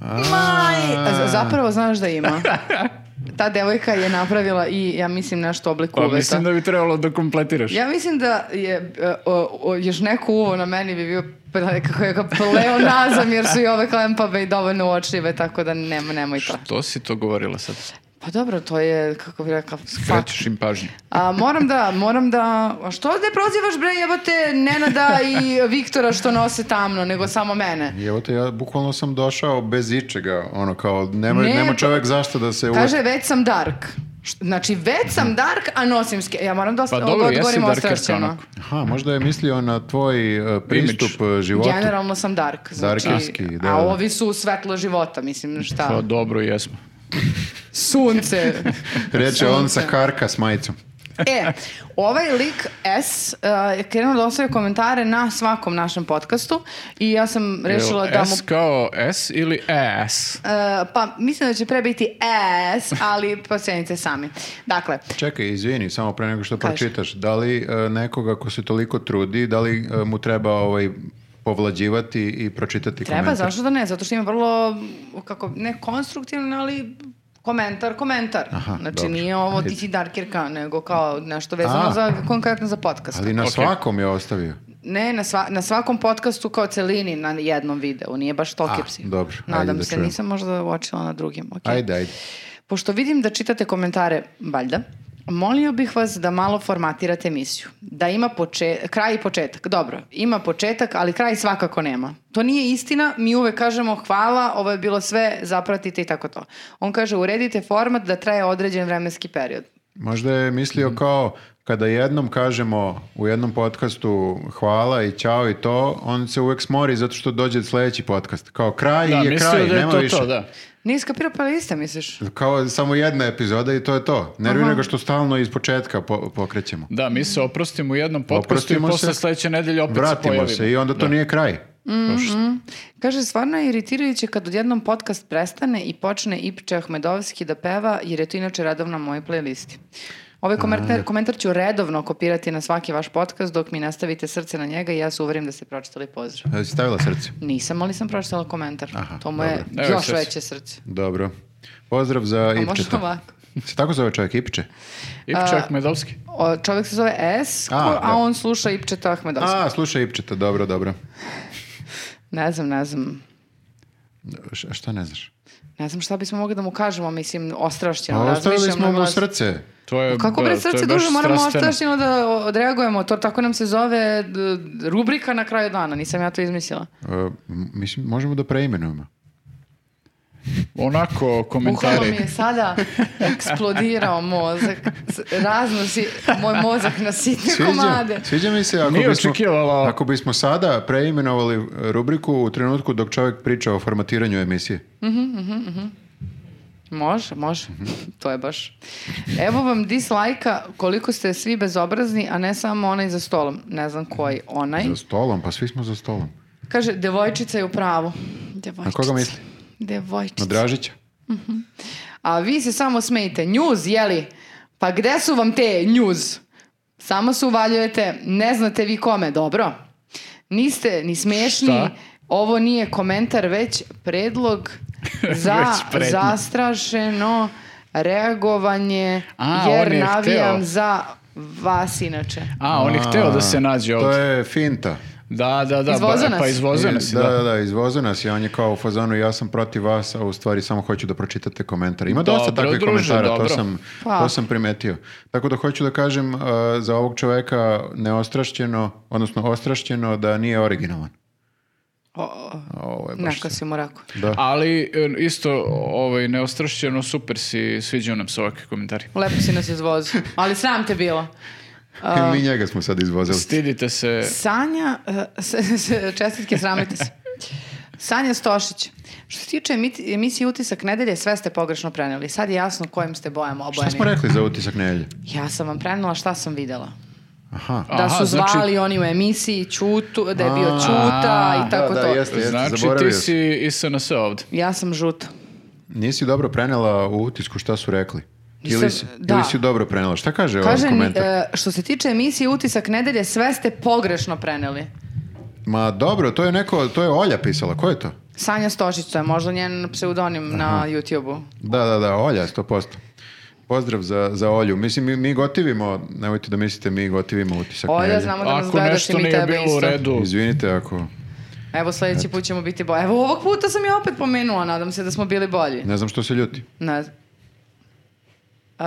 [SPEAKER 1] E, A za- Zapravo znaš da ima. [laughs] Ta devojka je napravila i, ja mislim, nešto oblik
[SPEAKER 3] Pa
[SPEAKER 1] uveta.
[SPEAKER 3] mislim da bi trebalo da kompletiraš.
[SPEAKER 1] Ja mislim da je e, o, o, još neko uvo na meni bi bio pre- kako je ga pleonazam jer su i ove klempabe i dovoljno uočljive, tako da nema, nemoj to.
[SPEAKER 3] To si to govorila sad.
[SPEAKER 1] Pa dobro, to je, kako bi rekao, fakt.
[SPEAKER 3] Krećeš im pažnju.
[SPEAKER 1] A moram da, moram da... A što ne prozivaš bre jebote Nenada i Viktora što nose tamno, nego samo mene?
[SPEAKER 2] I evo te, ja bukvalno sam došao bez ičega, ono kao, nema,
[SPEAKER 1] Ne,
[SPEAKER 2] nema
[SPEAKER 1] to-
[SPEAKER 2] čovjek zašto da se... uvati.
[SPEAKER 1] Kaže, već sam dark. Št- Znači, već sam dark, a nosim ske... Ja moram da
[SPEAKER 3] Pa
[SPEAKER 1] osta-
[SPEAKER 3] dobro, jesi
[SPEAKER 1] odgovorim
[SPEAKER 3] Darkerca
[SPEAKER 1] ostrašćeno.
[SPEAKER 3] onako.
[SPEAKER 2] Aha, možda je mislio na tvoj e, pristup e, životu.
[SPEAKER 1] Generalno sam dark. Znači,
[SPEAKER 2] Darkerski, da, da.
[SPEAKER 1] A ovi su svetlo života, mislim,
[SPEAKER 3] Pa
[SPEAKER 1] šta?
[SPEAKER 3] dobro, jesmo.
[SPEAKER 1] Sunce.
[SPEAKER 2] Reče on sa
[SPEAKER 1] Sunce.
[SPEAKER 2] karka s majicom.
[SPEAKER 1] E, ovaj lik S uh, je krenuo da ostavlja komentare na svakom našem podcastu i ja sam rešila
[SPEAKER 3] Jel
[SPEAKER 1] da mu...
[SPEAKER 3] S kao S ili E ES?
[SPEAKER 1] Uh, pa mislim da će pre biti S, ali [laughs] procenite sami. Dakle,
[SPEAKER 2] Čekaj, izvini, samo pre nego što
[SPEAKER 1] Kaži.
[SPEAKER 2] pročitaš. Da li e, nekoga ko se toliko trudi, da li e, mu treba ovaj, povlađivati i pročitati
[SPEAKER 1] treba,
[SPEAKER 2] komentar?
[SPEAKER 1] zašto da ne? Zato što ima vrlo, kako, ne konstruktivno, ali komentar, komentar.
[SPEAKER 2] Aha,
[SPEAKER 1] znači
[SPEAKER 2] dobro.
[SPEAKER 1] nije ovo
[SPEAKER 2] Ajde.
[SPEAKER 1] ti si darkirka, nego kao nešto vezano
[SPEAKER 2] A.
[SPEAKER 1] za, konkretno za podcast.
[SPEAKER 2] Ali na
[SPEAKER 3] Ok.
[SPEAKER 2] svakom je ostavio.
[SPEAKER 1] Ne, na, sva, na svakom podcastu kao celini na jednom videu, nije baš tolke
[SPEAKER 2] A,
[SPEAKER 1] psi.
[SPEAKER 2] dobro, ajde
[SPEAKER 1] Nadam
[SPEAKER 2] da
[SPEAKER 1] se,
[SPEAKER 2] čujem.
[SPEAKER 1] nisam možda uočila na drugim. ok.
[SPEAKER 2] Ajde, ajde.
[SPEAKER 1] Pošto vidim da čitate komentare, valjda, molio bih vas da malo formatirate emisiju. Da ima poče- kraj i početak. Dobro, ima početak, ali kraj svakako nema. To nije istina, mi uvek kažemo hvala, ovo je bilo sve, zapratite i tako to. On kaže uredite format da traje određen vremenski period.
[SPEAKER 2] Možda je
[SPEAKER 3] Mhm.
[SPEAKER 2] mislio kao kada jednom kažemo u jednom podcastu hvala i ćao i to, on se uvek smori zato što dođe sljedeći podcast. Kao kraj
[SPEAKER 3] Da,
[SPEAKER 2] je
[SPEAKER 3] mislio
[SPEAKER 2] kraj,
[SPEAKER 3] da je
[SPEAKER 2] nema
[SPEAKER 3] to
[SPEAKER 2] više.
[SPEAKER 3] to, da.
[SPEAKER 1] Nije skapirao pa lista, misliš?
[SPEAKER 2] Kao samo jedna epizoda i to je to. Nervira
[SPEAKER 1] Aha.
[SPEAKER 2] ga što stalno iz početka po- pokrećemo.
[SPEAKER 3] Da, mi se oprostimo u jednom podcastu i
[SPEAKER 2] Oprostimo
[SPEAKER 3] posle
[SPEAKER 2] se,
[SPEAKER 3] sledeće nedelje opet se
[SPEAKER 2] Vratimo
[SPEAKER 3] pojavimo.
[SPEAKER 2] se i onda to nije kraj.
[SPEAKER 1] Mhm. Kaže, stvarno je iritirajuće kad odjednom podcast prestane i počne Ipče Ahmedovski da peva, jer je to inače redovno na mojoj playlisti. Ovaj
[SPEAKER 2] Mm,
[SPEAKER 1] komentar, komentar ću redovno kopirati na svaki vaš podcast dok mi nastavite srce na njega i ja se uverim da ste pročitali pozdrav.
[SPEAKER 2] E, si Stavila srce.
[SPEAKER 1] Nisam, ali sam pročitala komentar.
[SPEAKER 2] Aha,
[SPEAKER 1] to mu je
[SPEAKER 3] dobro. Evo
[SPEAKER 1] još
[SPEAKER 3] srce.
[SPEAKER 1] veće srce.
[SPEAKER 2] Dobro. Pozdrav za
[SPEAKER 1] A možda
[SPEAKER 2] Ipčeta.
[SPEAKER 1] ovako.
[SPEAKER 2] Se tako zove čovjek Ipče?
[SPEAKER 3] Ipče Ahmedovski.
[SPEAKER 1] O, čovjek se zove S, ko- a,
[SPEAKER 2] A, da.
[SPEAKER 1] on sluša Ipčeta Ahmedovski.
[SPEAKER 2] A, slušaj Ipčeta, dobro, dobro.
[SPEAKER 1] Ne znam, ne znam.
[SPEAKER 2] Š- šta ne znaš?
[SPEAKER 1] Ne znam šta bismo mogli da mu kažemo, mislim, ostrašćeno.
[SPEAKER 2] A, Ostavili
[SPEAKER 1] razmišljam
[SPEAKER 2] Pa, smo
[SPEAKER 1] na
[SPEAKER 2] mu
[SPEAKER 1] glas.
[SPEAKER 2] srce. E,
[SPEAKER 3] To je,
[SPEAKER 1] Pa Kako bre
[SPEAKER 3] da, to je
[SPEAKER 1] srce
[SPEAKER 3] baš
[SPEAKER 1] duže, moramo
[SPEAKER 3] strastveno.
[SPEAKER 1] ostrašnjeno da o- odreagujemo. To tako nam se zove d- d- rubrika na kraju dana, nisam ja to izmislila.
[SPEAKER 2] E, m- mislim, možemo da preimenujemo.
[SPEAKER 3] Onako
[SPEAKER 1] Bukvalno mi
[SPEAKER 3] komentari.
[SPEAKER 1] je
[SPEAKER 2] [laughs]
[SPEAKER 1] sada eksplodirao mozak. S- Razno si moj mozak na sitne
[SPEAKER 2] Sviđa,
[SPEAKER 1] komade.
[SPEAKER 2] sviđa mi se ako
[SPEAKER 3] Nije
[SPEAKER 2] bismo,
[SPEAKER 3] očekivala.
[SPEAKER 2] ako bismo sada preimenovali rubriku u trenutku dok čovjek priča o formatiranju emisije.
[SPEAKER 1] Može, može. To je baš. Evo vam dislajka koliko ste svi bezobrazni, a ne samo onaj za stolom. Ne znam koji onaj.
[SPEAKER 2] Za stolom, pa svi smo za stolom.
[SPEAKER 1] Kaže, devojčica je u pravu. Devojčica.
[SPEAKER 2] misli?
[SPEAKER 1] Devojčica.
[SPEAKER 2] Na Dražića.
[SPEAKER 1] A vi se samo smejite. Njuz, jeli? Pa gde su vam te njuz? Samo se uvaljujete, ne znate vi kome, dobro? Niste ni smešni,
[SPEAKER 3] Šta?
[SPEAKER 1] ovo nije komentar, već predlog za
[SPEAKER 3] [laughs] Već predlog.
[SPEAKER 1] zastrašeno reagovanje,
[SPEAKER 3] A, on
[SPEAKER 1] jer
[SPEAKER 3] je
[SPEAKER 1] navijam
[SPEAKER 3] hteo.
[SPEAKER 1] za vas inače.
[SPEAKER 3] A, on je hteo Pa da se nađe
[SPEAKER 2] To
[SPEAKER 3] ovdje.
[SPEAKER 2] je finta.
[SPEAKER 3] Da, da, da.
[SPEAKER 1] Izvozao
[SPEAKER 3] ba-
[SPEAKER 1] nas.
[SPEAKER 3] Pa izvozao
[SPEAKER 2] I-
[SPEAKER 3] nas,
[SPEAKER 2] da,
[SPEAKER 3] da.
[SPEAKER 2] da, da, izvozao nas i on je kao u fazonu ja sam protiv vas, a u stvari samo hoću da pročitate komentar. Ima dosta
[SPEAKER 3] Dobro,
[SPEAKER 2] takvih
[SPEAKER 3] druže,
[SPEAKER 2] komentara,
[SPEAKER 3] dobro.
[SPEAKER 2] to sam,
[SPEAKER 1] Pa.
[SPEAKER 2] to sam primetio. Tako da hoću da kažem uh, za ovog čoveka neostrašćeno, odnosno ostrašćeno da nije originalan.
[SPEAKER 1] O, o,
[SPEAKER 2] Ovo je baš
[SPEAKER 1] nako si mu rekao.
[SPEAKER 2] Da.
[SPEAKER 3] Ali e, isto ovaj, neostrašćeno, super si, sviđaju nam se ovakvi komentari.
[SPEAKER 1] Lepo si nas izvozio, ali sram te bilo.
[SPEAKER 2] I mi njega smo sad izvozili.
[SPEAKER 3] Stidite se.
[SPEAKER 1] Sanja, eh, s- s- čestitke, sramite se. Sanja Stošić, što se tiče emiti- emisije Utisak nedelje, sve ste pogrešno preneli. Sad je jasno kojim ste bojama obojeni.
[SPEAKER 2] Šta smo rekli za utisak nelje?
[SPEAKER 1] Ja sam vam prenela šta sam videla.
[SPEAKER 2] Aha.
[SPEAKER 1] Da
[SPEAKER 3] Aha,
[SPEAKER 1] su
[SPEAKER 3] znači-
[SPEAKER 1] zvali oni u emisiji Ćutu, da je bio
[SPEAKER 2] A,
[SPEAKER 1] Ćuta i tako
[SPEAKER 2] da,
[SPEAKER 1] to.
[SPEAKER 2] jeste.
[SPEAKER 3] Znači
[SPEAKER 2] zaboravio
[SPEAKER 3] ti
[SPEAKER 2] sam.
[SPEAKER 3] si i SNS ovdje.
[SPEAKER 1] Ja sam žuta.
[SPEAKER 2] Nisi dobro prenela u utisku šta su rekli.
[SPEAKER 1] Nisam-
[SPEAKER 2] ili, si,
[SPEAKER 1] da.
[SPEAKER 2] ili si dobro prenela? Šta kaže,
[SPEAKER 1] Kaže,
[SPEAKER 2] ovaj
[SPEAKER 1] mi,
[SPEAKER 2] komentar?
[SPEAKER 1] eh, što se tiče emisije Utisak nedelje, sve ste pogrešno preneli.
[SPEAKER 2] Ma dobro, to je neko, to je Olja pisala. Ko je to?
[SPEAKER 1] Sanja Stošić, to je možda njen pseudonim na YouTube-u.
[SPEAKER 2] Da, da, da, Olja, 100%. Pozdrav za, za Olju. Mislim, mi, mi gotivimo, nemojte da mislite, mi gotivimo utisak.
[SPEAKER 1] Olja,
[SPEAKER 2] nedelje.
[SPEAKER 1] znamo da nas
[SPEAKER 3] Ako
[SPEAKER 1] gledaš i
[SPEAKER 3] nešto
[SPEAKER 1] mi
[SPEAKER 3] nije
[SPEAKER 1] tebe
[SPEAKER 3] bilo u
[SPEAKER 1] isto.
[SPEAKER 3] redu,
[SPEAKER 2] Izvinite ako...
[SPEAKER 1] Evo sljedeći put ćemo biti bolji. Evo ovog puta sam ja opet pomenula, nadam se da smo bili bolji.
[SPEAKER 2] Ne znam što se ljuti.
[SPEAKER 1] Ne znam. Uh,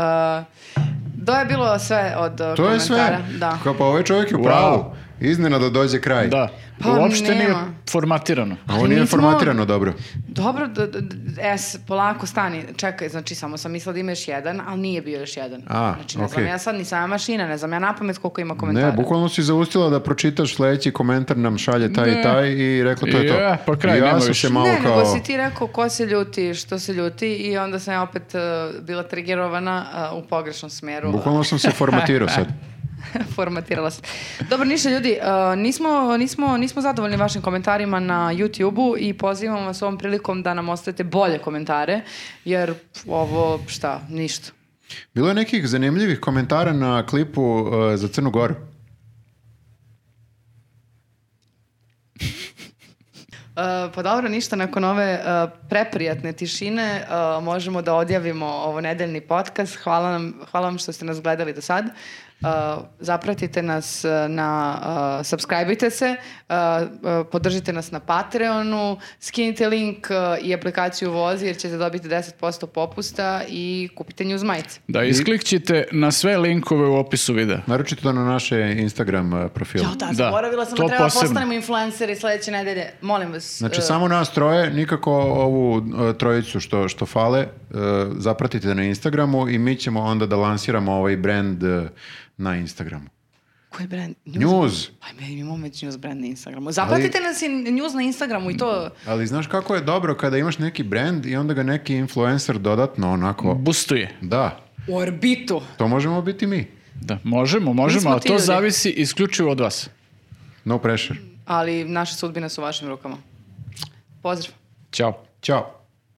[SPEAKER 1] to je bilo sve od uh,
[SPEAKER 2] To
[SPEAKER 1] komentara.
[SPEAKER 2] je sve.
[SPEAKER 1] Da.
[SPEAKER 2] Kao pa ovaj čovjek je u pravu. Iznenada dođe kraj.
[SPEAKER 3] Da.
[SPEAKER 1] Pa
[SPEAKER 3] Uopšte nije
[SPEAKER 1] nema.
[SPEAKER 3] formatirano.
[SPEAKER 2] A Ovo nije
[SPEAKER 1] nismo-
[SPEAKER 2] formatirano dobro.
[SPEAKER 1] Dobro, d- d- d- es, polako stani, čekaj, znači samo sam mislila da ima još jedan, ali nije bio još jedan.
[SPEAKER 2] A,
[SPEAKER 1] znači ne znam
[SPEAKER 2] okej.
[SPEAKER 1] ja sad, nisam ja mašina, ne znam ja napamet koliko ima komentara.
[SPEAKER 2] Ne, bukvalno si zaustila da pročitaš sledeći komentar nam šalje taj i
[SPEAKER 3] Ne.
[SPEAKER 2] taj i rekla to je to.
[SPEAKER 3] Je, pa kraj,
[SPEAKER 2] I ja
[SPEAKER 3] nema
[SPEAKER 2] sam
[SPEAKER 3] više.
[SPEAKER 2] se malo
[SPEAKER 1] ne,
[SPEAKER 2] kao...
[SPEAKER 1] nego si ti rekao ko se ljuti, što se ljuti i onda sam ja opet uh, bila trigerovana uh, u pogrešnom smeru.
[SPEAKER 2] Bukvalno sam se formatirao
[SPEAKER 1] [laughs]
[SPEAKER 2] sad.
[SPEAKER 1] Formatirala sam. Dobro, ništa ljudi, uh, nismo, nismo, nismo zadovoljni vašim komentarima na YouTube-u i pozivamo vas ovom prilikom da nam ostavite bolje komentare, jer ovo, šta, ništa.
[SPEAKER 2] Bilo je nekih zanimljivih komentara na klipu uh, za Crnu Goru.
[SPEAKER 1] E, pa dobro, ništa, nakon ove e, preprijatne tišine e, možemo da odjavimo ovo nedeljni podcast. Hvala, nam, hvala vam što ste nas gledali do sad. E, zapratite nas e, na, e, subscribeite se, e, e, podržite nas na Patreonu, skinite link e, i aplikaciju Vozi jer ćete dobiti 10% popusta i kupite news majice.
[SPEAKER 3] Da, isklikćite na sve linkove u opisu videa.
[SPEAKER 2] Naročito na naše Instagram uh, profile.
[SPEAKER 1] Ja, da,
[SPEAKER 3] Da,
[SPEAKER 1] zaboravila sam da
[SPEAKER 3] to
[SPEAKER 1] treba
[SPEAKER 3] posebno.
[SPEAKER 1] postanemo influenceri sledeće nedelje. Molim vas.
[SPEAKER 2] Znači,
[SPEAKER 1] e,
[SPEAKER 2] samo nas troje, nikako ovu uh, trojicu što, što fale, uh, zapratite na Instagramu i mi ćemo onda da lansiramo ovaj brand uh, na Instagramu.
[SPEAKER 1] Koji brand?
[SPEAKER 2] News!
[SPEAKER 1] Ajme, imamo već news brand na Instagramu. Zapratite nas i news na Instagramu i to...
[SPEAKER 2] Ali znaš kako je dobro kada imaš neki brand i onda ga neki influencer dodatno onako...
[SPEAKER 3] Bustuje.
[SPEAKER 2] Da,
[SPEAKER 1] U orbitu.
[SPEAKER 2] to možemo biti mi.
[SPEAKER 3] Da, možemo, možemo,
[SPEAKER 1] smo
[SPEAKER 3] ali
[SPEAKER 1] ti
[SPEAKER 3] to
[SPEAKER 1] ljudi.
[SPEAKER 3] zavisi isključivo od vas.
[SPEAKER 2] No pressure.
[SPEAKER 1] Ali naše sudbine su u vašim rukama. Pozdrav.
[SPEAKER 3] Ćao.
[SPEAKER 2] Ćao.